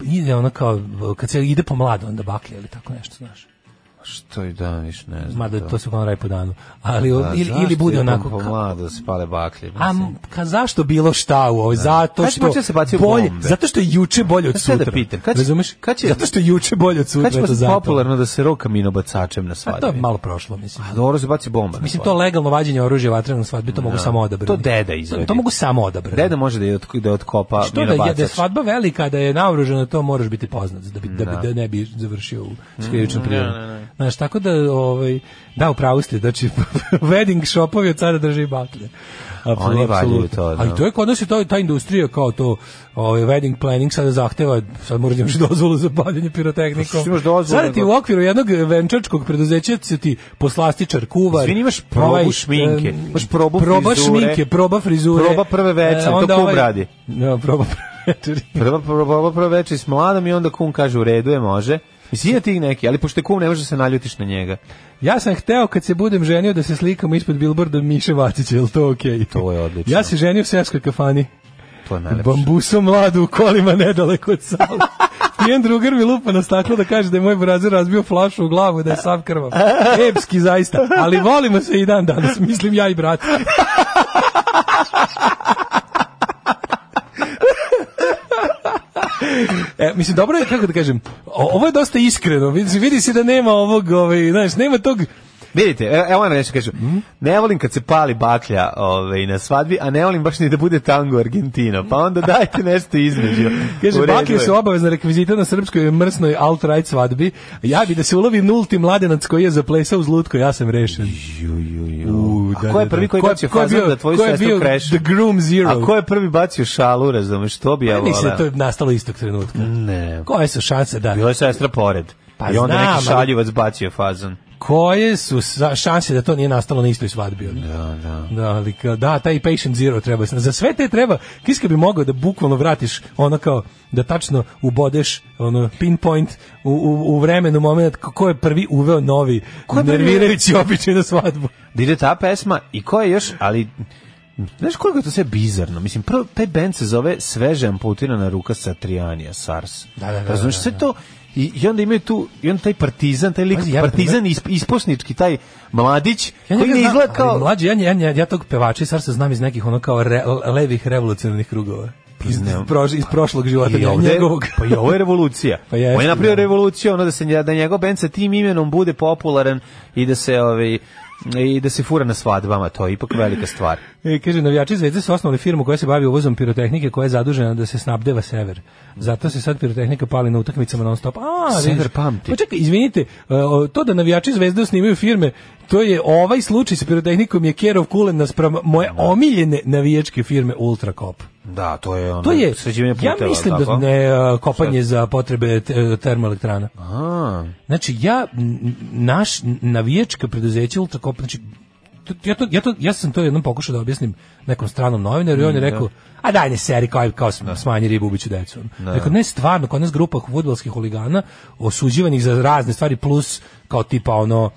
G: ide ono kao, kad se ide po mlado, onda baklje ili tako nešto, znaš.
F: Što je da, viš ne znam.
G: Mada
F: to.
G: to se kao raj po danu. Ali,
F: A
G: ili,
F: zašto
G: ili bude
F: je
G: onako... Ka,
F: pomalo da se pale baklje.
G: a
F: mislim?
G: ka, zašto bilo šta u ovoj? Zato
F: Kad si
G: što
F: počeo da se bacaju
G: bolje,
F: bombe?
G: zato što je juče bolje od
F: Sad da
G: sutra.
F: pitam, kad će-
G: Razumeš?
F: kad će-
G: zato što je juče bolje od sutra.
F: Kad će
G: eto,
F: postati
G: zato.
F: popularno da se roka minobacačem na
G: A
F: svadbi?
G: to je malo prošlo, mislim.
F: A dobro se baci bomba. na
G: Mislim, to
F: svadbi.
G: legalno vađenje oružja vatrenom svadbi, to mogu samo odabrati.
F: To deda izvedi.
G: To, to mogu samo odabrati.
F: Deda može da je, otk- da je otkopa
G: Što da je,
F: minobacač.
G: da je svadba velika, da je naoružana, to moraš biti poznat, da, bi, da, bi, da ne bi završio u skrivičnom prijemu. Znaš, tako da, ovaj, da, u pravu ste, znači, wedding shopovi od sada drže i baklje. Apsolutno,
F: Oni valjuju
G: apsolutno.
F: to, da.
G: A i to je kod nas je to, ta industrija kao to ovaj, wedding planning sada zahteva, sad moraš da imaš dozvolu za bavljanje pirotehnikom.
F: Što Pa imaš dozvolu,
G: Sada ti
F: nego-
G: u okviru jednog venčačkog preduzeća se ti poslastičar, kuvar,
F: Izvini, imaš probu
G: ovaj,
F: šminke,
G: em,
F: imaš probu
G: proba
F: frizure,
G: šminke, proba frizure.
F: proba prve večeri,
G: e,
F: to
G: onda
F: kum radi.
G: Ja, proba prve večeri.
F: Prva, prva, prva, prva večer s mladom i onda kum kaže u redu je, može. Mislim, ima tih neki, ali pošto je kum ne može da se naljutiš na njega.
G: Ja sam hteo kad se budem ženio da se slikam ispod bilborda Miše Vacića, je li to okej?
F: To je odlično.
G: Ja se ženio u seoskoj kafani.
F: To je najlepše.
G: Bambusom mladu u kolima nedaleko od sala. Pijen drugar mi lupa na staklo da kaže da je moj brazer razbio flašu u glavu i da je sav krvav. Epski zaista, ali volimo se i dan danas, mislim ja i brat. E, mislim, dobro je, kako da kažem, o- ovo je dosta iskreno, vidi, vidi se da nema ovog, ovaj, znaš, nema tog,
F: Vidite, e- evo vam nešto kažu.
G: Mm?
F: Ne volim kad se pali baklja ovaj, na svadbi, a ne volim baš ni da bude tango Argentino. Pa onda dajte nešto između. U
G: Kaže,
F: redu
G: baklje
F: je.
G: su obavezna rekvizita na srpskoj mrsnoj alt-right svadbi. Ja bi da se ulovi nulti mladenac koji je zaplesao uz lutko, ja sam rešen.
F: Ju, ju, ju.
G: U,
F: a ko je prvi koji je bacio
G: ko je
F: fazan
G: bio-
F: da tvoju
G: ko je bio
F: sestru kreše?
G: The Groom Zero.
F: A ko je prvi bacio šalu, razumeš, to bi ja
G: Ja mislim da to
F: volao.
G: je nastalo istog trenutka.
F: Mm. Ne,
G: Koje su šanse da...
F: bila je sestra pored.
G: Pa
F: I onda
G: znam,
F: neki
G: ali-
F: šaljivac bacio fazan.
G: Koje su sa- šanse da to nije nastalo na istoj svadbi? ono?
F: Da, da.
G: Da, ali kao, da, taj patient zero treba. Za sve te treba, kiska bi mogao da bukvalno vratiš ono kao, da tačno ubodeš ono, pinpoint u, u, u vremenu moment ko- ko je prvi uveo novi
F: je prvi-
G: nervirajući običaj na svadbu.
F: da ide ta pesma i koja je još, ali znaš koliko je to sve bizarno? Mislim, prvo, taj band se zove Sveže amputirana ruka Satrijanija, SARS.
G: Da, da, da,
F: Razumeš,
G: da,
F: sve to I, I onda imaju tu, i onda taj partizan, taj lik,
G: Pazi, ja-
F: partizan isp, isposnički, taj mladić, koji
G: njega
F: ne
G: znam,
F: izgleda
G: ali
F: kao...
G: Mlađe, ja, ja, ja, ja tog pevača i sad se znam iz nekih ono kao re, levih revolucionarnih krugova. Iz,
F: Ne.
G: prož, iz prošlog života
F: Pa I ovde-
G: njegovog.
F: pa i ovo je revolucija.
G: Pa jeste,
F: On je napravio
G: da.
F: revoluciju, ono da se nje- da njegov band sa tim imenom bude popularan i da se ovaj i da se fura na svadbama, to je ipak velika stvar.
G: E, kaže, navijači Zvezde su osnovali firmu koja se bavi uvozom pirotehnike koja je zadužena da se snabdeva sever. Zato se sad pirotehnika pali na utakmicama non stop. A,
F: Sever
G: vidiš.
F: pamti.
G: Pa čekaj, izvinite, e, o, to da navijači Zvezde snimaju firme, to je ovaj slučaj sa pirotehnikom je Kerov Kulen naspram moje omiljene navijačke firme Ultrakop.
F: Da, to je ono
G: To je,
F: sređivanje
G: ja
F: puteva,
G: mislim da
F: tako?
G: ne e, kopanje za potrebe te- termoelektrana.
F: A.
G: Znači ja n- naš navijačka preduzeća Ultrakop znači to- ja, to, ja, to, ja sam to jednom pokušao da objasnim nekom stranom novinaru i on je rekao, a daj ne seri kao, kao sm- smanji ribu ubiću decu. Rekao, ne stvarno, kod nas grupa fudbalskih huligana osuđivanih za razne stvari plus kao tipa ono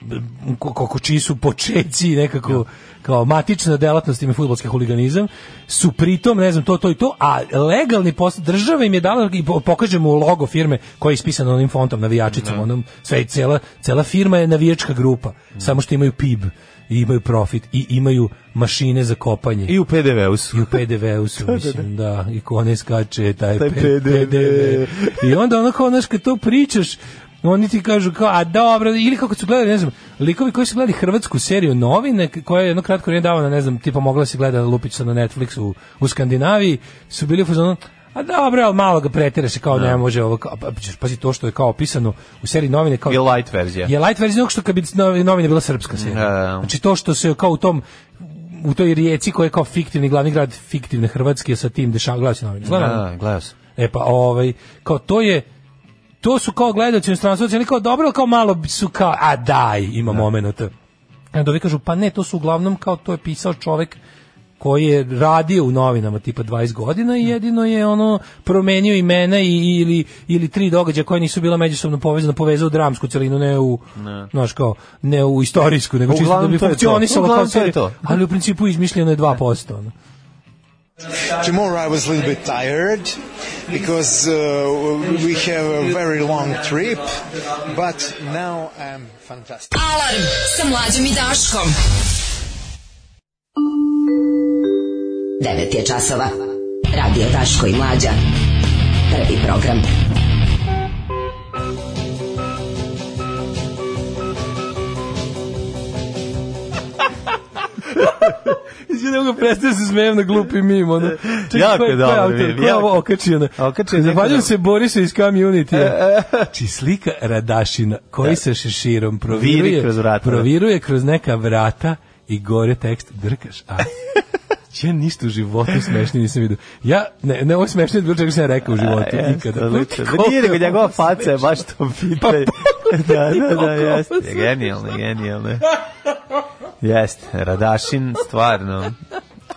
G: b- ko- kako čiji su počeci nekako kao matična delatnost im je fudbalski huliganizam su pritom ne znam to to i to a legalni posao država im je dala i po- pokaže mu logo firme koja je ispisana onim fontom navijačicom onom sve i cela cela firma je navijačka grupa samo što imaju PIB i imaju profit i imaju mašine za kopanje
F: I u PDV-u su.
G: i u PDV-u su, mislim, da, i ko ne skače, taj,
F: Taj
G: taj
F: PDV.
G: PDV. I onda ono kao, znaš, kad to pričaš, oni ti kažu kao, a dobro, ili kako su gledali, ne znam, likovi koji su gledali hrvatsku seriju novine, k- koja je jedno kratko vrijeme davana, ne znam, tipa mogla se gleda Lupić sad na Netflixu u, u Skandinaviji, su bili u fazonu, a dobro, ali malo ga pretjera se kao ne može ovo, kao, pa, pazi to što je kao opisano u seriji novine, kao
F: Je light verzija.
G: je light verzija onog što kad bi novi- novine bila srpska serija.
F: Da, da, da.
G: Znači to što se kao u tom u toj rijeci koja je kao fiktivni glavni grad fiktivne Hrvatske sa tim dešava glavni novine. Gledam?
F: Da, gledao sam.
G: E pa ovaj kao to je to su kao gledaoci u stranstvu, ali kao dobro, ali kao malo su kao a E, daj, ima momenata. I onda ovi kažu pa ne, to su uglavnom kao to je pisao čovek koji je radio u novinama tipa 20 godina i
F: Mm.
G: jedino je ono promenio imena i, ili, ili tri događaja koja nisu bila međusobno povezana, povezao u dramsku celinu, ne u, ne. kao, ne u istorijsku, nego čisto da
F: Uglavnom
G: bi
F: to je to.
G: funkcionisalo kao
F: Uglavnom to je
G: serija.
F: to. E.
G: Ali u principu izmišljeno je 2%. Ono.
A: Tomorrow I was a little bit tired because uh, we have a very long trip, but now I'm fantastic.
I: Alarm sa mlađom i Daškom. 9 je časova. Radio Daško i Mlađa. Prvi program.
G: Izvijem ga prestao se smijem na glupi mim, ono. Čekaj,
F: E, Jako
G: ko ko
F: dobar
G: autor?
F: mim,
G: Ko je ovo
F: jako.
G: okačio? ono?
F: Okačio je neko
G: Zahvaljujem
F: dobro. E,
G: se Borisa iz Community. Či slika Radašina, koji sa šeširom proviruje,
F: Viri E. kroz vrata.
G: proviruje kroz neka vrata i gore tekst drkaš. A, ja ništa u životu smešnije nisam vidio. Ja, ne, ne, ovo je smešnije od bilo čega sam ja rekao u životu.
F: E, Jeste,
G: ikada.
F: odlično. Da
G: E, Koliko
F: nije nego
G: je Pa
F: njegova
G: ovo
F: faca je baš to pitanje. da, da, da, jeste. Genijalno, genijalno. Jeste, Radašin, stvarno.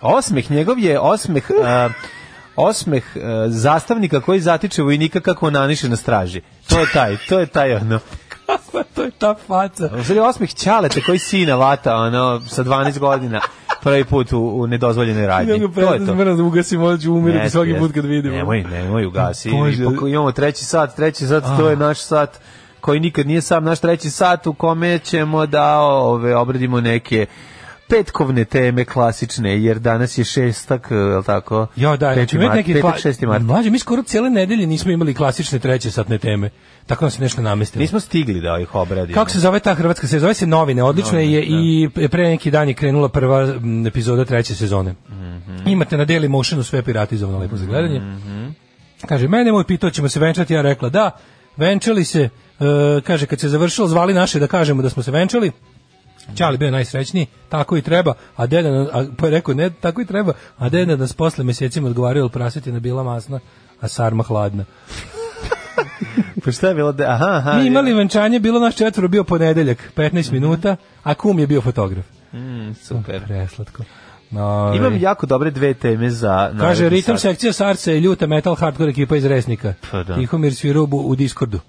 F: Osmeh njegov je osmeh... a, osmeh a, zastavnika koji zatiče vojnika kako naniše na straži. To je taj, to je taj ono.
G: smešno, to je ta faca.
F: U stvari osmeh ćaleta koji sina vata ono, sa 12 godina prvi put u, u nedozvoljenoj
G: Ja ga
F: radnji. To je
G: prestao
F: to.
G: smijem da ugasim, ovo ću umirati
F: Jeste,
G: svaki put
F: jeste.
G: kad ono. vidimo.
F: Nemoj, nemoj, ugasi.
G: Bože.
F: I pok- Imamo treći sat, treći sat,
G: Ah.
F: to je naš sat koji nikad nije sam, naš treći sat u kome ćemo da ove, obradimo neke petkovne teme klasične, jer danas je šestak, je li tako?
G: Jo, da,
F: Peti
G: znači imate
F: mart,
G: neki
F: petak,
G: kla-
F: šesti mart.
G: Mlađe, mi skoro cijele nedelje nismo imali klasične treće satne teme. Tako nam se nešto namestilo.
F: Nismo stigli da ih obradimo.
G: Kako se zove ta hrvatska se zove se Novine, odlično je i pre neki dan je krenula prva m, epizoda treće sezone. Imate na Daily Motionu sve piratizovano lepo za gledanje. Kaže, mene moj pitao ćemo se venčati, ja rekla da, venčali se, e, kaže, kad se završilo, zvali naše da kažemo da smo se venčali, Čali bio najsrećniji, tako i treba, a deda, na- a, pa je rekao, ne, tako i treba, a deda nas posle mesecima odgovaraju, ali prasetina bila masna, a sarma hladna.
F: Pa šta je Mhm. bilo? Da, aha, aha.
G: Mi imali venčanje, bilo naš četvoro, bio ponedeljak, 15 minuta, a kum je bio fotograf.
F: Mm, super.
G: Preslatko. No,
F: Imam jako dobre dve teme za...
G: Kaže,
F: naredni
G: ritam
F: sat.
G: sekcija Sarca i ljuta metal hardcore ekipa iz Resnika.
F: Pa da. Mhm.
G: Tihomir Svirubu u Discordu.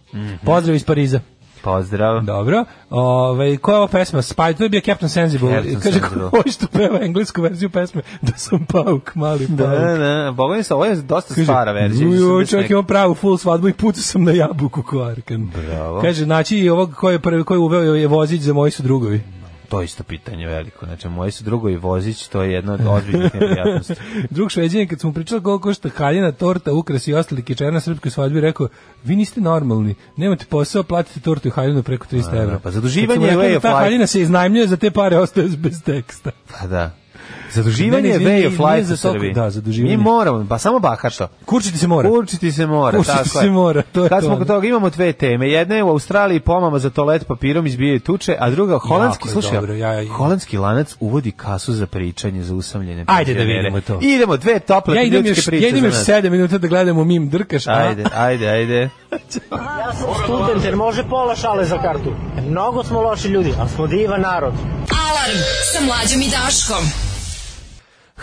G: Pozdrav iz Pariza.
F: Pozdrav.
G: Dobro. Ove, koja je ova pesma? Spy, to je bio Captain Sensible.
F: Captain
G: Kaže,
F: Sensible.
G: ko što peva englesku verziju pesme? Da sam pauk, mali pauk.
F: Da, da, da. Boga mi se, ovo je dosta stara verzija.
G: "Uj,
F: mislim da
G: uj,
F: su
G: čovjek
F: neke-
G: ima pravu full svadbu i putu sam na jabuku ko Arkan.
F: Bravo.
G: Kaže, znači i ovog koji je prvi koji je uveo je vozić za moji su drugovi.
F: To je isto pitanje veliko. Znači, moji su drugovi vozić, to je jedna od ozbiljnih neprijatnosti.
G: Drug šveđanin, kad smo pričali koliko košta haljina, torta, ukras i ostali kičer na srpskoj svadbi, rekao, vi niste normalni, nemate posao, platite tortu i haljinu preko 300 evra.
F: pa zaduživanje
G: Kad su mu rekli
F: je
G: da Ta
F: way of life.
G: haljina se iznajmljuje, za te pare ostaje bez teksta.
F: Pa da.
G: Ne, ne,
F: Zaduživanje je
G: izvini,
F: way
G: nije
F: of life
G: za
F: u
G: toliko-
F: Srbiji.
G: da, zaduživanje.
F: Mi moramo, pa samo bahašto.
G: Kurčiti se mora.
F: Určiti se mora,
G: Kurčiti
F: tako
G: se
F: je.
G: mora, to je
F: Kad
G: to,
F: smo
G: ono.
F: kod toga imamo dve teme. Jedna je u Australiji pomama za toalet papirom izbijaju tuče, a druga holandski,
G: Jako je
F: slušaj,
G: dobro, ja- ja-
F: holandski lanac uvodi kasu za pričanje za usamljene
G: Ajde da
F: penzionere.
G: vidimo to.
F: Idemo, dve tople
G: Ja idem
F: ljudske
G: još,
F: priče
G: ja idem
F: za
G: još
F: nas.
G: 7 minuta da gledamo mim drkaš, a?
F: Ajde, ajde, ajde.
A: Student, jer može pola šale za kartu. Mnogo smo loši ljudi, ali smo divan narod.
I: Alarm sa mlađom i Daškom.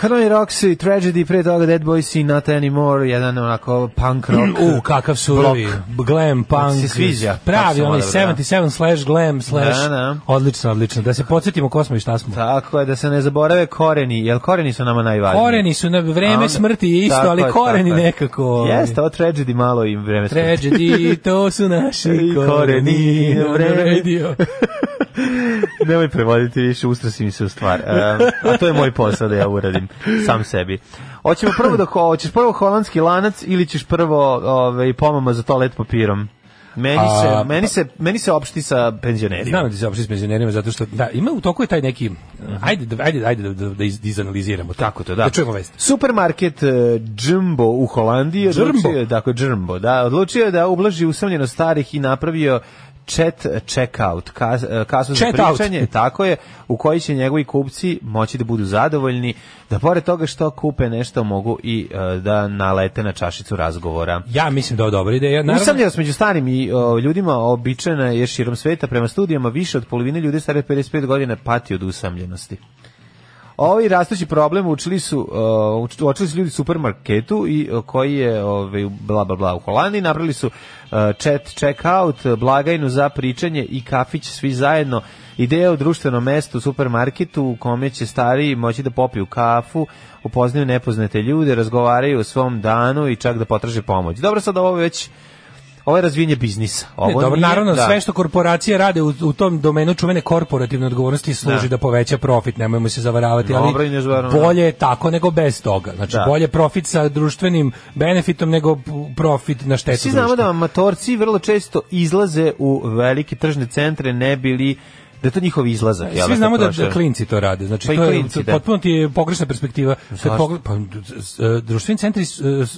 F: Hanoi Rocks i Tragedy, pre toga Dead Boys i Not Anymore, jedan onako punk rock.
G: U, kakav surovi, glam, punk.
F: se sviđa. Kako
G: Pravi,
F: se
G: onaj
F: mora, da.
G: 77 slash glam slash.
F: Da, da.
G: Odlično, odlično. Da se podsjetimo ko smo i šta smo.
F: Tako je, da se ne zaborave koreni, jer koreni su nama najvažniji.
G: Koreni su na
F: A
G: vreme
F: onda-
G: smrti je isto,
F: Tako
G: ali
F: je,
G: koreni
F: tako je.
G: nekako... ovaj,
F: Jeste, ovo tragedy malo i vreme smrti.
G: Tragedy, to su naši
F: I
G: koreni na
F: vreme.
G: radio.
F: Nemoj prevoditi više, ustrasi mi se u stvar. E, a to je moj posao da ja uradim sam sebi. Hoćemo prvo da ho- hoćeš prvo holandski lanac ili ćeš prvo ovaj pomama za toalet papirom? Meni
G: A, pa-
F: se, meni se, meni se opšti sa penzionerima.
G: Znam da se opšte s penzionerima, zato što da, ima u toku je taj neki... Ajde, da- ajde, ajde da, da, da iz- izanaliziramo. to.
F: Tako to, da.
G: Da E, čujemo vest.
F: Supermarket e, Jumbo u Holandiji
G: Jumbo?
F: odlučio, je- dakle Jumbo, da, odlučio je da ublaži usamljenost starih i napravio chat e, checkout, kas, e, kasu za
G: Chat out.
F: pričanje, tako je, u koji će njegovi kupci moći da budu zadovoljni, da pored toga što kupe nešto mogu i e, da nalete na čašicu razgovora.
G: Ja mislim da je dobra ideja. Naravno,
F: Usamljenost među starim i o, ljudima običajna je širom sveta. Prema studijama više od polovine ljudi stare od 55 godina pati od usamljenosti. Ovi rastući problem učili su, uh, uč- uočili su ljudi u supermarketu i uh, koji je ovaj bla bla bla u Holandiji napravili su uh, chat checkout, uh, blagajnu za pričanje i kafić svi zajedno. Ideja o društvenom mestu u supermarketu u kome će stariji moći da popiju kafu, upoznaju nepoznate ljude, razgovaraju o svom danu i čak da potraže pomoć. Dobro, sad ovo je već ovo je razvijenje biznisa. Ovo
G: Ne, dobro,
F: nije-
G: naravno,
F: da.
G: sve što korporacije rade u, u tom domenu čuvene korporativne odgovornosti služi da,
F: Da.
G: poveća profit, nemojmo se zavaravati,
F: Dobro
G: ali
F: i ne zavaravamo.
G: bolje je tako nego bez toga. Znači,
F: Da.
G: bolje profit sa društvenim benefitom nego p- profit na štetu
F: Svi znamo
G: društva.
F: da amatorci vrlo često izlaze u velike tržne centre, ne bili da je to njihov izlazak. jel,
G: Svi znamo da,
F: prošao.
G: da klinci to rade. Znači
F: Pa i
G: to je
F: klinci, da.
G: potpuno ti je pogrešna perspektiva. Kad
F: Zašto?
G: pogled, pa, s- e, društveni centri s- e, s-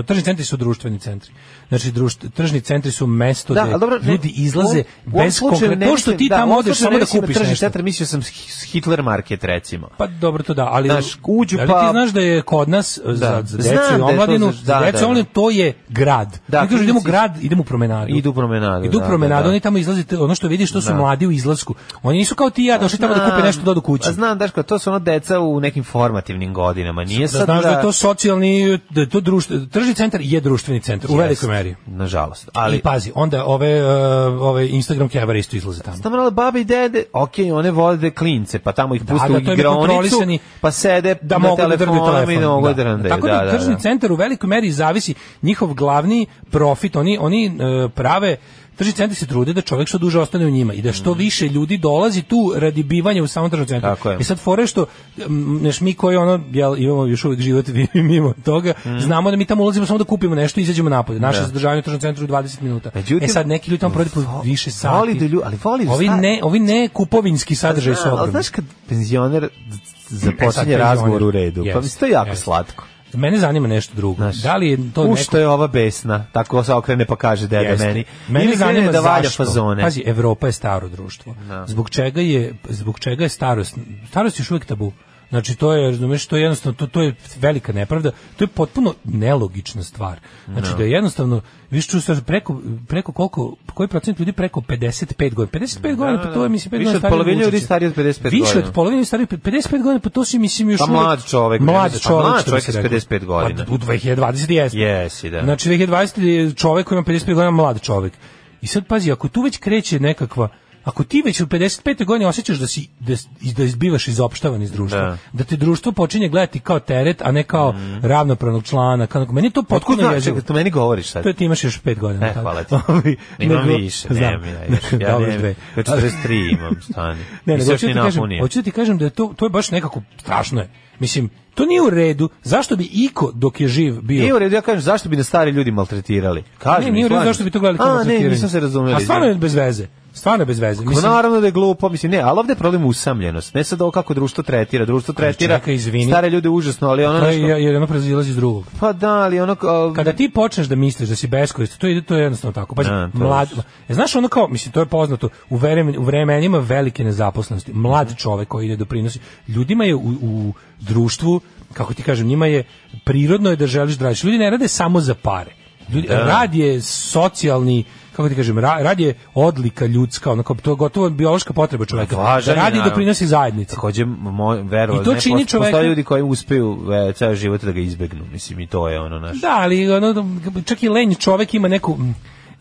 G: e, tržni centri su društveni centri. Znači društ- tržni centri su mesto
F: Da,
G: gde
F: ali dobro, ne,
G: ljudi izlaze
F: u ovom
G: bez
F: slučaju
G: konkretno.
F: ne
G: To što
F: mislim-
G: ti
F: da, u
G: tamo
F: ovom
G: odeš
F: slučaju
G: samo
F: ne
G: da
F: mislim na
G: kupiš
F: tržni
G: nešto.
F: centar, mislio sam s Hitler market recimo.
G: Pa dobro to da, ali
F: Znaš, uđu
G: da li
F: pa-
G: ti znaš da je kod nas da. za, za
F: Znam da
G: decu
F: je
G: i
F: to
G: omladinu,
F: za-
G: da,
F: da,
G: za decu i
F: da,
G: omladinu to je grad.
F: Da,
G: Da, Mi kažu, idemo u
F: klinici-
G: grad, idemo u promenadu.
F: Idu u promenadu,
G: Idu u
F: da,
G: promenadu,
F: da, da.
G: oni tamo izlaze, te- ono što vidiš, to su mladi u izlasku. Oni nisu kao ti i ja, došli tamo da kupe
F: Pa Znam,
G: nešto da odu kući.
F: A znam, Daško, to su ono deca u nekim formativnim godinama. Nije
G: da
F: sad
G: znaš da je to socijalni, da je to društvo, tržni centar je društveni centar, u velikoj meri.
F: Nažalost.
G: Ali,
F: Ali,
G: I pa- pazi, onda ove, uh, ove Instagram kevare isto izlaze tamo.
F: Tamo male babe i dede, okej, one vode klince, pa tamo ih puste
G: da,
F: u
G: to je
F: igronicu,
G: kontrolisani-
F: pa sede
G: da
F: na
G: mogu da drgnu
F: telefonima
G: telefon.
F: i da mogu da drndaju,
G: Tako da,
F: da, da,
G: tržni
F: da.
G: centar u velikoj meri zavisi njihov glavni profit. Oni, oni e, prave Tržni centri se trude da čovjek što duže ostane u njima i da što više ljudi dolazi tu radi bivanja u samom tržnom centru.
F: Mm. Tako je.
G: I sad fore što m, znaš, mi koji ono jel, imamo još uvijek život mimo toga,
F: Mm.
G: znamo da mi tamo ulazimo samo da kupimo nešto i izađemo napolje. Naše zadržavanje u tržnom centru je 20 minuta.
F: Međutim,
G: e sad neki ljudi tamo provode po više sati.
F: voli da lju- ali voli da
G: ovi
F: sta-
G: ne, ovi ne kupovinski sadržaj su
F: Znam, ali
G: ogromni.
F: znaš kad penzioner
G: E, sad
F: započinje
G: penzioner.
F: razgovor u redu, pa
G: Jest,
F: mislim to je jako
G: jest.
F: slatko.
G: Mene zanima nešto drugo.
F: Znaš,
G: da li je to
F: u
G: neko...
F: što je ova besna, tako se okrene pa kaže deda
G: Jeste.
F: meni.
G: Mene
F: Ili krene
G: zanima
F: da valja
G: zašto.
F: fazone.
G: Pazi, Evropa je staro društvo. Zbog čega je zbog čega je starost? Starost je još uvijek tabu. Znači to je, razumeš, to je jednostavno to, to je velika nepravda. To je potpuno nelogična stvar. Znači da je jednostavno vi što preko preko koliko koji procenat ljudi preko 55 godina. 55 godina pa to je mislim 5 godina
F: Više od
G: starije
F: polovine
G: od
F: ljudi
G: Vučića.
F: stariji od 55
G: Više
F: godina.
G: od polovine starije od 55 godina pa to si mislim još
F: Pa
G: uvijek-
F: mlad čovek,
G: Mlad
F: pa
G: čovek.
F: mlad
G: što bi
F: čovek
G: se
F: sa
G: reklo.
F: 55 godina.
G: Pa, u 2020 jeste.
F: Jesi, da.
G: Znači 2020 je čovek koji ima 55 godina mlad čovek. I sad pazi, ako tu već kreće nekakva Ako ti već u 55. godini osjećaš da si da, da izbivaš izopštavan iz društva, da.
F: Da.
G: te društvo počinje gledati kao teret, a ne kao ravnopravnog člana, kao nekog- meni je to
F: Otkud
G: potpuno
F: Pa znaš,
G: jezivo.
F: čekaj, to meni govoriš sad.
G: To je ti imaš još 5 godina.
F: E,
G: tako.
F: hvala ti.
G: Ovi,
F: Imam
G: nego-
F: više,
G: znam.
F: nemam ja još. Ja,
G: Dobro,
F: nemam,
G: dve.
F: ja 43 imam stani.
G: Ne,
F: I
G: nego
F: sve
G: hoću
F: što
G: da
F: ni
G: ti kažem,
F: napunio.
G: hoću da ti kažem da je to to je baš nekako strašno je. Mislim, to nije u redu. Zašto bi iko dok je živ bio?
F: Nije u redu, ja kažem, zašto bi nas stari ljudi maltretirali? Kažem,
G: ne, nije u redu zašto bi to gledali kao
F: A, ne,
G: maltretiranje.
F: nisam se razumeli.
G: A stvarno je bez veze. Stvarno je bez veze.
F: Pa naravno da je glupo, mislim, ne, ali ovde je problem usamljenost. Ne sad ovo kako društvo tretira, društvo tretira
G: čekaj, izvini.
F: stare ljude užasno, ali ono
G: to
F: nešto...
G: je, je jedno proizilazi iz drugog.
F: Pa da, ali ono... a,
G: Kada ti počneš da misliš da si beskoristan, to je to je jednostavno tako. Pa
F: Da, to je
G: mlad, E, znaš ono kao, mislim to je poznato u vremenima, u vremenima velike nezaposlenosti.
F: Mhm.
G: Mlad čovek koji ide doprinosi ljudima je u, u društvu, kako ti kažem, njima je prirodno je da želiš da radiš. Ljudi ne rade samo za pare. Ljudi, Rad je socijalni kako ti kažem, ra- rad je odlika ljudska, onako, to je gotovo biološka potreba čoveka.
F: Pa, Važan
G: Da
F: je,
G: radi i
F: naravno.
G: doprinosi zajednici.
F: Takođe, moj, verovatno,
G: I to
F: ne,
G: čini
F: posto-
G: čoveka-
F: Postoje ljudi koji uspeju e, ceo život da ga izbegnu, mislim, i to je ono naš...
G: Da, ali ono, čak i lenj čovek ima neku... mm,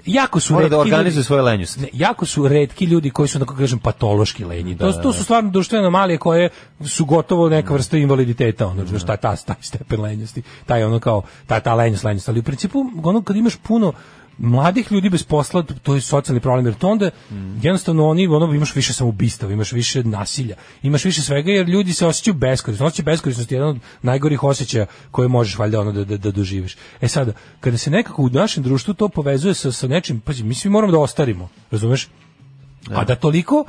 G: Jako su
F: Mora da
G: retki
F: organizuje
G: ljudi-
F: svoje lenjosti.
G: Ne, jako su redki ljudi koji su, tako kažem, patološki lenji. to, to su stvarno društvene anomalije koje su gotovo neka vrsta invaliditeta, ono, znaš, ta, ta, taj stepen lenjosti, taj ono kao, ta, ta lenjost, lenjost. Ali u principu, ono, kad imaš puno mladih ljudi bez posla, to- to je socijalni problem, jer to onda jednostavno oni, ono, imaš više samoubistava, imaš više nasilja, imaš više svega, jer ljudi se osjećaju beskorisno. Osjećaj beskorisnosti je jedan od najgorih osjećaja koje možeš valjda ono da, da, da doživiš. E sada, kada se nekako u našem društvu to povezuje sa, sa nečim, pazi, mi svi moramo da ostarimo, razumeš? A da toliko,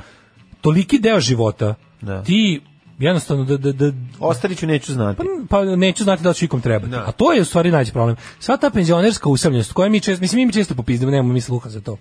G: toliki deo života,
F: Da.
G: ti jednostavno da, da, da
F: Ostariću neću znati.
G: pa neću znati da li ću ikom trebati. A to je u stvari najveći problem. Sva ta penzionerska usamljenost, koja mi često, mislim mi mi često popizdemo, nemamo mi sluha za to.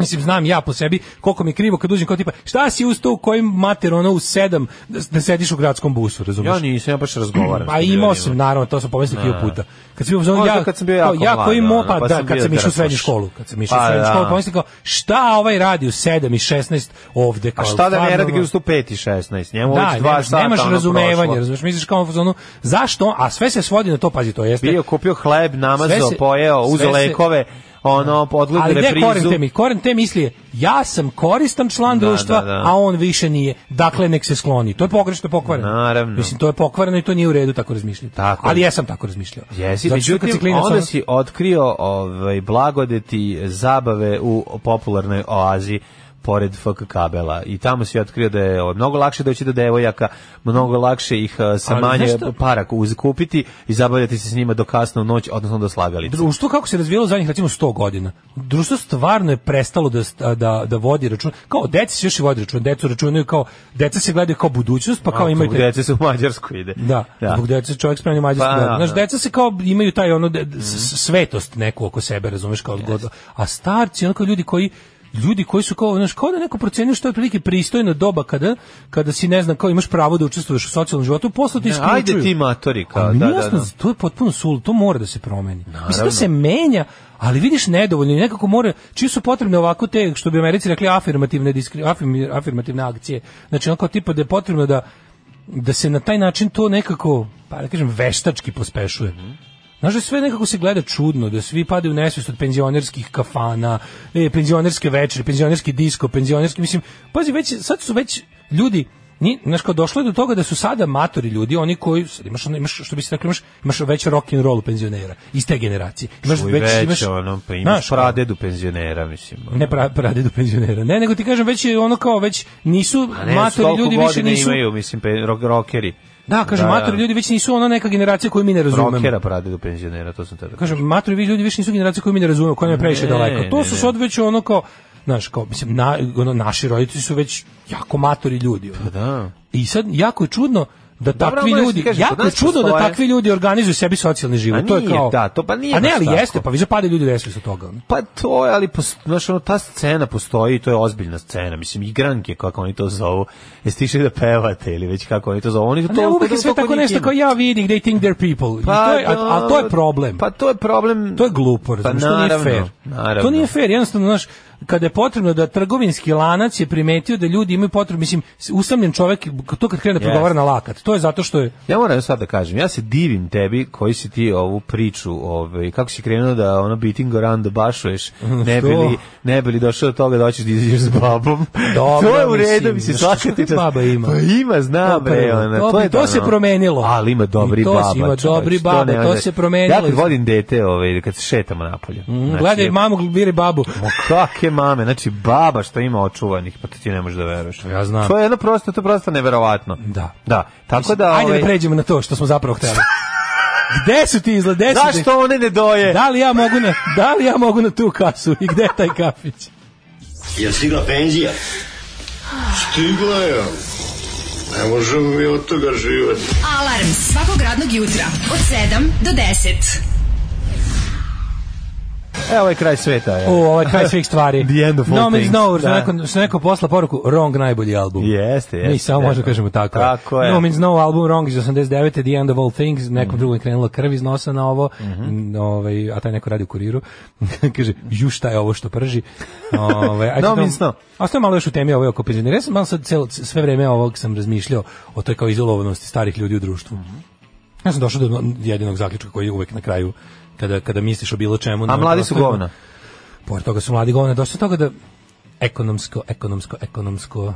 G: Mislim, znam ja po sebi koliko mi je krivo kad uđem kao tipa, šta si uz to u kojim mater ono u sedam da, da sediš u gradskom busu, razumiješ?
F: Ja nisam, ja baš razgovaram.
G: Pa imao sam, naravno, to sam pomislio hiljadu puta. Kad sam bio u zonu,
F: Možda
G: ja,
F: kad sam bio jako
G: kao, ja koji
F: mlad,
G: mo-
F: ono,
G: pa,
F: pa
G: da,
F: sam
G: kad
F: bio
G: sam išao u srednju
F: drskoš.
G: školu, kad sam išao u
F: Pa
G: srednju
F: da.
G: školu, pomislio kao, šta ovaj radi u 7 i 16 ovde? Kao,
F: A šta da ne
G: stvarno,
F: radi
G: ono-
F: kad ustu 5 i 16? Njemu
G: da,
F: već 2
G: nemaš,
F: sata
G: nemaš
F: ono
G: razumevanje,
F: prošlo.
G: razumeš, misliš kao u fazonu, zašto, on- a sve se svodi na to, pazi, to jeste,
F: Bio, kupio hleb,
G: Sve
F: namazao,
G: se-
F: pojeo,
G: sve
F: uzeo
G: se-
F: lekove, ono, odgledao
G: ali gde je koren
F: reprizu.
G: te mi? Koren te misli je, ja sam koristan član
F: Da,
G: društva,
F: da, da.
G: a on više nije. Dakle, nek se skloni. To je pogrešno pokvareno.
F: Naravno.
G: Mislim, to je pokvareno i to nije u redu tako razmišljati.
F: Tako.
G: Ali ja sam tako razmišljao.
F: Jesi,
G: Zato što kad
F: međutim,
G: si klinac,
F: onda
G: ono-
F: si otkrio ovaj, blagodeti zabave u popularnoj oazi pored FK kabela i tamo si otkrio da je ovaj, mnogo lakše doći do devojaka, mnogo lakše ih eh, sa
G: Ali
F: manje
G: znaš šta?
F: para kupiti i zabavljati se s njima do kasno u noć, odnosno do slagalice.
G: Društvo kako se razvijalo zadnjih recimo 100 godina. Društvo stvarno je prestalo da st- da da vodi račun. Kao deci se još i vodi račun, decu računaju kao deca se gledaju kao budućnost, pa kao
F: A,
G: imaju
F: zbog dece se u Mađarsku ide.
G: Da, zbog dece čovjek spremni mađarski pa,
F: Pa, da,
G: Znaš,
F: da. Mhm.
G: deca se kao imaju taj ono de- s- svetost neku oko sebe, razumeš kao god. A starci, onako ljudi koji ljudi koji su kao, znaš, kao da neko procenio što je otprilike pristojna doba kada, kada si, ne znam, kao imaš pravo da učestvuješ u socijalnom životu, posle te
F: Ne,
G: isključuju.
F: ajde ti matori, kao,
G: Ali mi
F: da,
G: nije
F: da,
G: jasno,
F: da.
G: To je potpuno sul, to mora da se promeni. Mislim, to se menja, ali vidiš nedovoljno i nekako mora, čiji su potrebne ovako te, što bi Americi rekli, afirmativne, diskri, afirmi- afirmativne akcije. Znači, onako tipa da je potrebno da da se na taj način to nekako, pa da kažem, veštački pospešuje. Znaš da sve nekako se gleda čudno, da svi padaju u nesvijest od penzionerskih kafana, e, penzionerske večere, penzionerski disko, penzionerski, mislim, pazi, već, sad su već ljudi, ni, znaš, kao došlo je do toga da su sada matori ljudi, oni koji, sad imaš, ono- imaš što bi se rekli, imaš, imaš već rock and roll penzionera, iz te generacije. Imaš,
F: Uj, već,
G: imaš-
F: ono, pa
G: znaš,
F: imaš
G: kao-
F: pradedu penzionera, mislim. ono.
G: ne pra, prade do penzionera. Ne, nego ti kažem, već je ono kao, već nisu
F: A ne,
G: matori
F: toliko
G: ljudi, više
F: godina
G: nisu...
F: imaju, mislim, pe, rok, rokeri.
G: Da, kažem,
F: Da, da.
G: matori ljudi već nisu ona neka generacija koju mi ne razumemo.
F: Rokera pradedu penzionera, to sam tada.
G: Kažem, matori vi ljudi više nisu generacija koju mi ne razumemo, koja nam je previše
F: Ne,
G: daleko. To
F: ne,
G: su
F: ne.
G: sad već ono kao, znaš, kao, mislim, na, ono, naši roditelji su već jako matori ljudi. ono.
F: Da.
G: I sad, jako je čudno da
F: Dobro,
G: takvi
F: ali moram
G: ljudi,
F: ti kažem, kod
G: jako je
F: nas
G: čudno da
F: postoje-
G: takvi ljudi organizuju sebi socijalni život.
F: A
G: to je
F: nije,
G: kao,
F: da, to pa nije
G: A ne,
F: baš
G: ali
F: tako.
G: jeste, pa vi zapade ljudi desili su toga. ono.
F: Pa to je, ali pos- znaš, ono, ta scena postoji i to je ozbiljna scena. Mislim, igranke, kako oni to zovu. Jeste išli da pevate ili već kako oni to zovu. Oni
G: A
F: to
G: Pa ne, uvijek je sve
F: toliko
G: tako
F: nije
G: nešto
F: kino.
G: kao ja vidim, they think they're people. I to je, a, a to je
F: da,
G: problem.
F: Pa to je problem.
G: To je glupo,
F: pa
G: razumiješ, to nije
F: naravno,
G: fair.
F: Naravno.
G: To nije fair, jednostavno, znaš, kada je potrebno da trgovinski lanac je primetio da ljudi imaju potrebu, mislim, usamljen čovjek, to kad krene da
F: Jeste.
G: progovara na lakat, to je zato što je,
F: Ja moram sad da kažem, ja se divim tebi koji si ti ovu priču, ovaj, kako si krenuo da ono beating around the bašuješ, ne bi, li,
G: Što?
F: ne bi li došao do toga da hoćeš da izađeš s babom.
G: Dobro,
F: to je u redu,
G: mislim,
F: mislim,
G: znaš,
F: svaka ti
G: kakve
F: čast.
G: baba ima?
F: Pa ima, znam,
G: To
F: bre,
G: prvo.
F: ona,
G: To
F: to,
G: bi-
F: je
G: to se
F: ono.
G: promenilo.
F: Ali ima dobri
G: I to si
F: baba.
G: ima
F: čoveč,
G: dobri
F: to
G: baba,
F: ne
G: to
F: može.
G: se promenilo.
F: Ja kad vodim dete, ovaj, kad se šetamo napolje.
G: mm,
F: znači,
G: gledaj mamu, biri babu.
F: Ma kakve mame, znači baba što ima očuvanih, pa to ti ne možeš da veruješ.
G: Ja znam.
F: To je jedno prosto, to je prosto neverovatno.
G: Da.
F: Da, tako da...
G: Ajde
F: ovaj,
G: da pređemo na to što smo zapravo hteli. Gde su ti izgled? Gde su ti-
F: Zašto one ne doje?
G: Da li ja mogu na, da li ja mogu na tu kasu i gde je taj kafić?
D: Jel stigla penzija? Stigla je. Ne možemo mi od toga živati.
I: Alarm svakog radnog jutra od 7 do 10.
F: Evo E, je kraj sveta. e. Je.
G: O, ovaj kraj svih stvari.
F: The end of all
G: no means
F: things,
G: no, što
F: da.
G: neko, što neko posla poruku, Wrong najbolji album.
F: Jeste, jeste.
G: Mi samo možemo
F: jeste.
G: kažemo tako.
F: Tako je. Mhm.
G: No means no album Wrong iz 89. The End of All Things. Nekom drugom je krenula krv iz nosa na ovo. n- ovaj, a taj neko radi u kuriru. Kaže, ju šta je ovo što prži. Ove,
F: No means no.
G: Ostaje malo još u temi ove oko penzionera. Ja sam malo sad cel, sve vreme ovog sam razmišljao o toj kao izolovanosti starih ljudi u društvu.
F: Mhm.
G: Ja sam došao do jedinog zaključka koji je uvek na kraju kada, kada misliš o bilo čemu. na
F: A
G: ovim
F: mladi su
G: prostorima.
F: govna.
G: Pored toga su mladi govne, došlo toga da ekonomsko, ekonomsko, ekonomsko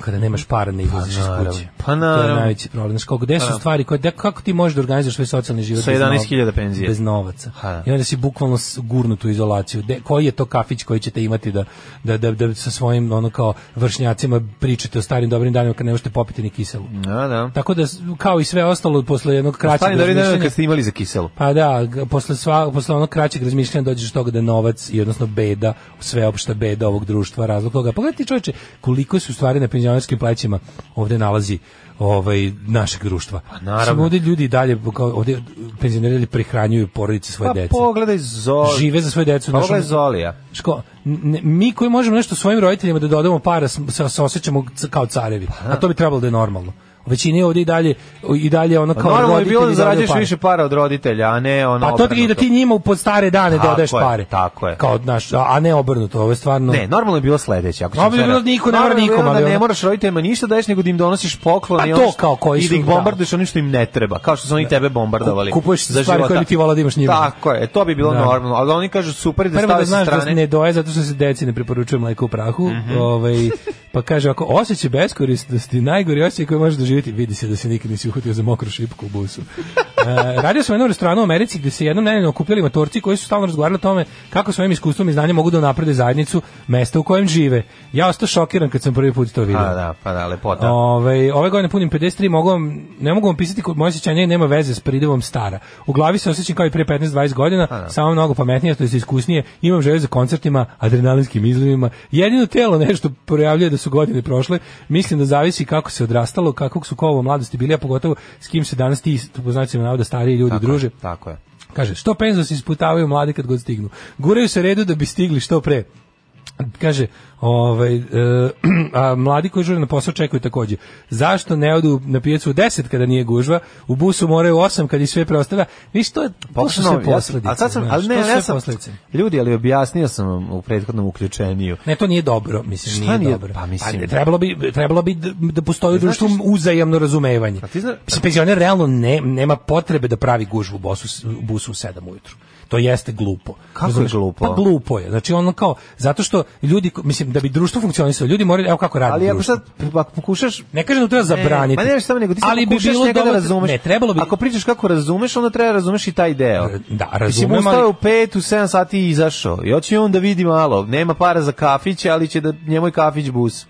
G: kada nemaš para ne izlaziš iz
F: naravno.
G: kuće.
F: Pa
G: To je
F: naravano.
G: najveći problem. Znaš, kao, gde su stvari koje, da- kako ti možeš da organizuješ svoj socijalni život
F: Sa
G: bez nov-
F: 11.000 penzije.
G: Bez novaca.
F: Ha, da.
G: I onda si bukvalno s- gurnut u izolaciju. De, koji je to kafić koji ćete imati da, da, da, da sa svojim ono kao vršnjacima pričate o starim dobrim danima kad ne možete popiti ni kiselu.
F: Da, da.
G: Tako da, s- kao i sve ostalo, posle jednog kraćeg
F: Stani da vidim
G: razmišljanja-
F: kad ste imali za kiselu.
G: pa da, g- posle, sva, posle onog kraćeg razmišljanja dođeš do toga da je novac i odnosno beda, sveopšta beda ovog društva, razlog toga. Pogledaj ti čovječe, koliko su stvari na penzionerskim plećima ovde nalazi ovaj našeg društva.
F: Pa naravno.
G: Samo ovde ljudi i dalje kao ovde penzionerili prihranjuju porodice svoje
F: Pa
G: dece.
F: pogledaj Zoli.
G: Žive za svoje decu.
F: Pa
G: znaš,
F: pogledaj
G: ono-
F: Zolija.
G: Ško, ne, mi koji možemo nešto svojim roditeljima da dodamo para, s- se, se osjećamo c- kao carevi.
F: Pa
G: A to bi trebalo da je normalno. U većini ovdje i dalje, i dalje ono
F: Pa
G: kao
F: normalno je
G: roditelji
F: bilo da
G: dodaju
F: zarađuješ
G: pare.
F: više para od roditelja, a ne ono
G: Pa to ti- i da ti njima u pod stare dane
F: Tako
G: dodaješ
F: je,
G: pare.
F: tako je.
G: Kao, znaš, a a ne obrnuto, ovo je stvarno...
F: Ne, normalno je bilo sledeće. Ako
G: Normalno je
F: sincero.
G: bilo da niko ne mora
F: Normalno je bilo
G: nikom, ali
F: da ne
G: ono-
F: moraš roditeljima ništa daješ, nego da im donosiš poklon
G: Pa
F: i,
G: to
F: ono što-
G: kao koji
F: i
G: su,
F: da ih
G: da.
F: bombarduješ onim što im ne treba, kao što su oni tebe bombardovali.
G: Ku- kupuješ
F: za
G: stvari koje
F: života.
G: bi ti volao da imaš njima.
F: Tako je, e, to bi bilo
G: Da.
F: normalno. Ali oni kažu super da
G: Prvo da
F: stave sa
G: znaš da
F: strane. Mhm.
G: ne doje zato što se deci ne preporučuje mleko u prahu. ovaj, pa kaže ako osjećaj beskorisnosti, najgori osjećaj koji možeš doživjeti, vidi se da se nikad nisi uhvatio za mokru šipku u busu. E, radio sam u jednom restoranu u Americi gdje se jednom nedeljno okupljali matorci koji su stalno razgovarali o tome kako svojim iskustvom i znanjem mogu da naprede zajednicu mesta u kojem žive. Ja ostao šokiran kad sam prvi put to vidio.
F: Pa da, pa da, lepota.
G: Ove, Ovaj, ove godine punim 53, mogu vam, ne mogu vam pisati, ko- moje osjećanje nema veze s pridevom stara. U glavi se osjećam kao i pre 15-20 godina, samo mnogo pametnije, to je iskusnije, imam želje za koncertima, adrenalinskim izlivima. Jedino telo nešto projavljuje da su godine prošle, mislim da zavisi kako se odrastalo, kakvog su kovo mladosti bili, a pogotovo s kim se danas ti, po znacima navoda, stariji ljudi
F: tako,
G: druže.
F: je, tako je.
G: Kaže, što penzosi isputavaju mladi kad god stignu. Guraju se redu da bi stigli što pre. Kaže, ovaj, e, a mladi koji žure na posao čekaju takođe. Zašto ne odu na pijacu u 10 kada nije gužva, u busu moraju u 8 kada i sve preostava. Viš, to, je, to su
F: Potpuno,
G: sve
F: ja sam-
G: posledice.
F: a sad sam,
G: znaš,
F: ali ne,
G: to su
F: ja
G: sve
F: sam,
G: posledice.
F: ljudi, ali objasnio sam vam u prethodnom uključeniju.
G: Ne, to nije dobro, mislim,
F: Šta
G: nije,
F: nije-
G: dobro.
F: pa mislim-
G: ne, trebalo bi, trebalo bi da, da postoji u društvu uzajamno razumevanje.
F: A ti zna-
G: Mislim, penzioner realno ne, nema potrebe da pravi gužvu u bosu, s- u busu u 7 ujutru. To jeste glupo.
F: Kako je
G: Razumeš?
F: glupo?
G: Pa glupo je. Znači ono kao, zato što ljudi, ko- mislim, da bi društvo funkcionisalo, ljudi moraju, evo kako radi
F: Ali ako
G: društvo.
F: sad, ako pokušaš
G: Ne kažem da treba zabraniti.
F: Ne, ma ne, šta nego ti sad
G: ali bi
F: pokušaš
G: bilo
F: njega da
G: dobro-
F: razumeš.
G: Ne, trebalo bi.
F: Ako pričaš kako razumeš, onda treba razumeš i taj deo.
G: R- da,
F: Mislim,
G: razumem,
F: ustao
G: ali-
F: je u pet, u sedam sati i izašao. I hoće on da vidi malo. Nema para za kafić, ali će da njemu je kafić bus.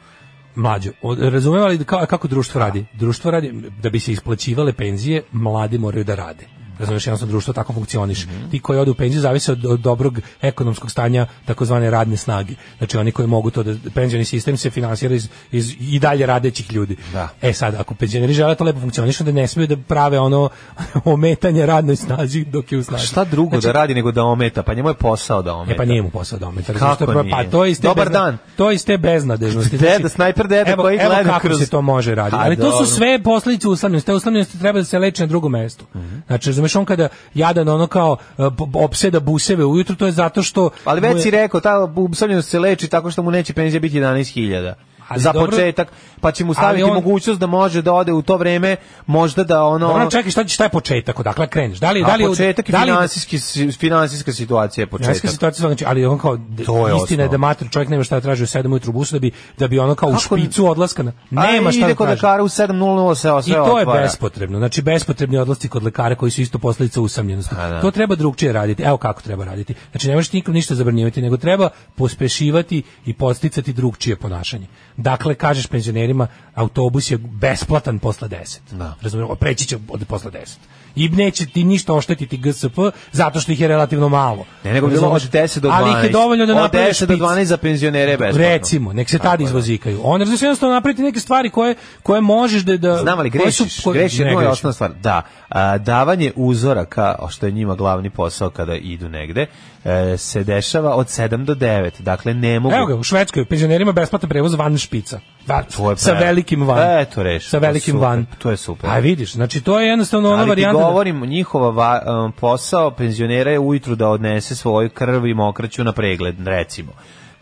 G: mlađo, od- razumem ali ka- kako društvo radi? Društvo radi da bi se isplaćivale penzije, mladi moraju da rade. Razumeš, jednostavno društvo tako funkcioniš.
F: Mhm.
G: Ti koji odu u penziju zavise od, od dobrog ekonomskog stanja takozvane radne snage. Znači oni koji mogu to da penzioni sistem se finansira iz, iz i dalje radećih ljudi.
F: Da.
G: E sad, ako penzioneri žele da to lepo funkcioniš, onda ne smiju da prave ono ometanje radnoj snazi dok je u snazi.
F: Šta drugo
G: Znači,
F: da radi nego da ometa? Pa njemu je posao da ometa.
G: E pa nije mu posao da ometa.
F: Kako
G: Zato što-
F: nije?
G: Pa to je iz te
F: Dobar
G: bezna-
F: dan.
G: To je iz te beznadežnosti. Znači,
F: Deda, snajper deda
G: evo,
F: koji
G: evo
F: gleda
G: kako
F: kroz-
G: se to može raditi.
F: A,
G: Ali to
F: dobro.
G: su sve posledice uslavljenosti. Te uslavljenosti treba da se leče na drugom mestu.
F: Mhm.
G: Znači, razumeš, on kada jadan ono kao e, b- opseda buseve ujutru, to je zato što...
F: Ali
G: mu
F: već
G: je-
F: si rekao, ta usamljenost se leči tako što mu neće penzija biti 11.000.
G: Ali
F: za
G: dobro-
F: početak, pa će mu
G: Ali
F: staviti
G: on-
F: mogućnost da može da ode u to vreme, možda da ono...
G: Dobro, čekaj, šta, šta je početak? Odakle kreneš? Da li, da
F: A
G: li,
F: početak i
G: da li-
F: finansijski, finansijska situacija je početak.
G: Financijska situacija, znači, ali on kao, d-
F: To je
G: istina je
F: osnova.
G: da mater čovjek nema šta da traži u 7 ujutru u busu da bi, da bi ono kao u
F: Kako n-
G: špicu odlaska. Na,
F: A
G: nema šta da
F: ide kod
G: traži.
F: lekara u 7.00 se sve
G: I to je
F: otvara.
G: bespotrebno. Znači bespotrebni odlasci kod lekara koji su isto posljedica usamljenosti. To treba drugčije raditi. Evo kako treba raditi. Znači ne možeš nikom ništa zabranjivati, nego treba pospešivati i podsticati drugčije ponašanje. Dakle kažeš penzionerima autobus je besplatan posle 10.
F: Da.
G: Razumem, preći će od posle 10. I neće ti ništa oštetiti GSP zato što ih je relativno malo.
F: Ne, nego bilo od
G: Razumeš?
F: 10 do 12.
G: Ali ih je dovoljno da
F: Od
G: napraviš
F: 10 do
G: špic.
F: 12 za penzionere je besplatno.
G: Recimo, nek se tad izvozikaju. On razumeš jednostavno napraviti neke stvari koje koje možeš da da
F: Znam ali
G: koje su-
F: grešiš,
G: koje-
F: grešiš,
G: ne
F: jedno je
G: grešim.
F: osnovna stvar. Da, a, davanje uzoraka, o što je njima glavni posao kada idu negde, e, se dešava od 7 do 9. Dakle, ne mogu...
G: Evo ga, u Švedskoj penzionerima besplatan prevoz van špica. Va,
F: To je
G: sa
F: pre-
G: velikim van.
F: E, to reši,
G: Sa
F: to je
G: velikim
F: super,
G: van.
F: to je super.
G: A vidiš, znači to je jednostavno ona
F: Ali ti
G: varijanta. da-
F: govorim, njihova va- um, posao penzionera je ujutru da odnese svoju krv i mokraću na pregled, recimo.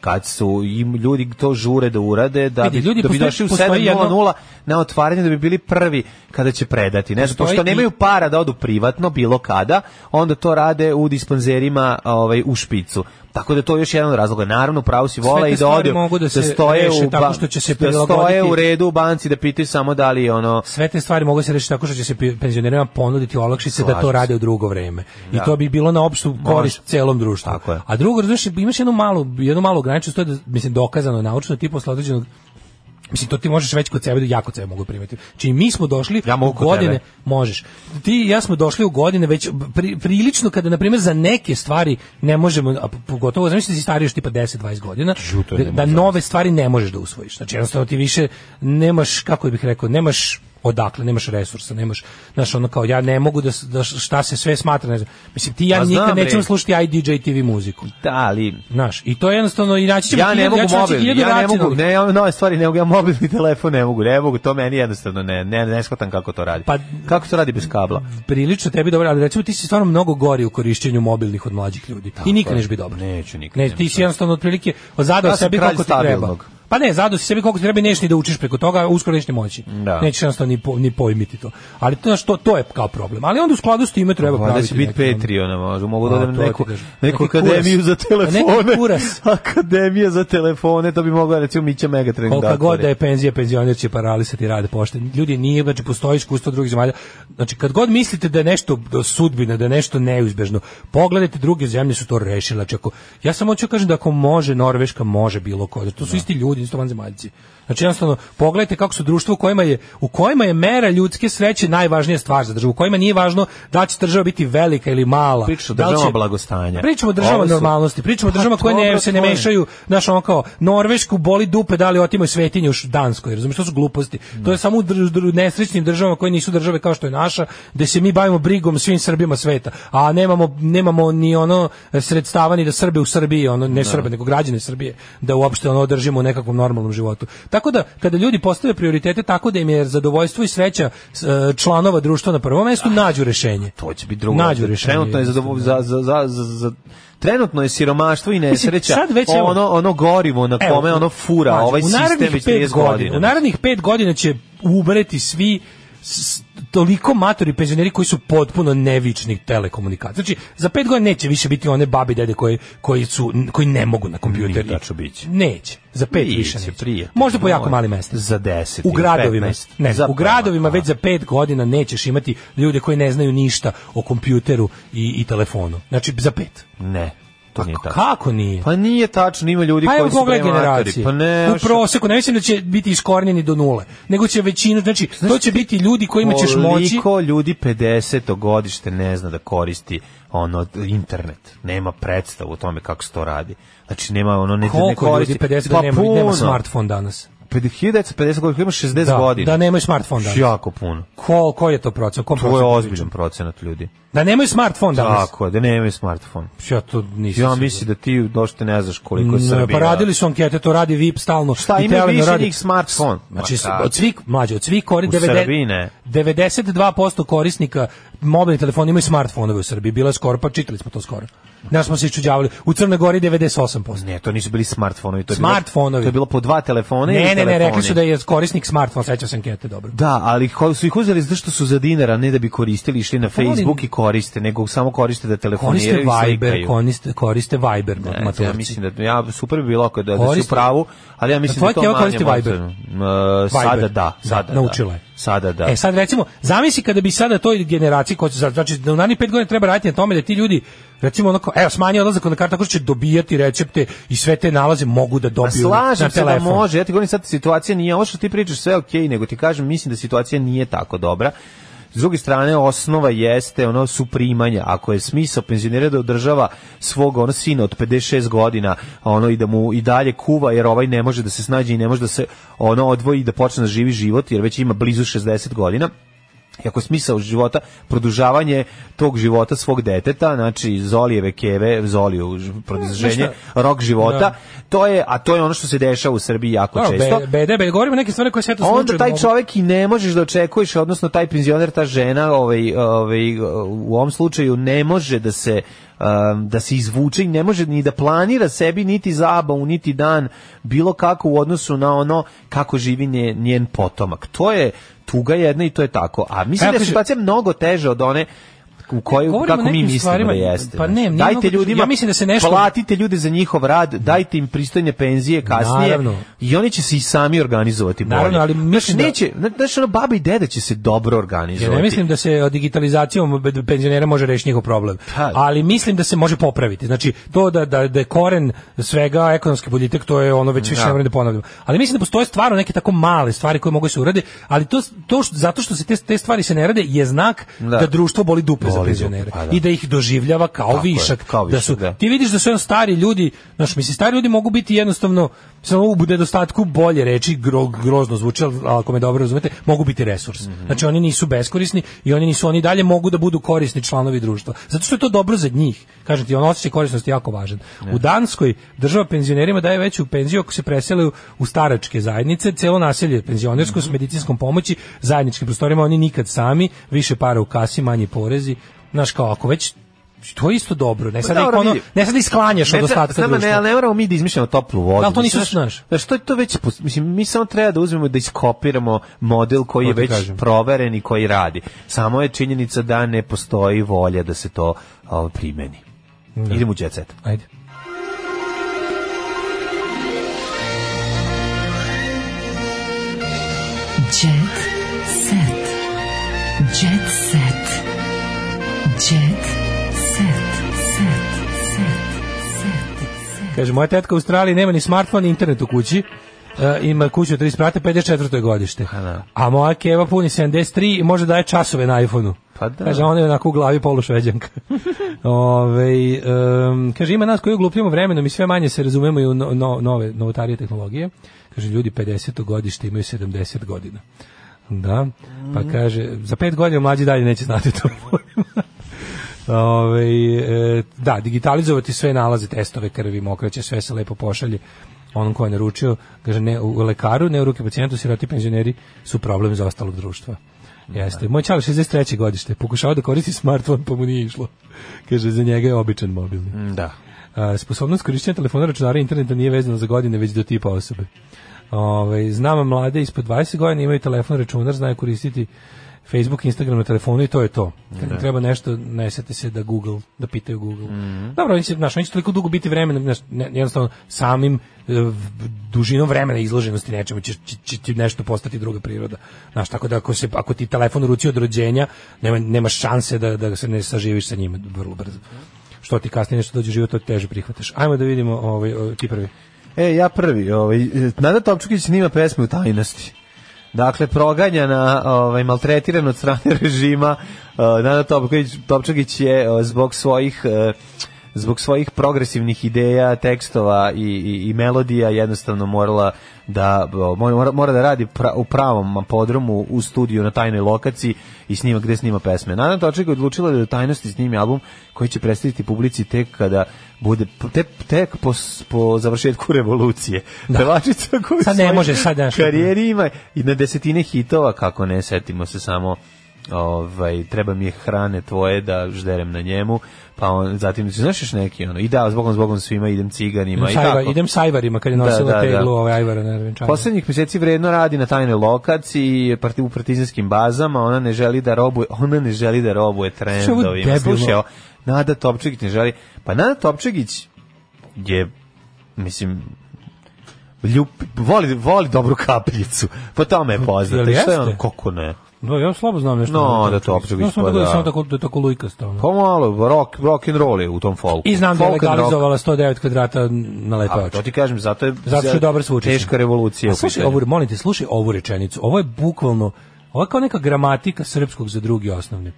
F: Kad su im ljudi to žure da urade, da
G: Vidi,
F: bi,
G: ljudi,
F: da bi
G: postoji-
F: došli u
G: postoji
F: 7.00 na otvaranje, da bi bili prvi kada će predati. Ne znam,
G: Postoji
F: pošto
G: i-
F: nemaju para da odu privatno, bilo kada, onda to rade u dispanzerima ovaj, u špicu. Tako da to je još jedan od razloga. Naravno, pravo si vola
G: te
F: i da
G: stvari
F: ode,
G: mogu da se
F: stoje
G: reše
F: u,
G: tako
F: ba-
G: što će se
F: da stoje u
G: prilagoditi-
F: redu u banci da pitaju samo da li je ono
G: Sve te stvari mogu se rešiti tako što će se pi- penzionerima ponuditi olakšice da
F: Slažem
G: to
F: se.
G: rade u drugo vreme. I
F: Da.
G: to bi bilo na opštu korist celom društvu.
F: Tako je.
G: A drugo, razumiješ, imaš jednu malu, jednu malu granicu, to je da, mislim, dokazano, je naučno, ti posle određenog Mislim, to ti možeš već kod sebe, ja kod sebe mogu primetiti. Znači, mi smo došli
F: Ja mogu
G: u
F: kod
G: godine,
F: tebe.
G: možeš. Ti i ja smo došli u godine već pri- prilično kada, na primjer, za neke stvari ne možemo, a p- pogotovo, zamisli da si stariji još tipa 10-20 godina,
F: Žuto je,
G: da,
F: ne
G: da
F: mogu
G: nove stvari ne možeš da usvojiš. Znači, jednostavno ti više nemaš, kako bih rekao, nemaš odakle, nemaš resursa, nemaš, znaš, ono kao, ja ne mogu da, s- da š- šta se sve smatra, ne znam. Mislim, ti i ja
F: Pa znam,
G: nikad
F: bre.
G: nećemo slušati IDJ TV muziku.
F: Da, ali
G: Znaš, i to je jednostavno, i naći ćemo
F: ja ne
G: hiljadu-
F: mogu
G: ću naći
F: mobil,
G: hiljadu
F: ja ne
G: načina,
F: mogu,
G: ali-
F: ne, ja nove stvari ne mogu, ja mobilni telefon ne mogu, ne mogu, to meni jednostavno ne, ne, ne shvatam kako to radi.
G: Pa-
F: kako to radi bez kabla?
G: prilično tebi dobro, ali recimo ti si stvarno mnogo gori u korišćenju mobilnih od mlađih ljudi. I nikad neš biti dobar.
F: Neću nikad,
G: Ne,
F: nema
G: ti si
F: šanse.
G: jednostavno otprilike zadao
F: Ja sam
G: sebi
F: kralj
G: koliko ti treba.
F: stabilnog.
G: Pa ne, zadao si sebi koliko ti treba i neš ni da učiš preko toga, a uskoro neš ni moći.
F: Da.
G: Nećeš jednostavno ni, po, ni pojmiti to. Ali to, znaš, to, to je kao problem. Ali onda u skladu s time treba
F: Pa
G: praviti.
F: da će biti
G: neki-
F: Patreon, možda mogu da
G: A,
F: odem
G: to ti
F: neku,
G: kažem.
F: neku
G: Neki
F: akademiju
G: kuras.
F: za telefone.
G: Neki kuras.
F: Akademija za telefone, to bi mogla recimo Mića Megatrend
G: Kolika god da
F: otvori.
G: je penzija, penzioner će paralisati rade pošte. Ljudi, nije, znači, postoji iskustvo drugih zemalja. Znači, kad god mislite da je nešto da je sudbina, da je nešto neuzbežno, pogledajte, druge zemlje su to rešile. Znači, ako, ja samo hoću da kažem da ako može, Norveška može bilo ko. Znači, to su isti ljudi, isto vanzemaljci. Znači, jednostavno, pogledajte kako su društvo u kojima je, u kojima je mera ljudske sreće najvažnija stvar za državu, u kojima nije važno da li će država biti velika ili mala.
F: Pričamo o
G: da li će-
F: državama blagostanja.
G: Pričamo o državama
F: Ovo su-
G: normalnosti, pričamo o
F: Pa
G: državama koje
F: dobro,
G: ne, se ne
F: to je.
G: mešaju imaju, znaš, on kao, Norvešku boli dupe da li otimaju svetinje u Danskoj, razumiješ, to su gluposti. To je samo u dr- dr- nesrećnim državama koje nisu države kao što je naša, gde se mi bavimo brigom svim Srbima sveta, a nemamo, nemamo ni ono sredstava ni da Srbe u Srbiji, ono, ne Srbe, nego građane Srbije, da uopšte ono održimo u nekakvom normalnom životu. Tako da, kada ljudi postave prioritete tako da im je zadovoljstvo i sreća s- e, članova društva na prvom mestu, nađu rešenje.
F: To će biti drugo.
G: Nađu rešenje.
F: Trenutno je zadovo- za, za, za, za, za- trenutno je siromaštvo i nesreća.
G: sad već, evo-
F: ono, ono gorivo na
G: Evo,
F: kome ono fura
G: mlađe,
F: ovaj
G: u narednih
F: sistem već
G: pet
F: 30 godina.
G: U narednih pet godina će umreti svi s- toliko matori penzioneri koji su potpuno nevični telekomunikacija. Znači, za pet godina neće više biti one babi i dede koji, koji, su, koji ne mogu na kompjuter.
F: Nije, tačno, bit će.
G: Neće. Za pet
F: Biće,
G: više neće.
F: prije.
G: Možda po jako
F: Moj.
G: malim mestima.
F: Za 10
G: U
F: ili
G: gradovima.
F: 15.
G: Ne,
F: Za pa,
G: u gradovima
F: prema,
G: već za pet godina nećeš imati ljude koji ne znaju ništa o kompjuteru i, i telefonu. Znači, za pet.
F: pa, Ne, to nije tako.
G: Kako nije?
F: Pa nije tačno, ima ljudi
G: Pa evo
F: koji su
G: pogledaj
F: generatori.
G: generacije.
F: Pa ne,
G: u proseku, ne mislim da će biti iskornjeni do nule, nego će većina, znači, to će biti ljudi kojima ćeš moći...
F: Koliko ljudi 50. godište ne zna da koristi ono internet. Nema predstavu o tome kako se to radi. Znači nema ono ne, ne
G: Koliko
F: koristi.
G: ljudi 50
F: Pa
G: da nema, nema
F: puno.
G: smartfon danas?
F: 1950 godina, ima 60
G: Da,
F: godina.
G: da nemaju smartfon danas.
F: Jako puno.
G: Ko, ko je to procent? Kom
F: To je
G: procentu
F: ozbiljan
G: pričamo?
F: procenat ljudi.
G: Da nemaju smartfon danas?
F: Tako je, da nemaju smartfon.
G: Ja to nisam
F: Ja
G: siguran.
F: mislim da ti došte ne znaš koliko je
G: Ne,
F: Srbija.
G: Pa radili su ankete, to radi VIP stalno.
F: Šta,
G: i
F: imaju
G: Telenor
F: više
G: radi.
F: njih smartfon?
G: Znači,
F: Ma kako?
G: od svih, mlađe, od svih kori,
F: U
G: 90
F: Srbiji ne.
G: 92% korisnika mobilnih telefona imaju smartfonove u Srbiji. Bilo je skoro, pa čitali smo to skoro. Nas smo se iščuđavali. U Crnoj Gori 98%.
F: Ne, to nisu bili smartfonovi. To je bilo-
G: Smartfonovi.
F: To je bilo po dva telefona ili
G: Ne, ne, ne,
F: telefoni?
G: rekli su da je korisnik smartfona, sećam se ankete, dobro.
F: Da, ali ko- su ih uzeli zato što su za dinara, ne da bi koristili, išli na
G: volim-
F: Facebook i koriste, nego samo koriste da telefoniraju
G: Pa Koriste
F: i
G: Viber,
F: slikaju.
G: koriste, koriste Viber,
F: Ne,
G: ne,
F: ja mislim da ja super bi bilo ako da, da si u
G: Koriste-
F: pravu, ali ja mislim da
G: Tvoja
F: to
G: tijela
F: manje
G: koriste
F: može.
G: Viber?
F: M, e, Sada da, sada da.
G: Naučila je.
F: Sada da.
G: E sad recimo, zamisli kada bi sada toj generaciji koja će sad, znači da u narednih 5 godina treba raditi na tome da ti ljudi recimo onako, evo smanji odlazak na kartu tako što će dobijati recepte i sve te nalaze mogu da
F: Pa
G: dobiju na
F: slažem se da
G: telefon.
F: može, ja ti govorim sad situacija nije, ovo što ti pričaš sve ok, nego ti kažem, mislim da situacija nije tako dobra. S druge strane, osnova jeste ono su primanja. Ako je smisao penzionera da održava svog ono sina od 56 godina, a ono i da mu i dalje kuva jer ovaj ne može da se snađe i ne može da se ono odvoji i da počne da živi život jer već ima blizu 60 godina. I ako je smisao života produžavanje tog života svog deteta, znači Zolijeve keve, Zoliju ž- produženje, rok života,
G: Da.
F: to je, a to je ono što se dešava u Srbiji jako
G: Da,
F: često.
G: be, bede, bede, govorimo neke stvari koje se eto
F: Onda
G: slučajno
F: taj
G: mogu-
F: čovjek i ne možeš da očekuješ, odnosno taj penzioner, ta žena, ovaj, ovaj, u ovom slučaju ne može da se um, da se izvuče i ne može ni da planira sebi niti zabavu, niti dan bilo kako u odnosu na ono kako živi nje, njen potomak. To je tuga jedna i to je tako. A mislim
G: Evo,
F: da je
G: kaže-
F: situacija mnogo teža od one u kojoj
G: Pa Govorimo o
F: kako mi
G: nekim
F: mislimo
G: stvarima,
F: da jeste.
G: pa ne,
F: znaš.
G: nije
F: dajte
G: mnogo teža.
F: ljudima,
G: Ja mislim da se nešto-
F: platite ljude za njihov rad, dajte im pristojne penzije kasnije
G: Naravno.
F: i oni će se i sami organizovati bolje.
G: Naravno, ali
F: Znaš,
G: mislim da-
F: neće, da... znaš, ono, baba i deda će se dobro
G: Ja
F: organizovati.
G: ne mislim da se digitalizacijom penzionera može rešiti njihov problem.
F: Pa.
G: Ali mislim da se može popraviti. Znači, to da, da, da je koren svega ekonomski boljitak, to je ono već više
F: Da.
G: ne moram da ponavljam. Ali mislim da postoje stvarno neke tako male stvari koje mogu da se urade, ali to, to što- zato što se te, te stvari se ne rade je znak da,
F: Da.
G: društvo boli dupe za
F: voli
G: penzionere.
F: dupe, pa da.
G: I da ih doživljava kao
F: Tako je,
G: višak.
F: kao
G: da su,
F: višak, da.
G: Ti vidiš da su jedan stari ljudi, znaš, mislim, stari ljudi mogu biti jednostavno, samo u nedostatku bolje reči, gro, grozno zvuči, ali ako me dobro razumete, mogu biti resurs. Znači, oni nisu beskorisni i oni nisu, oni dalje mogu da budu korisni članovi društva. Zato što je to dobro za njih. Kažem ti, on osjećaj korisnosti je jako važan. U Danskoj država penzionerima daje veću penziju ako se presele u- u staračke zajednice, celo naselje penzionersko s medicinskom pomoći, zajedničkim prostorima, oni nikad sami, više para u kasi, manji porezi. Znaš, kao ako već to je isto dobro. Ne sad da,
F: Pa dobro,
G: ono,
F: vidi.
G: ne sad da isklanjaš od
F: Ne, treba-
G: ostatka
F: nama ne,
G: društva.
F: ali ne moramo mi da izmišljamo toplu vodu.
G: Da, ali to nisu,
F: Mislim,
G: znaš.
F: Znaš, to je to već, pos- mislim, mi samo treba da uzmemo da iskopiramo model koji
G: To
F: je
G: ti
F: već
G: kažem.
F: proveren i koji radi. Samo je činjenica da ne postoji volja da se to a, primeni. Idemo u jet set.
G: Ajde.
I: Jet set. Jet set. Jet set. Set.
G: Kaže, moja tetka u Australiji nema ni smartfon ni internet u kući. E, ima kuću od 3 sprata, 54. godište.
F: da.
G: A moja keva puni 73 i može daje časove na iPhoneu.
F: Pa da.
G: Kaže, ona je onako u glavi polušveđanka. Ove, em, kaže, ima nas koji uglupljamo vremenom i sve manje se razumemo i u no, no- nove novotarije tehnologije. Kaže, ljudi 50. godište imaju 70 godina. Da, pa
F: Mm.
G: kaže, za pet godina mlađi dalje neće znati to. Ove, e, da, digitalizovati sve nalaze, testove krvi, mokraće, sve se lepo pošalje onom ko je naručio, kaže ne u lekaru, ne u ruke pacijentu, siroti penzioneri su problem za ostalog društva. Jeste. Moj čal 63. godište, pokušao da koristi smartfon, pa mu nije išlo. Kaže, za njega je običan mobilni.
F: Da.
G: A, sposobnost korišćenja telefona, računara i interneta nije vezana za godine, već do tipa osobe. Ove, znam mlade ispod 20 godina imaju telefon, računar, znaju koristiti Facebook, Instagram na telefonu i to je to. Kad im treba nešto, nesete se da Google, da pitaju Google. Dobro, oni će, znaš, oni će toliko dugo biti vremena, znaš, ne- jednostavno samim e, v- dužinom vremena izloženosti nečemu će, će, će ti nešto postati druga priroda. Znaš, tako da ako, se, ako ti telefon u ruci od rođenja, nema, nemaš šanse da, da se ne saživiš sa njima vrlo brzo što ti kasnije nešto dođe u život, to ti teže prihvataš. Ajmo da vidimo ovaj, ovaj, ti prvi.
F: E, ja prvi. Ovaj, e, Nada Topčukić snima pesme u tajnosti. Dakle, proganjana, ovaj, maltretiran od strane režima, e, Nada Topčukić, Topčukić je e, zbog svojih... e, zbog svojih progresivnih ideja, tekstova i, i, i melodija jednostavno morala da o, mora, mora da radi pra, u pravom podromu u studiju na tajnoj lokaciji i snima gde snima pesme. Nana Toček je odlučila da u tajnosti snimi album koji će predstaviti publici tek kada bude tek, tek po, s- po završetku revolucije. Da. Pevačica koju
G: Sad ne može, sad nešto.
F: karijeri ima i na desetine hitova, kako ne, setimo se samo ovaj, treba mi je hrane tvoje da žderem na njemu, pa on, zatim, znaš još neki, ono, i da, zbogom, zbogom svima idem
G: Idem,
F: ciganima i
G: sa ajvar,
F: tako.
G: idem sa Ajvarima kad je
F: Da,
G: nosila
F: da,
G: teglu
F: da.
G: ovaj Ajvara na venčanju.
F: Poslednjih meseci vredno radi na tajnoj lokaciji parti, u partizanskim bazama, ona ne želi da robuje, ona ne želi da robuje
G: ovo je
F: trendovima.
G: debilno.
F: Slušaj, evo, Nada Topčagić ne želi. Pa Nada Topčagić je mislim ljub, voli, voli dobru kapljicu. Po tome je poznata.
G: Jel
F: I Šta je
G: jeste?
F: ono, kako ne?
G: Da, ja slabo znam nešto.
F: No,
G: o tome.
F: da to opet
G: Znao sam da
F: ispada.
G: gleda samo tako, da je tako lujka stavno.
F: Pa malo, rock, rock and roll je u tom folku.
G: I znam da je
F: Folk and rock.
G: legalizovala 109 kvadrata na
F: A,
G: lepevaču.
F: to ti kažem, zato je,
G: Zato što je dobar zvučić.
F: teška revolucija.
G: A
F: u
G: slušaj
F: pitanju.
G: ovu, molim te, slušaj ovu rečenicu. Ovo je bukvalno, ovo je kao neka gramatika srpskog za drugi osnovni.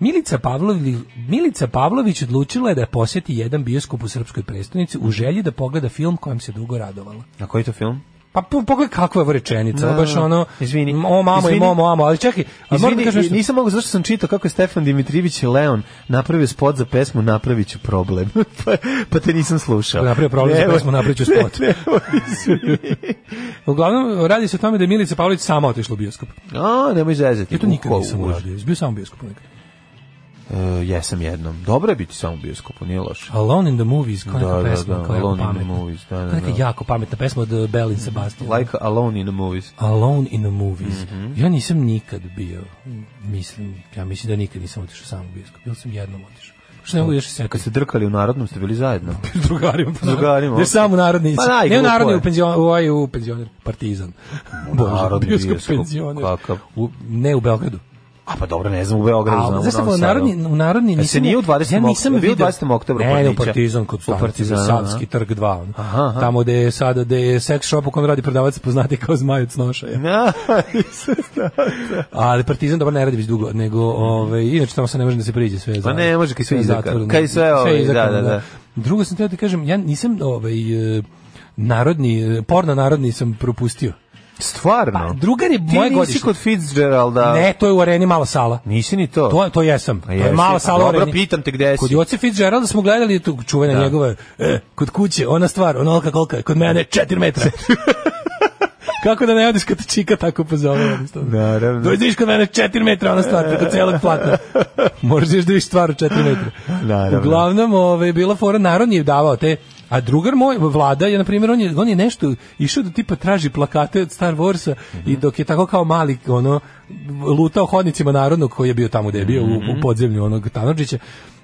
G: Milica Pavlović, Milica Pavlović odlučila je da posjeti jedan bioskop u srpskoj prestonici u želji da pogleda film kojem se dugo radovala.
F: Na koji to film?
G: Pa po- pogledaj kakva je ovo rečenica, ovo baš ono,
F: Izvini.
G: o mamo i
F: Izvini.
G: momo, amo, ali čekaj, a moram da
F: Izvini,
G: kažem nešto.
F: nisam mogu, zašto sam čitao kako je Stefan Dimitrijević i Leon napravio spot za pesmu Napravit ću problem. pa, pa te nisam slušao.
G: Napravio problem za
F: Evo.
G: pesmu, napravit ću spot.
F: Ne, evo, izvini.
G: Uglavnom, radi se o tome da je Milica Pavlović sama otišla u bioskop.
F: A, nemoj zezati.
G: Ja to nikad
F: Uho,
G: nisam
F: užas.
G: uradio, bio sam u bioskopu nekad.
F: E, jesam jednom. Dobro je biti samo u bioskopu, nije loše.
G: Alone in the Movies, kao neka
F: Da, da,
G: pesma,
F: da,
G: kao jako
F: Alone in the
G: pametna.
F: Movies, da, da,
G: Kao neka
F: da.
G: jako pametna pesma od uh, Belle in Sebastian.
F: Like Mhm. Alone in the Movies.
G: Alone in the Movies. Ja nisam nikad bio, mislim, ja mislim da nikad nisam otišao sam u bioskop, ili sam jednom otišao. Što ne mogu još se
F: Kad ste drkali u narodnom, ste bili zajedno.
G: s drugarima. Pa,
F: drugarima,
G: Jer
F: ok.
G: sam u narodni.
F: Pa da, i
G: ne u
F: glupo
G: narodni,
F: je.
G: u penzion, u, ovaj, u penzioner, partizan. Bože,
F: narodni
G: bioskop
F: bioskop,
G: penzioner.
F: kakav.
G: U, ne u Beogradu.
F: A pa dobro, ne znam, u Beogradu znam.
G: A,
F: u
G: znaš šta,
F: Novom
G: u narodni,
F: Sadu.
G: u narodni
F: E,
G: nisam...
F: se nije u 20.
G: Ja nisam
F: oktobra, bio u
G: vidio-
F: 20. oktobra
G: Ne, ne, u
F: Podića.
G: Partizan kod
F: U
G: stanice,
F: Partizanu,
G: Savski
F: aha.
G: trg 2. ono.
F: Aha, aha.
G: Tamo gde je sada, gde je sex shop u kom radi prodavac poznati kao zmajac nošaja.
F: Na,
G: Ali Partizan dobro ne radi već dugo, nego ovaj inače tamo se ne može da se priđe sve je za.
F: Pa ne može, kad sve
G: je
F: izdaka.
G: zatvoreno.
F: Kad je sve, ovaj,
G: je izdakano,
F: da, da, da.
G: Drugo sam teo da kažem, ja nisam ovaj e, narodni e, porno narodni sam propustio.
F: stvarno.
G: Pa, drugar je
F: Ti
G: moje
F: nisi
G: godište.
F: kod Fitzgeralda.
G: Ne, to je u areni mala sala.
F: Nisi ni to.
G: To, to jesam. To je
F: Pa jesi.
G: mala sala u
F: Dobro,
G: Areni.
F: pitam te gde si.
G: Kod Joce Fitzgeralda smo gledali tu čuvena
F: Da.
G: njegove, e, kod kuće, ona stvar, onolika kolika, je, kod mene 4 metra. Kako da ne odeš kad te čika tako pozove? jednostavno.
F: Naravno.
G: Dođi da vidiš kod mene 4 metra ona stvar, preko celog platna. Možeš da vidiš stvar u 4 metra.
F: Naravno.
G: Uglavnom, ove, bila fora, narod je davao te A drugar moj, Vlada, je, na primjer, on je, on je nešto išao da tipa traži plakate od Star Warsa i dok je tako kao mali, ono, lutao hodnicima narodnog koji je bio tamo gde je bio, u,
F: Mhm.
G: u podzemlju onog Tanorđića,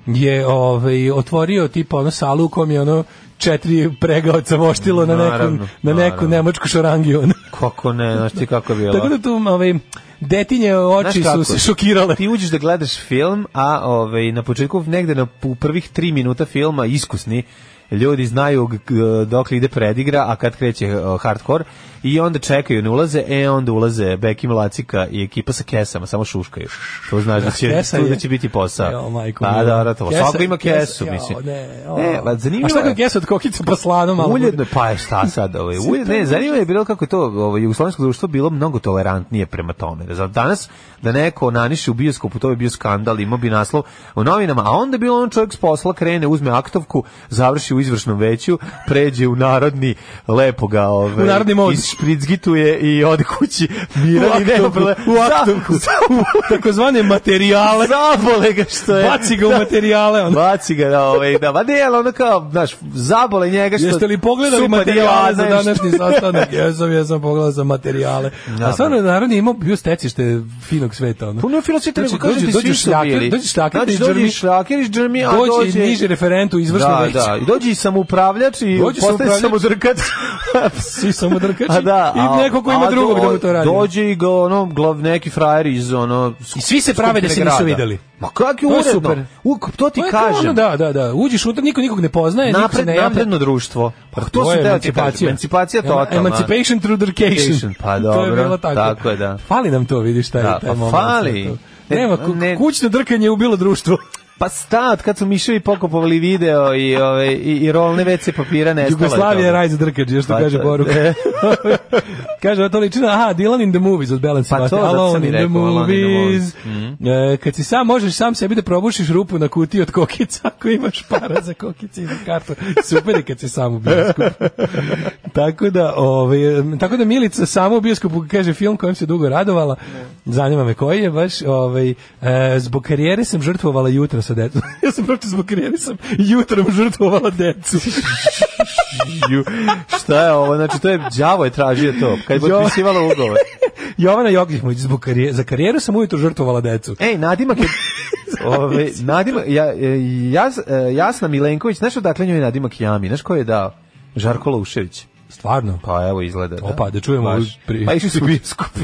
G: je ovaj, otvorio tipa ono salu u kom je ono četiri pregaoca moštilo na neku,
F: Naravno,
G: na neku
F: naravno.
G: nemačku šorangiju. ono.
F: Kako ne, znaš ti kako je bilo.
G: Tako da tu ovaj, detinje oči
F: Znaš
G: su
F: kako?
G: se šokirale.
F: ti uđeš da gledaš film, a ovaj, na početku negde na, u prvih tri minuta filma iskusni ljudi znaju g- g- dokle ide predigra, a kad kreće e, hardcore i onda čekaju, ne ulaze, e onda ulaze Bekim Lacika i ekipa sa kesama, samo šuškaju. To znaš da će,
G: Kesa
F: to
G: je-
F: da će biti posao.
G: Jo, majko
F: pa,
G: moja.
F: da, da, to.
G: Kesa-
F: Svako ima kesu,
G: jao,
F: mislim.
G: Ne, o.
F: E, pa
G: A
F: zanimljivo
G: šta kao
F: je.
G: kesu od kokica pa slano malo? bude?
F: Uljedno, pa je šta sad, ovaj, ulje, ne, zanima je bilo kako je to ovaj, jugoslovensko društvo bilo mnogo tolerantnije prema tome. Za danas, da neko naniše u bioskopu, to bi bio skandal, imao bi naslov u novinama, a onda bilo on čovjek s posla, krene, uzme aktovku, završi u izvršnom veću, pređe u narodni, lepo ga, ovaj,
G: U narodni mod.
F: isšpricgituje i ode kući, miran i nema
G: aktovku,
F: problema.
G: u
F: Za-
G: aktovku.
F: za-
G: Takozvane materijale.
F: Zabole ga što je.
G: Baci ga u materijale, ono.
F: Baci ga na ovaj, da, ma ne, ali ono kao, znaš, zabole njega što...
G: Jeste li pogledali
F: super
G: materijale za
F: Jovana je što-
G: današnji sastanak? Jesam, jesam pogledao za materijale. A stvarno, naravno, je imao bio stecište finog sveta. Ono.
F: Puno je filo sveta, nego
G: Znači,
F: kažem
G: dođe-
F: ti
G: dođe
F: Pa svi su
G: šljaker-
F: bili.
G: dođe šljaker
F: Znači,
G: iz
F: dođe
G: Džrmi.
F: i šljaker iz džrmi, a
G: Dođe i
F: dođe...
G: niži referent u izvršno
F: Da,
G: veće.
F: da, i dođe i samoupravljač i
G: Dođe
F: postane
G: samoupravljač.
F: samodrkač.
G: Svi samo drkači
F: A da, a-
G: i neko ko
F: a
G: ima
F: do-
G: drugog da mu to radi.
F: Dođe i ga ono glav neki frajer iz ono
G: I svi se prave da se
F: Skupštine
G: nisu
F: grada.
G: videli.
F: Ma kak je
G: To je
F: uredno.
G: super.
F: U, to ti
G: To je kao ono,
F: kažem.
G: da, da, da. Uđeš unutra, niko nikog ne poznaje, niko se
F: Napred,
G: ne javlja.
F: napredno društvo. Pa to,
G: je
F: se da ti kažem.
G: emancipacija.
F: Emancipacija
G: Ema-
F: totalna.
G: Emancipation through
F: Education,
G: dercation.
F: pa
G: to je
F: dobro,
G: bilo tako.
F: tako je, da.
G: Fali nam to, vidiš, taj,
F: Da,
G: taj
F: pa
G: moment.
F: fali.
G: sad to.
F: Ne,
G: Nema, ku-
F: ne-
G: kućno drkanje je ubilo društvo.
F: Pa stat, kad su miševi pokopovali video i, ove, i, i rolne WC papira nestalo je
G: Jugoslavija je
F: toga.
G: raj za drkađe, što
F: Pa
G: kaže
F: to-
G: Boruk. kaže, ovo to liči na, aha, Dylan in the movies od Balance
F: Pa to,
G: Sebastian.
F: zato sam
G: Alone
F: i
G: in the
F: rekao, Alone in the Mhm.
G: movies. E, kad si sam, možeš sam sebi da probušiš rupu na kutiji od kokica, ako imaš para za kokice i za kartu. Super je kad si sam u bioskopu. tako, da, ovaj, tako da Milica samo u bioskopu kaže film kojem se dugo radovala. Zanima me koji je baš. Ovaj, e, zbog karijere sam žrtvovala jutro sa decom. ja sam pročito zbog karijere sam jutrom žrtvovala decu.
F: Ju, šta je ovo? Znači, to je, đavo je tražio to, kad je
G: Jo.
F: potpisivala ugovor.
G: Jovana Jokić zbog karije, za karijeru sam ujutro žrtvovala decu.
F: Ej, nadimak je... Ove, nadimak, ja, e, jas, e, Jasna Milenković, znaš odakle njoj je nadimak Jami? Znaš ko je dao? Žarko Laušević.
G: Stvarno.
F: Pa evo izgleda. Da.
G: Opa, da čujemo
F: Baš.
G: ovu pri-
F: Pa išli su u biskup.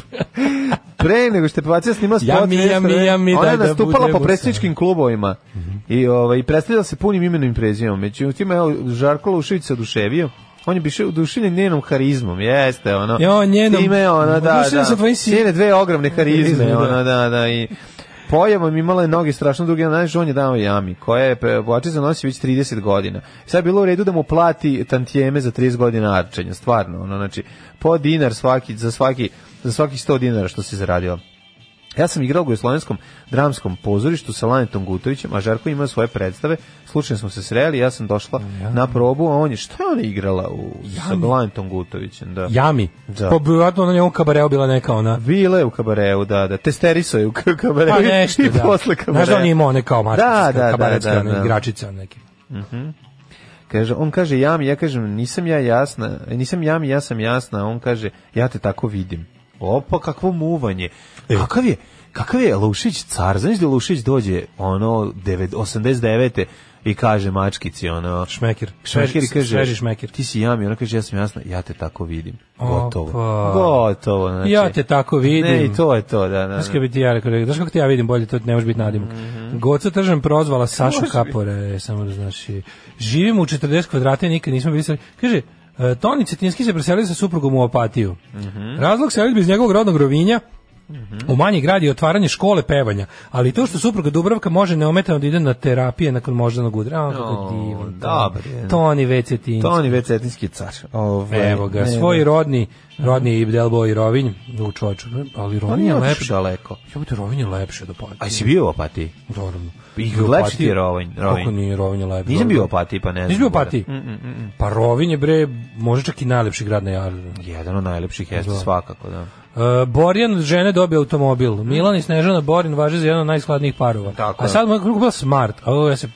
F: Pre nego što je Pacija snimala spot,
G: Jami,
F: nešto
G: jami,
F: vreme,
G: jami,
F: ona
G: daj
F: je
G: da
F: nastupala
G: budemo
F: po predstavničkim klubovima i, ovaj, i predstavljala se punim imenom i prezimom. Međutim, evo, Žarko Lušević se oduševio. On je biše oduševljen njenom harizmom, jeste, ono.
G: Jo, njenom-
F: Time, ono, da,
G: Oduševljen
F: da.
G: sam tvojim si-
F: Njene dve ogromne harizme,
G: Harizme, da.
F: ono, da, da, i... Pojavom imala je noge strašno duge, znaš, on je dao jami, koja je Boačica nosi već 30 godina. Sad je bilo u redu da mu plati tantijeme za 30 godina arčenja, stvarno, ono, znači, po dinar svaki, za svaki, za svaki 100 dinara što si zaradila. Ja sam igrao u Jugoslovenskom dramskom pozorištu sa Lanetom Gutovićem, a Žarko ima svoje predstave. Slučajno smo se sreli, ja sam došla na probu, a on je šta je ona igrala u sa Lanetom Gutovićem, da.
G: Jami.
F: Da.
G: Pa vjerojatno na njegovom kabareu bila neka ona.
F: Bila je u kabareu, da, da. Testeriso je u k- kabareu
G: Pa
F: i-
G: nešto,
F: i
G: da.
F: posle kabareu.
G: Znaš da on je imao one kao mačica,
F: Da, da, da,
G: kabaretske,
F: da,
G: one
F: da.
G: igračice, one neke.
F: Kaže, on kaže jam, ja kažem nisam ja jasna, e, nisam jam,
G: E.
F: ja sam jasna, a on kaže ja te tako vidim. Opa, kakvo muvanje. Kakav je? Kakav je Lušić car? Znaš da Lušić dođe ono 9 89. i kaže mačkici ono
G: Šmekir.
F: Šmekir i
G: Sveži-
F: kaže
G: sveži šmekir.
F: Ti si jami, ona kaže ja sam jasna, ja te tako vidim.
G: Opa.
F: Gotovo. Gotovo, znači.
G: Ja te tako vidim.
F: Ne, i to je to, da, da. da.
G: Znaš kako bi ti ja rekao, znaš kako ti ja vidim bolje, to ne može biti nadimak.
F: Mhm.
G: Goca Tržan prozvala Sašu Kapore, samo da znaš. i Živimo u 40 kvadrata i nikad nismo bili srećni. Kaže, e, Toni Cetinski se preselio sa suprugom u Opatiju.
F: Mhm.
G: Razlog selitbe iz njegovog rodnog rovinja, U manji grad je otvaranje škole pevanja, ali to što supruga Dubravka može neometano da ide na terapije nakon moždanog udara. A, kako
F: O,
G: divan.
F: dobar je.
G: Toni Vecetinski.
F: Toni Vecetinski car. Ovaj,
G: Evo ga,
F: ne,
G: svoj rodni, rodni Ibdelbo i Rovinj, u čovječu, ali
F: Pa
G: Rovinj je
F: nije
G: lepše.
F: lepše daleko.
G: Jebote, Rovinj je lepše do Opatije.
F: A si bio u Opatiji?
G: Naravno.
F: I
G: Bio u
F: lepši
G: Opatiji.
F: ti je Rovinj, Rovinj.
G: Kako nije Rovinj lepši?
F: Nisam bio u Opatiji, pa ne znam.
G: Nisam bio u
F: Bore.
G: Opatiji?
F: mm,
G: Pa Rovinj je, bre, možda čak i najlepši grad na Jaru.
F: Jedan od najlepših jeste svakako, da.
G: E, Borjan od žene dobio automobil. Milan i Snežana Borin važe za jedan od najskladnijih parova.
F: Tako
G: A
F: je.
G: sad moj krug bila smart. A ovo ja se...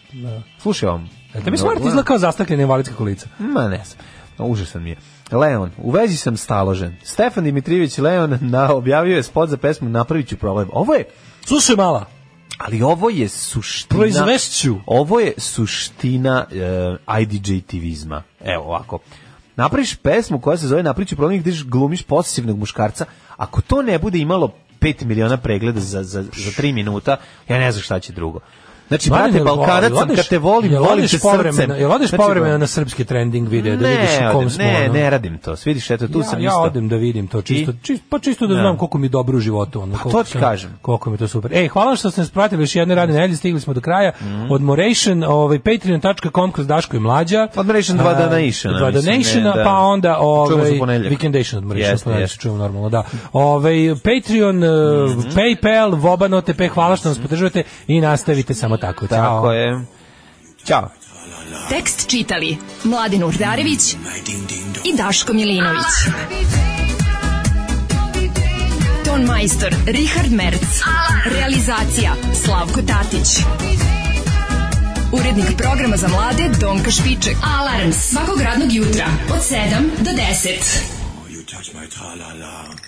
F: Slušaj vam.
G: Da. Tebi smart izgleda kao zastakljena invalidska kolica.
F: Ma ne znam. Užasan mi je. Leon, u vezi sam staložen. Stefan Dimitrijević Leon na, objavio je spot za pesmu Napravit ću problem. Ovo je,
G: Slušaj mala,
F: ali ovo je suština...
G: proizvešću.
F: Ovo je suština e, IDJ-tivizma. Evo ovako. Napraviš pesmu koja se zove Napravit ću problem gdje glumiš posesivnog muškarca. Ako to ne bude imalo 5 miliona pregleda za, za, za 3 minuta, ja ne znam šta će drugo. Znači,
G: Mladen,
F: brate,
G: jel-
F: Balkanac
G: jel
F: sam,
G: odeš-
F: kad te volim,
G: jel
F: volim
G: odeš
F: te
G: povremeno-
F: srcem.
G: Jel odeš
F: Znači,
G: povremeno na srpske trending videe da vidiš u kom
F: odem,
G: smo?
F: ne,
G: ono?
F: ne radim to. Vidiš, eto, tu
G: ja,
F: sam
G: ja
F: isto.
G: odem da vidim to čisto,
F: I?
G: čisto pa čisto da
F: Da. Pa
G: znam koliko mi je dobro u životu ono, koliko
F: to ti
G: sam-
F: kažem.
G: Koliko mi je to super. Ej, hvala vam što ste nas pratili još jedne radne nedelje, stigli smo do kraja.
F: Mhm.
G: Odmoration, ovaj patreon.com kroz Daško i mlađa.
F: Odmoration dva
G: A,
F: donationa,
G: Dva
F: mislim, ne,
G: donationa,
F: da.
G: pa onda
F: Čujemo
G: ovaj
F: se u ponedjeljak.
G: weekendation odmoration,
F: Jeste,
G: pa da se
F: jeste. Mhm.
G: čujemo normalno, da. Ovaj Patreon, eh, PayPal, Voban OTP, hvala što nas podržavate i nastavite samo tako. Ćao.
F: Tako je. Ćao.
I: Tekst čitali Mladin Urdarević i Daško Milinović. Ton majstor Richard Merc. Realizacija Slavko Tatić. Urednik programa za mlade Donka Špiček. Alarms svakog radnog jutra od 7 do 10.
H: You touch my tra-la-la.